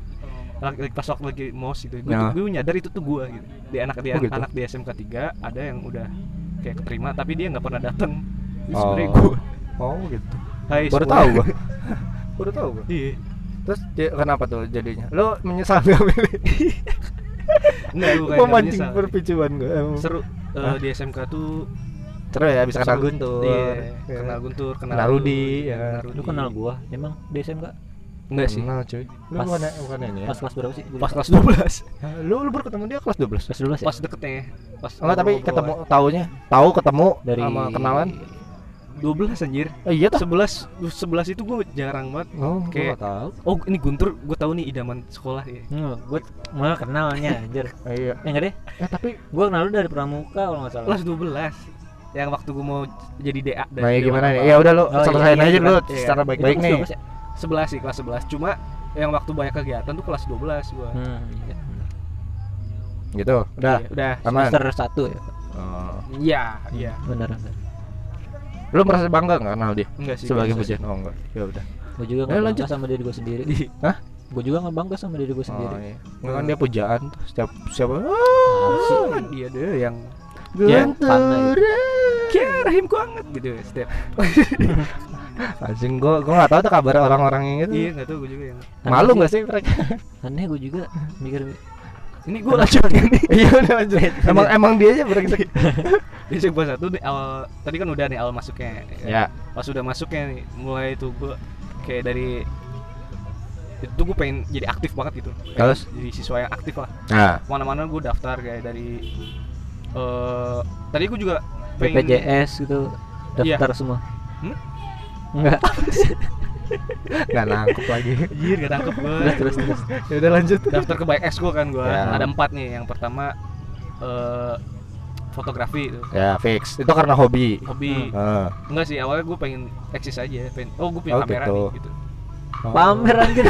Speaker 3: Lagi- lagi- pas waktu lagi mos gitu gue
Speaker 1: Ya.
Speaker 3: tuh gue nyadar itu tuh gue gitu di anak di
Speaker 1: Oh, gitu.
Speaker 3: anak di SMK 3 ada yang udah kayak keterima tapi dia nggak pernah datang Ini
Speaker 1: Oh.
Speaker 3: sebenarnya gue
Speaker 1: oh gitu
Speaker 3: hai
Speaker 1: baru
Speaker 3: semua.
Speaker 1: tahu gua baru tahu gua
Speaker 3: iya
Speaker 1: terus dia- kenapa tuh jadinya lo menyesal nggak pilih
Speaker 3: nggak gue kayak nggak
Speaker 1: memancing
Speaker 3: menyesal.
Speaker 1: perpicuan gua emang.
Speaker 3: seru eh,
Speaker 1: Hah?
Speaker 3: di SMK tuh
Speaker 1: Cerai ya bisa kena
Speaker 3: Sebelum-
Speaker 1: guntur.
Speaker 3: Iya,
Speaker 1: Iya.
Speaker 3: kenal Guntur, kenal,
Speaker 1: Kenal Rudi, ya.
Speaker 2: Lu kenal gua? Emang DSM enggak?
Speaker 3: Enggak sih.
Speaker 1: Kenal, cuy. Lu
Speaker 2: Pas-
Speaker 1: bukan bukan ini ya.
Speaker 2: Pas kelas berapa sih? Gua
Speaker 3: Pas
Speaker 2: lupa.
Speaker 3: kelas 12.
Speaker 1: Hah, Lu lu baru ketemu dia kelas 12.
Speaker 2: kelas 12 ya?
Speaker 3: Pas deketnya. Pas
Speaker 1: Enggak, tapi
Speaker 3: ngobrol-ngobrol.
Speaker 1: ketemu taunya, tahu ketemu
Speaker 2: dari
Speaker 1: sama kenalan.
Speaker 3: 12 anjir.
Speaker 1: Oh, iya tuh.
Speaker 3: 11 11 itu gue jarang banget.
Speaker 1: Oh, gua
Speaker 3: Kayak-
Speaker 1: nggak tahu.
Speaker 3: Oh, ini Guntur, gue tahu nih idaman sekolah ya.
Speaker 2: Hmm, gue mah kenalnya anjir.
Speaker 1: Eh, Iya.
Speaker 2: Eh enggak deh,
Speaker 1: Eh, tapi
Speaker 2: gua kenal lu dari pramuka kalau enggak salah.
Speaker 3: Kelas 12 yang waktu gue mau jadi DA dan
Speaker 1: Nah, ya
Speaker 3: Dewan
Speaker 1: gimana nih?
Speaker 3: Apa.
Speaker 1: Ya udah lu
Speaker 2: Oh, iya,
Speaker 1: selesain
Speaker 2: iya,
Speaker 1: aja
Speaker 2: iya,
Speaker 1: dulu
Speaker 3: iya.
Speaker 1: secara
Speaker 2: Itu
Speaker 1: baik-baik
Speaker 2: kelas
Speaker 1: nih.
Speaker 2: 12 ya?
Speaker 3: 11 sih, kelas 11. Cuma yang waktu banyak kegiatan tuh kelas 12 gua.
Speaker 2: Hmm.
Speaker 1: Gitu. Udah.
Speaker 3: Iya, udah.
Speaker 1: Aman.
Speaker 2: Semester 1 ya.
Speaker 1: Oh.
Speaker 3: Iya, iya.
Speaker 2: Benar.
Speaker 1: Lu merasa bangga enggak kenal dia
Speaker 3: Enggak sih.
Speaker 1: sebagai
Speaker 3: biasa.
Speaker 1: pujian? Oh, enggak. Ya udah.
Speaker 2: Gua juga
Speaker 1: Ayo
Speaker 2: enggak
Speaker 1: lanjut.
Speaker 2: bangga sama diri gua sendiri.
Speaker 1: Hah?
Speaker 2: Gua juga enggak bangga sama diri gua sendiri.
Speaker 1: Oh, iya. Enggak kan dia pujaan tuh setiap siapa? Ah.
Speaker 3: Kan Dia deh yang
Speaker 2: Ya,
Speaker 1: Guntur.
Speaker 3: Kia rahim ku anget gitu setiap.
Speaker 1: Anjing gua gua enggak tahu tuh kabar orang-orang yang itu.
Speaker 3: Iya, enggak tahu gue juga yang.
Speaker 1: Malu enggak sih mereka?
Speaker 2: Aneh gua juga mikir
Speaker 3: Ini gue lanjut ini.
Speaker 1: Iya udah lanjut. Emang emang dia aja brengsek.
Speaker 3: Di sebuah satu nih awal tadi kan udah nih awal masuknya.
Speaker 1: Ya.
Speaker 3: Pas udah masuknya nih mulai itu gue kayak dari itu gue pengen jadi aktif banget gitu. Pengen
Speaker 1: Terus?
Speaker 3: jadi siswa yang aktif lah.
Speaker 1: Nah,
Speaker 3: Mana-mana gue daftar kayak dari eh tadi gue juga pengen
Speaker 2: BPJS gitu daftar semua.
Speaker 3: Hmm?
Speaker 2: Enggak.
Speaker 1: enggak nangkep lagi.
Speaker 3: Anjir, gak tangkep gue.
Speaker 2: Terus terus terus.
Speaker 1: Ya udah lanjut.
Speaker 3: daftar ke BX gue kan gue
Speaker 1: Ya.
Speaker 3: ada empat nih yang pertama eh fotografi itu
Speaker 1: Ya, fix. Itu karena hobi. Ah.
Speaker 3: hobi
Speaker 1: Heeh.
Speaker 3: enggak sih awalnya gue pengen eksis aja pengen oh gue punya
Speaker 1: Oh,
Speaker 3: kamera
Speaker 1: gitu.
Speaker 3: nih gitu
Speaker 2: Pamer anjir.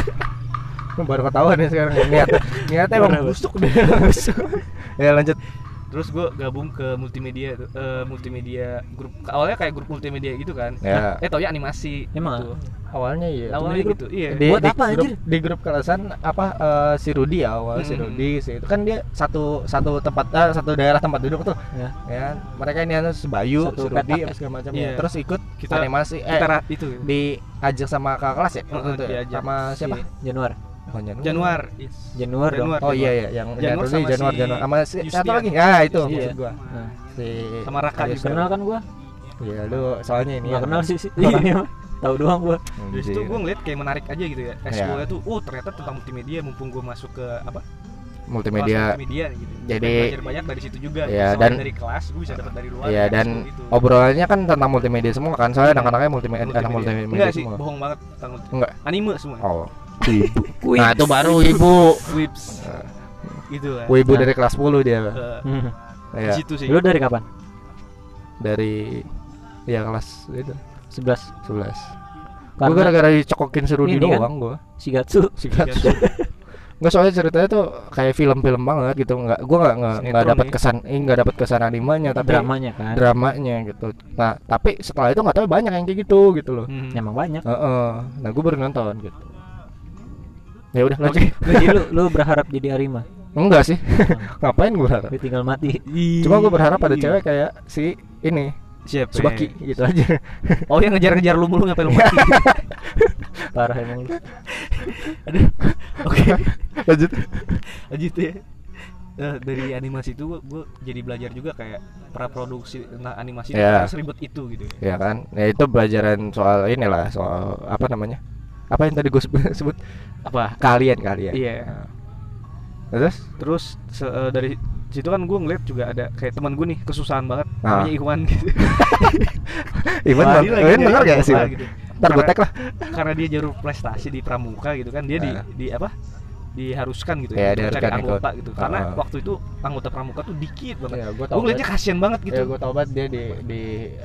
Speaker 1: Lu baru ketahuan ya sekarang niat niatnya emang
Speaker 2: Parah, Bos.
Speaker 1: busuk deh busuk ya lanjut
Speaker 3: terus gue gabung ke multimedia tuh, eh, multimedia grup awalnya kayak grup multimedia gitu kan
Speaker 1: Ya.
Speaker 3: eh taunya animasi
Speaker 2: Emang
Speaker 3: gitu.
Speaker 1: awalnya iya
Speaker 3: awalnya
Speaker 2: di grup.
Speaker 3: gitu iya
Speaker 1: di,
Speaker 2: Buat
Speaker 1: di
Speaker 2: apa,
Speaker 1: grup,
Speaker 2: anjir?
Speaker 1: di grup kelasan apa eh, si Rudi ya awal si
Speaker 3: Mm-mm.
Speaker 1: Rudi si itu kan dia satu satu tempat eh, satu daerah tempat duduk tuh
Speaker 2: Ya.
Speaker 1: ya mereka ini harus Bayu
Speaker 2: Satu
Speaker 1: si
Speaker 2: petak
Speaker 1: Rudi
Speaker 2: ya.
Speaker 1: apa segala macam
Speaker 3: Iya.
Speaker 1: ya. terus ikut
Speaker 3: Kita-
Speaker 1: animasi eh
Speaker 3: kita ra- itu
Speaker 1: diajak sama kakak kelas ya waktu
Speaker 3: Heeh,
Speaker 1: itu ya?
Speaker 3: diajak.
Speaker 1: sama siapa
Speaker 2: Si Januar.
Speaker 1: oh, Januar.
Speaker 3: Januar
Speaker 2: Januar dong.
Speaker 1: oh iya iya yang Januar
Speaker 3: Januar
Speaker 1: Rudi
Speaker 3: sama
Speaker 1: Januar
Speaker 3: si
Speaker 1: Januar sama si satu
Speaker 3: Yustian.
Speaker 1: lagi ya itu
Speaker 2: Iya.
Speaker 1: maksud gua
Speaker 2: Nah,
Speaker 1: si
Speaker 3: sama Raka
Speaker 1: Ayo,
Speaker 3: juga
Speaker 2: kenal kan gua?
Speaker 1: ya lu soalnya ini Hmm, iya.
Speaker 2: Enggak
Speaker 1: ya.
Speaker 2: kenal sih sih. orangnya mah. Tahu doang gua.
Speaker 3: dari situ gue ngeliat kayak menarik aja gitu ya
Speaker 1: Iya.
Speaker 3: S2 tuh oh ternyata tentang multimedia mumpung gue masuk ke apa kelas
Speaker 1: multimedia
Speaker 3: multimedia gitu.
Speaker 1: jadi-
Speaker 3: Gue belajar banyak dari situ juga.
Speaker 1: Iya,
Speaker 3: Selain
Speaker 1: dan-
Speaker 3: dari kelas gue bisa dapat dari luar.
Speaker 1: Iya
Speaker 3: dari
Speaker 1: dan
Speaker 3: sekolah gitu. Iya.
Speaker 1: obrolannya kan tentang multimedia semua kan soalnya anak-anaknya multimedia,
Speaker 3: Multimedia.
Speaker 1: anak multimedia
Speaker 3: Enggak sih,
Speaker 1: semua.
Speaker 3: bohong banget tentang multimedia.
Speaker 1: Enggak.
Speaker 3: Anime semua.
Speaker 1: Oh. Wibu. nah, itu baru ibu.
Speaker 3: Whips.
Speaker 1: Iya.
Speaker 3: Gitu lah.
Speaker 1: Wibu
Speaker 2: Nah.
Speaker 1: dari kelas 10 dia.
Speaker 3: Eh,
Speaker 2: Hmm.
Speaker 3: Di
Speaker 1: Iya,
Speaker 3: situ sih.
Speaker 2: Lu dari kapan?
Speaker 1: dari ya kelas itu
Speaker 2: 11.
Speaker 1: 11. Gue
Speaker 2: Karena
Speaker 1: gara-gara dicokokin seru di
Speaker 2: Ini kan?
Speaker 1: doang gua.
Speaker 2: Shigatsu.
Speaker 1: Sikat.
Speaker 3: Iya,
Speaker 1: Enggak soalnya ceritanya tuh kayak film-film banget gitu. Enggak gua enggak enggak enggak
Speaker 3: Sinetron
Speaker 1: dapat
Speaker 3: ya.
Speaker 1: kesan, eh, enggak dapat kesan animenya tapi
Speaker 2: Dramanya kan.
Speaker 1: dramanya gitu. Nah, tapi setelah itu nggak tahu banyak yang kayak gitu gitu loh.
Speaker 3: Hmm.
Speaker 2: Emang banyak.
Speaker 1: Heeh. Nah, gue baru nonton gitu. Ya udah lanjut.
Speaker 2: Jadi lu lu berharap jadi Arima.
Speaker 1: Enggak sih. Ngapain gue berharap?
Speaker 3: Iya.
Speaker 2: Lu tinggal mati.
Speaker 1: Cuma gue berharap ada cewek kayak si ini,
Speaker 3: Siapa? ya?
Speaker 1: Subaki gitu aja.
Speaker 3: Oh, yang ngejar-ngejar lu mulu ngapain lu mati?
Speaker 2: Parah emang lu.
Speaker 3: Oke.
Speaker 1: lanjut.
Speaker 3: Lanjut ya. Eh, dari animasi itu gue jadi belajar juga kayak praproduksi tentang animasi itu
Speaker 1: Iya.
Speaker 3: harus ribet itu gitu
Speaker 1: Ya
Speaker 3: ya.
Speaker 1: kan? Ya itu pelajaran soal inilah, soal apa namanya? Apa yang tadi gue sebut?
Speaker 3: Apa?
Speaker 1: Kalian kalian.
Speaker 3: Iya.
Speaker 1: Nah. Terus?
Speaker 3: Terus se- eh, dari situ kan gue ngeliat juga ada kayak teman gue nih kesusahan banget
Speaker 1: Nah.
Speaker 3: namanya Iwan gitu.
Speaker 1: Iwan
Speaker 3: Wah,
Speaker 1: bang,
Speaker 3: dia lagi
Speaker 1: Iwan
Speaker 3: nyari
Speaker 1: bener gak
Speaker 3: apa
Speaker 1: sih? Bang?
Speaker 3: gitu.
Speaker 1: Ntar gue tag lah.
Speaker 3: Karena dia jalur prestasi di pramuka gitu kan, dia di
Speaker 1: Nah.
Speaker 3: di apa? diharuskan gitu
Speaker 1: Iya,
Speaker 3: untuk
Speaker 1: diharuskan
Speaker 3: cari anggota
Speaker 1: ikut.
Speaker 3: gitu. Karena
Speaker 1: Ah. Iya.
Speaker 3: waktu itu anggota pramuka tuh dikit banget.
Speaker 1: gue
Speaker 3: gue ngeliatnya kasihan banget gitu.
Speaker 1: gue tau Iya, banget dia di, di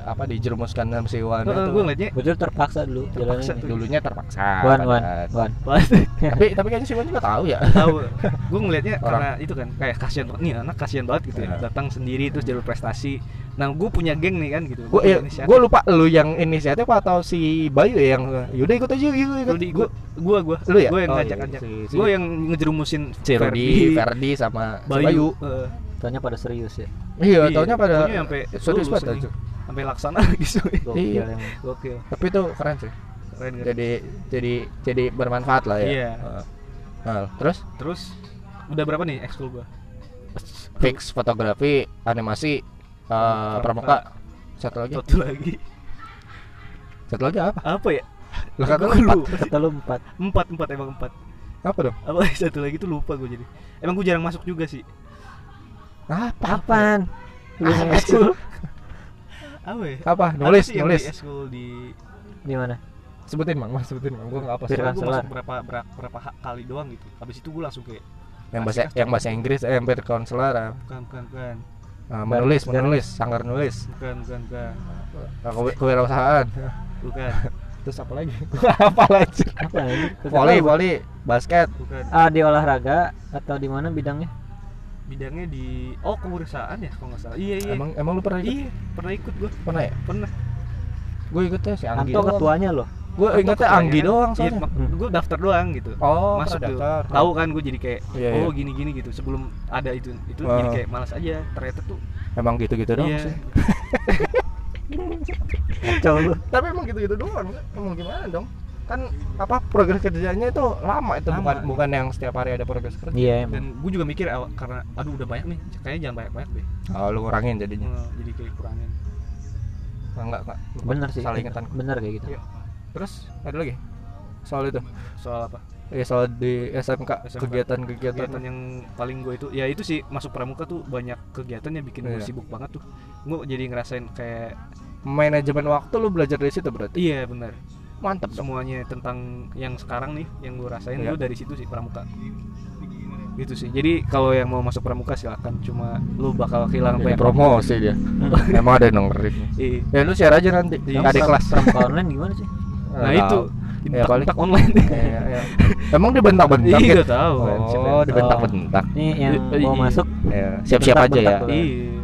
Speaker 1: apa dijerumuskan sama si Iwan
Speaker 3: Heeh, gue ngeliatnya
Speaker 2: Betul terpaksa dulu
Speaker 3: Terpaksa
Speaker 2: jalannya.
Speaker 3: tuh.
Speaker 1: dulunya terpaksa
Speaker 2: Wan wan
Speaker 1: padahal.
Speaker 2: wan.
Speaker 1: tapi tapi kayaknya si Wan juga tahu ya
Speaker 3: tahu. gue ngeliatnya
Speaker 1: Orang.
Speaker 3: karena itu kan kayak kasihan banget nih anak kasihan banget gitu ya.
Speaker 1: Iya.
Speaker 3: Datang sendiri terus jalur prestasi. Nah, gue punya geng nih kan gitu.
Speaker 1: gue ya,
Speaker 3: punya inisiatif.
Speaker 1: gue lupa lu yang inisiatif atau si Bayu ya yang yaudah ikut aja yuk ikut
Speaker 3: Rudi, gue gue gue
Speaker 1: Lu ya?
Speaker 3: gue yang
Speaker 1: Oh, iya,
Speaker 3: ngajak-ngajak.
Speaker 1: si- si-
Speaker 3: Gue yang ngejerumusin
Speaker 1: si Rudi Ferdi sama si
Speaker 3: Bayu.
Speaker 1: Bayu.
Speaker 3: Heeh.
Speaker 2: Tanya pada serius ya.
Speaker 1: iya
Speaker 3: Iya,
Speaker 1: taunya pada
Speaker 3: pokoknya sampai
Speaker 1: serius
Speaker 3: lulus
Speaker 1: banget
Speaker 3: nih.
Speaker 1: aja.
Speaker 3: sampai laksana lagi suwe.
Speaker 1: Iya.
Speaker 2: Gokil emang.
Speaker 3: Oke.
Speaker 1: tapi itu keren sih
Speaker 3: Keren kan?
Speaker 1: jadi jadi jadi bermanfaat lah ya
Speaker 3: Iya.
Speaker 1: Heeh. Nah, terus
Speaker 3: Terus udah berapa nih ekskul gua?
Speaker 1: fix fotografi animasi eh, pramuka satu lagi
Speaker 3: satu lagi
Speaker 1: satu lagi apa
Speaker 3: apa ya
Speaker 1: lah kata lu
Speaker 3: Gua
Speaker 1: empat.
Speaker 3: lupa.
Speaker 2: Kata lu empat.
Speaker 3: empat empat emang empat
Speaker 1: apa dong
Speaker 3: apa satu lagi tuh lupa gue jadi emang gue jarang masuk juga sih
Speaker 1: apa
Speaker 2: Apaan? Lu
Speaker 1: Apa
Speaker 2: nge-
Speaker 1: sih?
Speaker 3: apa ya
Speaker 1: apa
Speaker 3: Apa
Speaker 1: Iya. nulis
Speaker 3: sih yang
Speaker 1: nulis
Speaker 3: di eskul di
Speaker 2: Di mana?
Speaker 1: sebutin mang mas sebutin mang gue nggak apa
Speaker 2: Biar
Speaker 3: soalnya gue
Speaker 2: nggak salah.
Speaker 3: masuk berapa berapa, berapa ha- kali doang gitu habis itu gue langsung kayak
Speaker 1: yang bahasa yang bahasa Inggris eh, hampir konselor
Speaker 3: bukan bukan bukan
Speaker 1: eh, menulis menulis sanggar nulis
Speaker 3: bukan bukan bukan
Speaker 1: eh, kewi- kewirausahaan
Speaker 3: bukan
Speaker 1: terus apa lagi Gua apa lagi
Speaker 2: Apa ini? Kata
Speaker 1: voli
Speaker 2: lu,
Speaker 1: voli basket
Speaker 3: bukan
Speaker 2: ah, di olahraga atau di mana bidangnya?
Speaker 3: bidangnya di oh kewirausahaan ya kalau nggak salah iya iya
Speaker 1: emang emang lu pernah ikut
Speaker 3: iya pernah ikut gue
Speaker 1: pernah ya
Speaker 3: pernah
Speaker 1: gue ikutnya si Anggi
Speaker 2: Anto ketuanya loh.
Speaker 1: gue ingetnya Oh, Anggi doang soalnya Hmm.
Speaker 3: gue Iya, daftar doang gitu
Speaker 1: oh
Speaker 3: masuk
Speaker 1: pernah
Speaker 3: tuh
Speaker 1: daftar.
Speaker 3: tahu kan gue jadi kayak
Speaker 1: Iya,
Speaker 3: oh gini gini gitu sebelum ada itu itu
Speaker 1: Oh.
Speaker 3: jadi kayak malas aja ternyata tuh
Speaker 1: emang gitu gitu doang
Speaker 3: iya
Speaker 1: sih
Speaker 2: Kacau lu.
Speaker 1: tapi emang gitu gitu doang emang gimana dong kan apa progres kerjanya itu lama itu
Speaker 3: Lama.
Speaker 1: bukan bukan yang setiap hari ada progres kerja
Speaker 2: Iya emang.
Speaker 3: dan gue juga mikir awal- karena aduh udah banyak nih kayaknya jangan banyak banyak deh
Speaker 1: oh, lu kurangin jadinya
Speaker 3: Eh, jadi kayak kurangin
Speaker 1: enggak enggak
Speaker 2: Bener sih.
Speaker 1: salah ingatan
Speaker 2: Bener kayak gitu.
Speaker 1: Iya. terus ada lagi soal itu
Speaker 3: soal apa
Speaker 1: ya soal di SMK
Speaker 3: SMK. kegiatan
Speaker 1: kegiatan-kegiatan
Speaker 3: yang paling gue itu ya itu sih masuk pramuka tuh banyak kegiatan yang bikin
Speaker 1: Iya.
Speaker 3: gue sibuk banget tuh gue jadi ngerasain kayak
Speaker 1: manajemen waktu lu belajar dari situ berarti
Speaker 3: iya benar
Speaker 1: mantap dong
Speaker 3: semuanya tentang yang sekarang nih yang gue rasain
Speaker 1: Iya.
Speaker 3: gue dari situ sih pramuka gitu sih jadi kalau yang mau masuk pramuka silakan cuma lu bakal kehilangan
Speaker 1: Jadi
Speaker 3: banyak
Speaker 1: Iya, promosi dia emang ada yang dengerin
Speaker 3: Iya.
Speaker 1: ya lu share aja nanti
Speaker 3: Iya.
Speaker 1: nggak ada kelas
Speaker 2: Pramuka online gimana sih?
Speaker 3: nah itu
Speaker 1: Ya,
Speaker 3: bentak,
Speaker 1: paling-
Speaker 3: bentak online
Speaker 1: Iya, iya. emang dibentak-bentak
Speaker 3: iya
Speaker 1: ya?
Speaker 3: gak tahu kan
Speaker 1: oh
Speaker 3: siapa yang-
Speaker 1: dibentak-bentak
Speaker 2: Nih yang
Speaker 3: Iya.
Speaker 2: mau masuk
Speaker 1: ya, siap-siap aja ya
Speaker 2: Bentak-bentak.
Speaker 3: iya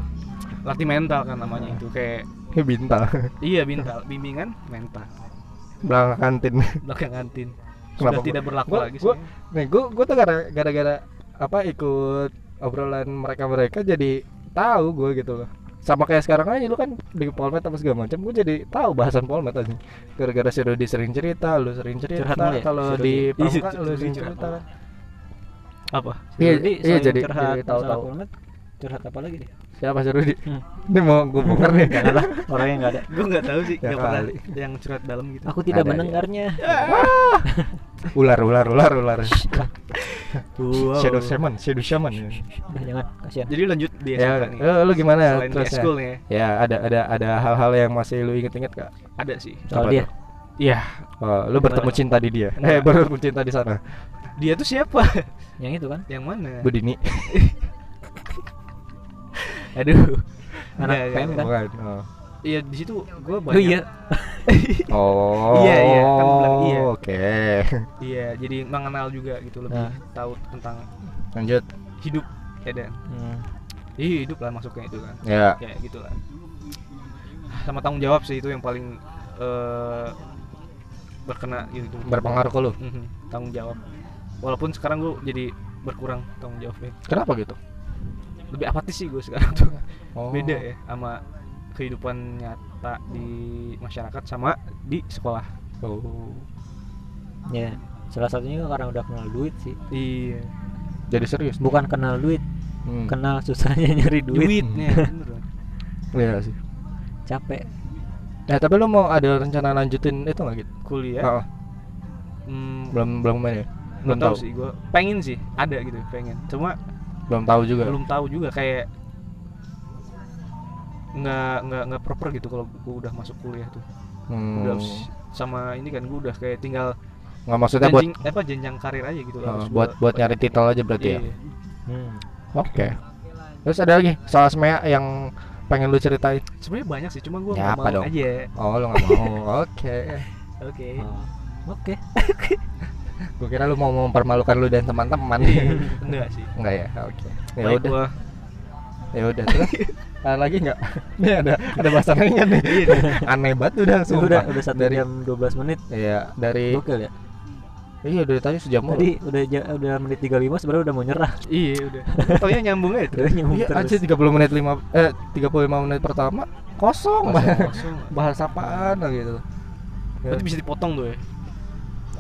Speaker 3: latih mental kan namanya itu kayak
Speaker 1: Ini bintang
Speaker 3: iya bintal bimbingan mental
Speaker 1: belakang kantin
Speaker 3: belakang kantin
Speaker 1: Kenapa
Speaker 3: sudah
Speaker 1: gua-
Speaker 3: tidak berlaku
Speaker 1: gua-
Speaker 3: lagi
Speaker 1: gua-
Speaker 3: sebenarnya.
Speaker 1: nih gua gua tuh gara- gara-gara apa ikut obrolan mereka mereka jadi tahu gua gitu loh sama kayak sekarang aja lu kan di Polmed apa segala macam gua jadi tahu bahasan Polmed aja gara-gara si Rudi sering cerita lu sering cerita
Speaker 2: Curhat mulu ya,
Speaker 1: kalau
Speaker 2: si Rudi?
Speaker 1: di
Speaker 3: Iya,
Speaker 1: Pramuka
Speaker 3: si
Speaker 1: lu
Speaker 3: Rudi
Speaker 1: sering
Speaker 3: curhat
Speaker 1: cerita
Speaker 3: mulu.
Speaker 1: kan
Speaker 3: apa
Speaker 1: iya
Speaker 2: Jadi
Speaker 1: iya
Speaker 2: selain
Speaker 1: jadi
Speaker 2: curhat
Speaker 1: jadi tahu-tahu
Speaker 2: masalah Polmed, curhat apa lagi deh?
Speaker 1: siapa si Rudi
Speaker 2: Hmm.
Speaker 1: ini mau gua bongkar nih kan?
Speaker 2: Jangan lah, orangnya nggak ada.
Speaker 3: gue nggak tahu sih
Speaker 1: Ya
Speaker 3: nggak pernah
Speaker 1: kali.
Speaker 3: yang curhat dalam gitu
Speaker 2: Aku
Speaker 1: Ada,
Speaker 2: tidak
Speaker 1: ada.
Speaker 2: mendengarnya.
Speaker 1: ular ular ular ular
Speaker 3: wow.
Speaker 1: shadow shaman shadow shaman ya,
Speaker 2: Udah jangan, kasihan.
Speaker 3: jadi lanjut di
Speaker 1: ya
Speaker 3: SMK nih
Speaker 1: lu, lu gimana
Speaker 3: selain di
Speaker 1: terusnya
Speaker 3: school nih ya,
Speaker 1: ya ada ada ada hal-hal yang masih lu inget-inget kak
Speaker 3: ada sih
Speaker 2: Soal
Speaker 1: Apa
Speaker 2: dia.
Speaker 3: iya
Speaker 1: Oh, lu bertemu cinta di dia. Eh, bertemu cinta di sana.
Speaker 3: dia tuh siapa
Speaker 2: Yang itu kan?
Speaker 3: yang mana
Speaker 1: Bu Dini.
Speaker 3: aduh
Speaker 2: Anak
Speaker 3: Iya, iya,
Speaker 2: PM kan?
Speaker 1: Bukan. Oh.
Speaker 3: iya di situ gue banyak
Speaker 2: Oh iya,
Speaker 1: Oh.
Speaker 3: Iya, iya, kan gua bilang iya.
Speaker 1: Oke.
Speaker 3: Iya, jadi mengenal juga gitu lebih
Speaker 1: Ah.
Speaker 2: Nah.
Speaker 3: tahu tentang
Speaker 1: Lanjut.
Speaker 3: hidup ya dan
Speaker 2: Hmm.
Speaker 3: Ih, hidup lah masuknya itu kan
Speaker 1: Ya.
Speaker 3: kayak gitu lah sama tanggung jawab sih itu yang paling eh, berkena gitu
Speaker 1: Berpengaruh ke lu.
Speaker 3: Mhm, tanggung jawab walaupun sekarang gue jadi berkurang tanggung jawabnya
Speaker 1: Kenapa gitu?
Speaker 3: lebih apatis sih gue sekarang tuh
Speaker 1: Oh.
Speaker 3: beda ya sama kehidupan nyata di masyarakat sama di sekolah
Speaker 1: Oh.
Speaker 2: Ya, salah satunya karena udah kenal duit sih.
Speaker 1: Hmm.
Speaker 3: iya
Speaker 1: Jadi serius.
Speaker 2: Bukan kenal duit,
Speaker 1: Hmm.
Speaker 2: kenal susahnya nyari duit.
Speaker 3: duitnya bener. kan?
Speaker 1: Iya sih.
Speaker 2: Capek.
Speaker 1: Nah, tapi lu mau ada rencana lanjutin itu nggak gitu?
Speaker 3: kuliah
Speaker 1: Oh,
Speaker 3: hmm,
Speaker 1: belum belum main ya?
Speaker 3: belum
Speaker 1: Belum
Speaker 3: tahu
Speaker 1: tahu.
Speaker 3: sih gue pengen sih ada gitu pengen cuma
Speaker 1: Belum tahu juga.
Speaker 3: belum tahu juga kayak nggak nggak nggak proper gitu kalau gue udah masuk kuliah tuh
Speaker 1: Hmm.
Speaker 3: udah s- sama ini kan gue udah kayak tinggal
Speaker 1: Nggak maksudnya buat
Speaker 3: jenjing- apa jenjang karir aja gitu
Speaker 1: oh,
Speaker 3: harus
Speaker 1: buat
Speaker 3: gua-
Speaker 1: buat nyari titel aja berarti
Speaker 3: iya.
Speaker 1: ya.
Speaker 2: Hmm.
Speaker 1: Oke. Terus ada lagi soal semea yang pengen lu ceritain.
Speaker 3: sebenarnya banyak sih cuma gue
Speaker 1: Ya,
Speaker 3: nggak
Speaker 1: apa
Speaker 3: mau
Speaker 1: dong?
Speaker 3: aja
Speaker 1: Oh, lu nggak mau. Oke.
Speaker 3: oke
Speaker 2: Oh, Oke.
Speaker 1: Gue kira lu mau mempermalukan lu dan teman-teman.
Speaker 3: enggak sih
Speaker 1: Enggak ya. Oke. Ya
Speaker 3: Baik,
Speaker 1: udah,
Speaker 3: gua
Speaker 1: ya udah. Terus ada lagi enggak? Nih ada ada bahasa lain nggak nih. Aneh banget udah sumpah.
Speaker 2: Udah udah satu
Speaker 1: dari
Speaker 2: jam 12 menit.
Speaker 1: Iya, dari
Speaker 2: Gokil ya.
Speaker 1: Iya, dari tadi sejam mulu.
Speaker 2: Tadi udah ja- udah menit 35 sebenarnya udah mau nyerah.
Speaker 3: iya udah taunya nyambung aja
Speaker 2: Udah nyambung
Speaker 1: Iya,
Speaker 2: terus.
Speaker 1: anjir 30 menit 5 eh 35 menit pertama kosong,
Speaker 3: langsung,
Speaker 1: banget.
Speaker 3: langsung.
Speaker 1: Bahasa apaan lah gitu.
Speaker 3: berarti bisa dipotong tuh ya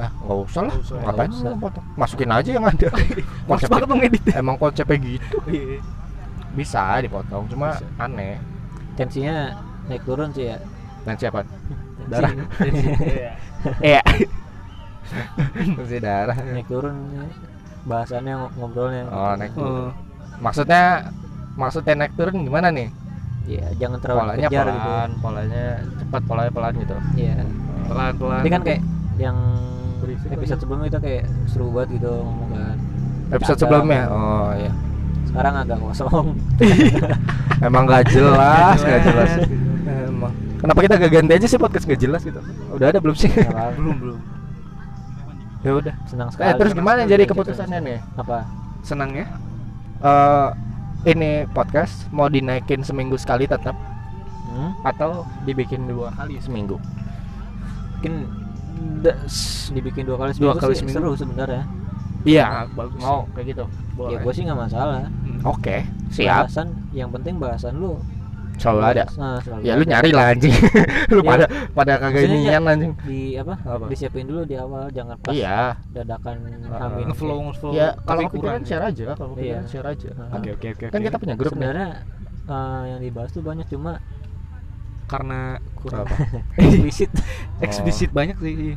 Speaker 1: Ah, enggak usah lah.
Speaker 3: Nggak usah,
Speaker 1: Ngapain
Speaker 2: nggak usah.
Speaker 1: lu potong? Masukin aja yang ada.
Speaker 3: males banget dong edit
Speaker 1: emang konsepnya gitu.
Speaker 3: Iya.
Speaker 1: Bisa dipotong, cuma
Speaker 3: Bisa.
Speaker 1: aneh.
Speaker 2: Tensinya naik turun sih ya
Speaker 1: Dan siapa? Darah.
Speaker 3: Iya.
Speaker 1: Iya. Tensi darah.
Speaker 2: naik turun ya. bahasannya ngo- ngobrolnya
Speaker 1: Oh, naik turun.
Speaker 3: Eh,
Speaker 1: Maksudnya maksudnya naik turun gimana nih?
Speaker 2: ya jangan terlalu
Speaker 1: Polanya
Speaker 2: kejar
Speaker 1: pelan,
Speaker 2: gitu
Speaker 1: polanya cepat, polanya pelan gitu.
Speaker 2: ya
Speaker 3: pelan-pelan.
Speaker 2: nanti kan kayak yang
Speaker 1: Berisik
Speaker 2: episode sebelumnya itu kayak seru banget gitu ngomong kan
Speaker 1: Episode
Speaker 2: Agak-
Speaker 1: sebelumnya. Oh, iya.
Speaker 2: sekarang agak kosong
Speaker 1: Emang gak jelas,
Speaker 3: Nggak
Speaker 1: gak jelas.
Speaker 3: jelas.
Speaker 1: Emang. Kenapa kita gak ganti aja sih podcast gak jelas gitu? Udah ada belum sih?
Speaker 2: Nggak apa-apa.
Speaker 3: belum belum.
Speaker 1: ya udah.
Speaker 2: senang sekali
Speaker 1: kan? Eh, terus
Speaker 2: senang
Speaker 1: gimana
Speaker 2: sekali
Speaker 1: jadi
Speaker 2: gitu.
Speaker 1: keputusannya nih?
Speaker 2: apa
Speaker 4: Senang ya?
Speaker 1: Eh ini podcast mau dinaikin seminggu sekali tetap
Speaker 2: hmm?
Speaker 1: atau dibikin dua kali seminggu?
Speaker 2: mungkin da- s- dibikin dua kali seminggu,
Speaker 1: kali
Speaker 2: sih
Speaker 1: seminggu.
Speaker 2: seru sebenarnya
Speaker 1: Iya,
Speaker 3: bagus.
Speaker 1: mau kayak gitu.
Speaker 3: Boleh. Hmm.
Speaker 2: ya gue sih nggak masalah
Speaker 1: Oke, siap.
Speaker 2: bahasan yang penting bahasan lu
Speaker 1: Selalu ada.
Speaker 2: Nah, selalu
Speaker 1: Ya lu
Speaker 2: ada.
Speaker 1: nyari lah anjing. lu
Speaker 2: Iya.
Speaker 1: pada pada kagak
Speaker 2: Maksudnya
Speaker 1: nyanyian anjing.
Speaker 2: di apa
Speaker 1: Apa?
Speaker 2: disiapin dulu di awal jangan pas
Speaker 1: Iya.
Speaker 2: dadakan
Speaker 1: Ah,
Speaker 2: amin
Speaker 3: Ngeflow ngeflow.
Speaker 1: Ya
Speaker 3: tapi
Speaker 1: kalau kepikiran share aja, kalau kepikiran
Speaker 2: Iya.
Speaker 1: share aja.
Speaker 3: Oke oke oke.
Speaker 1: Kan
Speaker 3: oke.
Speaker 1: kita punya grup nih.
Speaker 2: sebenarnya eh, yang dibahas tuh banyak cuma
Speaker 3: karena kurang
Speaker 1: Apa?
Speaker 2: eksplisit
Speaker 1: Oh.
Speaker 3: eksplisit banyak sih. iya.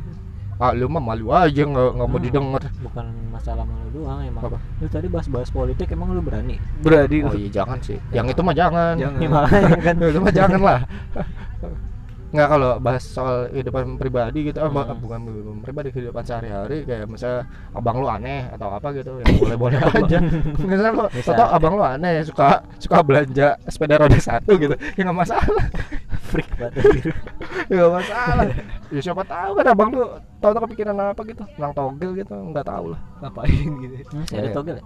Speaker 1: Ah, lu mah malu aja nggak nggak mau
Speaker 2: Hmm.
Speaker 1: didengar.
Speaker 2: bukan masalah malu doang emang
Speaker 1: Apa?
Speaker 2: lu tadi bahas-bahas politik emang lu berani
Speaker 3: Berarti
Speaker 1: Oh iya jangan sih. Yang itu mah jangan.
Speaker 3: Jangan.
Speaker 2: ya makanya kan
Speaker 1: Yang itu mah jangan lah. Nggak kalau bahas soal kehidupan pribadi gitu, ah, bah-
Speaker 2: Hmm.
Speaker 1: bukan kehidupan pribadi kehidupan sehari-hari kayak misalnya abang lu aneh atau apa gitu, ya boleh-boleh aja. Misalnya lu,
Speaker 2: Bisa.
Speaker 1: atau abang lu aneh suka suka belanja sepeda roda satu gitu, ya nggak masalah.
Speaker 2: freak banget
Speaker 1: ya gak masalah ya siapa tahu kan abang lu tahu tahu kepikiran apa gitu tentang togel gitu nggak tahu lah
Speaker 3: ngapain gitu.
Speaker 2: hmm, saya ada
Speaker 1: Iya.
Speaker 2: togel ya?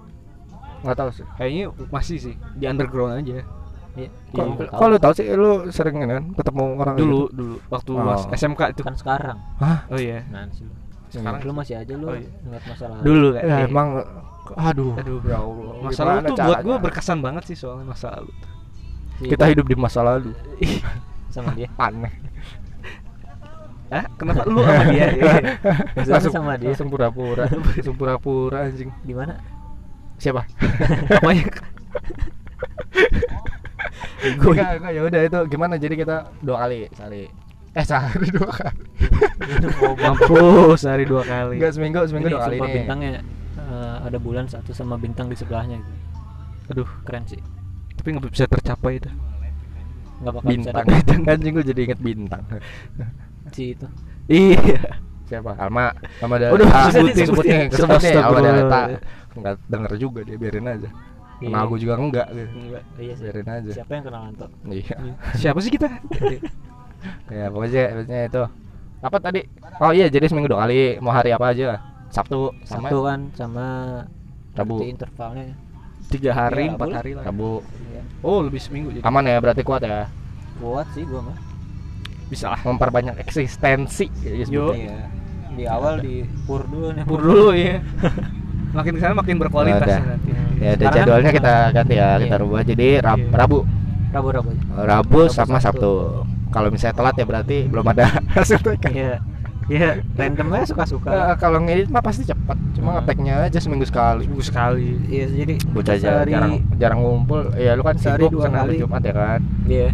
Speaker 1: nggak tahu sih
Speaker 3: Kayaknya masih sih di underground aja.
Speaker 2: Iya.
Speaker 1: kok,
Speaker 2: Iya,
Speaker 1: kok lu tahu sih lu sering ini kan ketemu orang
Speaker 3: Dulu dulu waktu
Speaker 1: Oh.
Speaker 3: mas SMK itu.
Speaker 2: kan sekarang
Speaker 3: Oh iya.
Speaker 2: nah sih lu.
Speaker 1: sekarang
Speaker 2: lu masih aja lu
Speaker 3: Oh, iya.
Speaker 2: ngeliat masalah
Speaker 3: Dulu kan.
Speaker 1: ya
Speaker 3: iya.
Speaker 1: emang aduh
Speaker 3: Aduh,
Speaker 1: ya Allah
Speaker 3: masa
Speaker 1: gimana
Speaker 3: lalu tuh buat
Speaker 1: caranya?
Speaker 3: gue berkesan banget sih soalnya masa lalu
Speaker 2: si
Speaker 1: kita hidup di masa lalu
Speaker 2: sama dia
Speaker 1: aneh
Speaker 3: Hah? kenapa lu sama dia
Speaker 1: iya.
Speaker 3: ya?
Speaker 2: langsung sama dia
Speaker 1: langsung pura-pura langsung pura-pura anjing
Speaker 2: di mana
Speaker 1: siapa
Speaker 3: apanya
Speaker 1: gue ya udah itu gimana jadi kita dua kali sehari eh sehari dua kali
Speaker 3: mampus hari dua kali
Speaker 1: enggak seminggu seminggu
Speaker 2: Ini
Speaker 1: dua kali
Speaker 2: sumpah
Speaker 1: nih
Speaker 2: bintangnya eh, ada bulan satu sama bintang di sebelahnya gitu aduh keren sih
Speaker 3: tapi nggak bisa tercapai itu
Speaker 2: nggak bakal bisa
Speaker 1: bintang
Speaker 2: dapet
Speaker 1: anjing gue jadi inget bintang
Speaker 2: si itu
Speaker 3: iya
Speaker 1: siapa Alma sama dari
Speaker 3: Udah,
Speaker 1: Ah,
Speaker 3: sebutin,
Speaker 1: sebutin
Speaker 3: sebutin.
Speaker 1: sebutin sebutin sama
Speaker 3: Astagfirullah.
Speaker 1: dari Ta. nggak denger juga dia biarin aja
Speaker 2: Iya.
Speaker 1: kenal gue juga enggak gitu.
Speaker 3: Enggak.
Speaker 2: iya sih
Speaker 1: biarin aja
Speaker 2: siapa yang kenal Anto
Speaker 1: iya
Speaker 3: siapa sih kita
Speaker 1: ya pokoknya pokoknya itu apa tadi oh iya jadi seminggu dua kali mau hari apa aja Sabtu sama
Speaker 2: Sabtu kan sama
Speaker 1: Rabu.
Speaker 2: berarti intervalnya
Speaker 3: tiga hari
Speaker 2: Iya,
Speaker 3: empat
Speaker 2: boleh.
Speaker 3: hari lah
Speaker 1: Rabu
Speaker 3: oh lebih seminggu jadi
Speaker 1: aman ya berarti kuat ya
Speaker 2: kuat sih gua mah
Speaker 3: bisa lah
Speaker 1: memperbanyak eksistensi ya,
Speaker 3: Yo.
Speaker 1: sebutnya.
Speaker 2: iya di awal di kan pur dulu nih
Speaker 3: pur dulu ya makin kesana makin berkualitas
Speaker 1: Udah.
Speaker 3: nanti
Speaker 1: ya ada
Speaker 2: Sekarang kan-
Speaker 1: jadwalnya kita ganti ya kita
Speaker 2: Iya.
Speaker 1: rubah jadi Rab-
Speaker 3: Iya.
Speaker 1: Rabu
Speaker 2: Rabu Rabu aja.
Speaker 1: Rabu
Speaker 2: Rabu,
Speaker 1: sama Sabtu kalau misalnya telat ya berarti belum ada hasil TK
Speaker 2: iya iya random aja suka suka
Speaker 1: Eh, kalau ngedit mah pasti cepet cuma
Speaker 2: Hmm.
Speaker 1: ngeteknya aja seminggu sekali
Speaker 3: seminggu sekali
Speaker 2: iya jadi
Speaker 1: bocah aja
Speaker 2: sehari-
Speaker 1: jarang jarang ngumpul ya lu kan
Speaker 2: Sehari
Speaker 1: sibuk
Speaker 2: dua
Speaker 1: sana hari
Speaker 2: kali.
Speaker 1: Jumat ya kan
Speaker 2: iya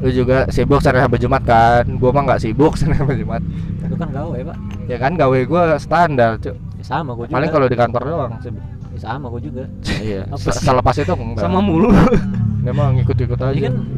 Speaker 1: lu juga sibuk sana hari Jumat kan gua mah nggak sibuk sana hari Jumat
Speaker 2: itu kan gawe pak
Speaker 1: ya kan gawe gua standar cuy
Speaker 2: Ya, sama gua juga
Speaker 1: paling kalau di kantor doang sibuk
Speaker 2: Ya, sama gua juga
Speaker 1: iya
Speaker 2: Apa
Speaker 1: se-
Speaker 2: sih?
Speaker 1: selepas itu enggak
Speaker 3: sama mulu
Speaker 1: memang ngikut-ikut aja
Speaker 2: Jadi kan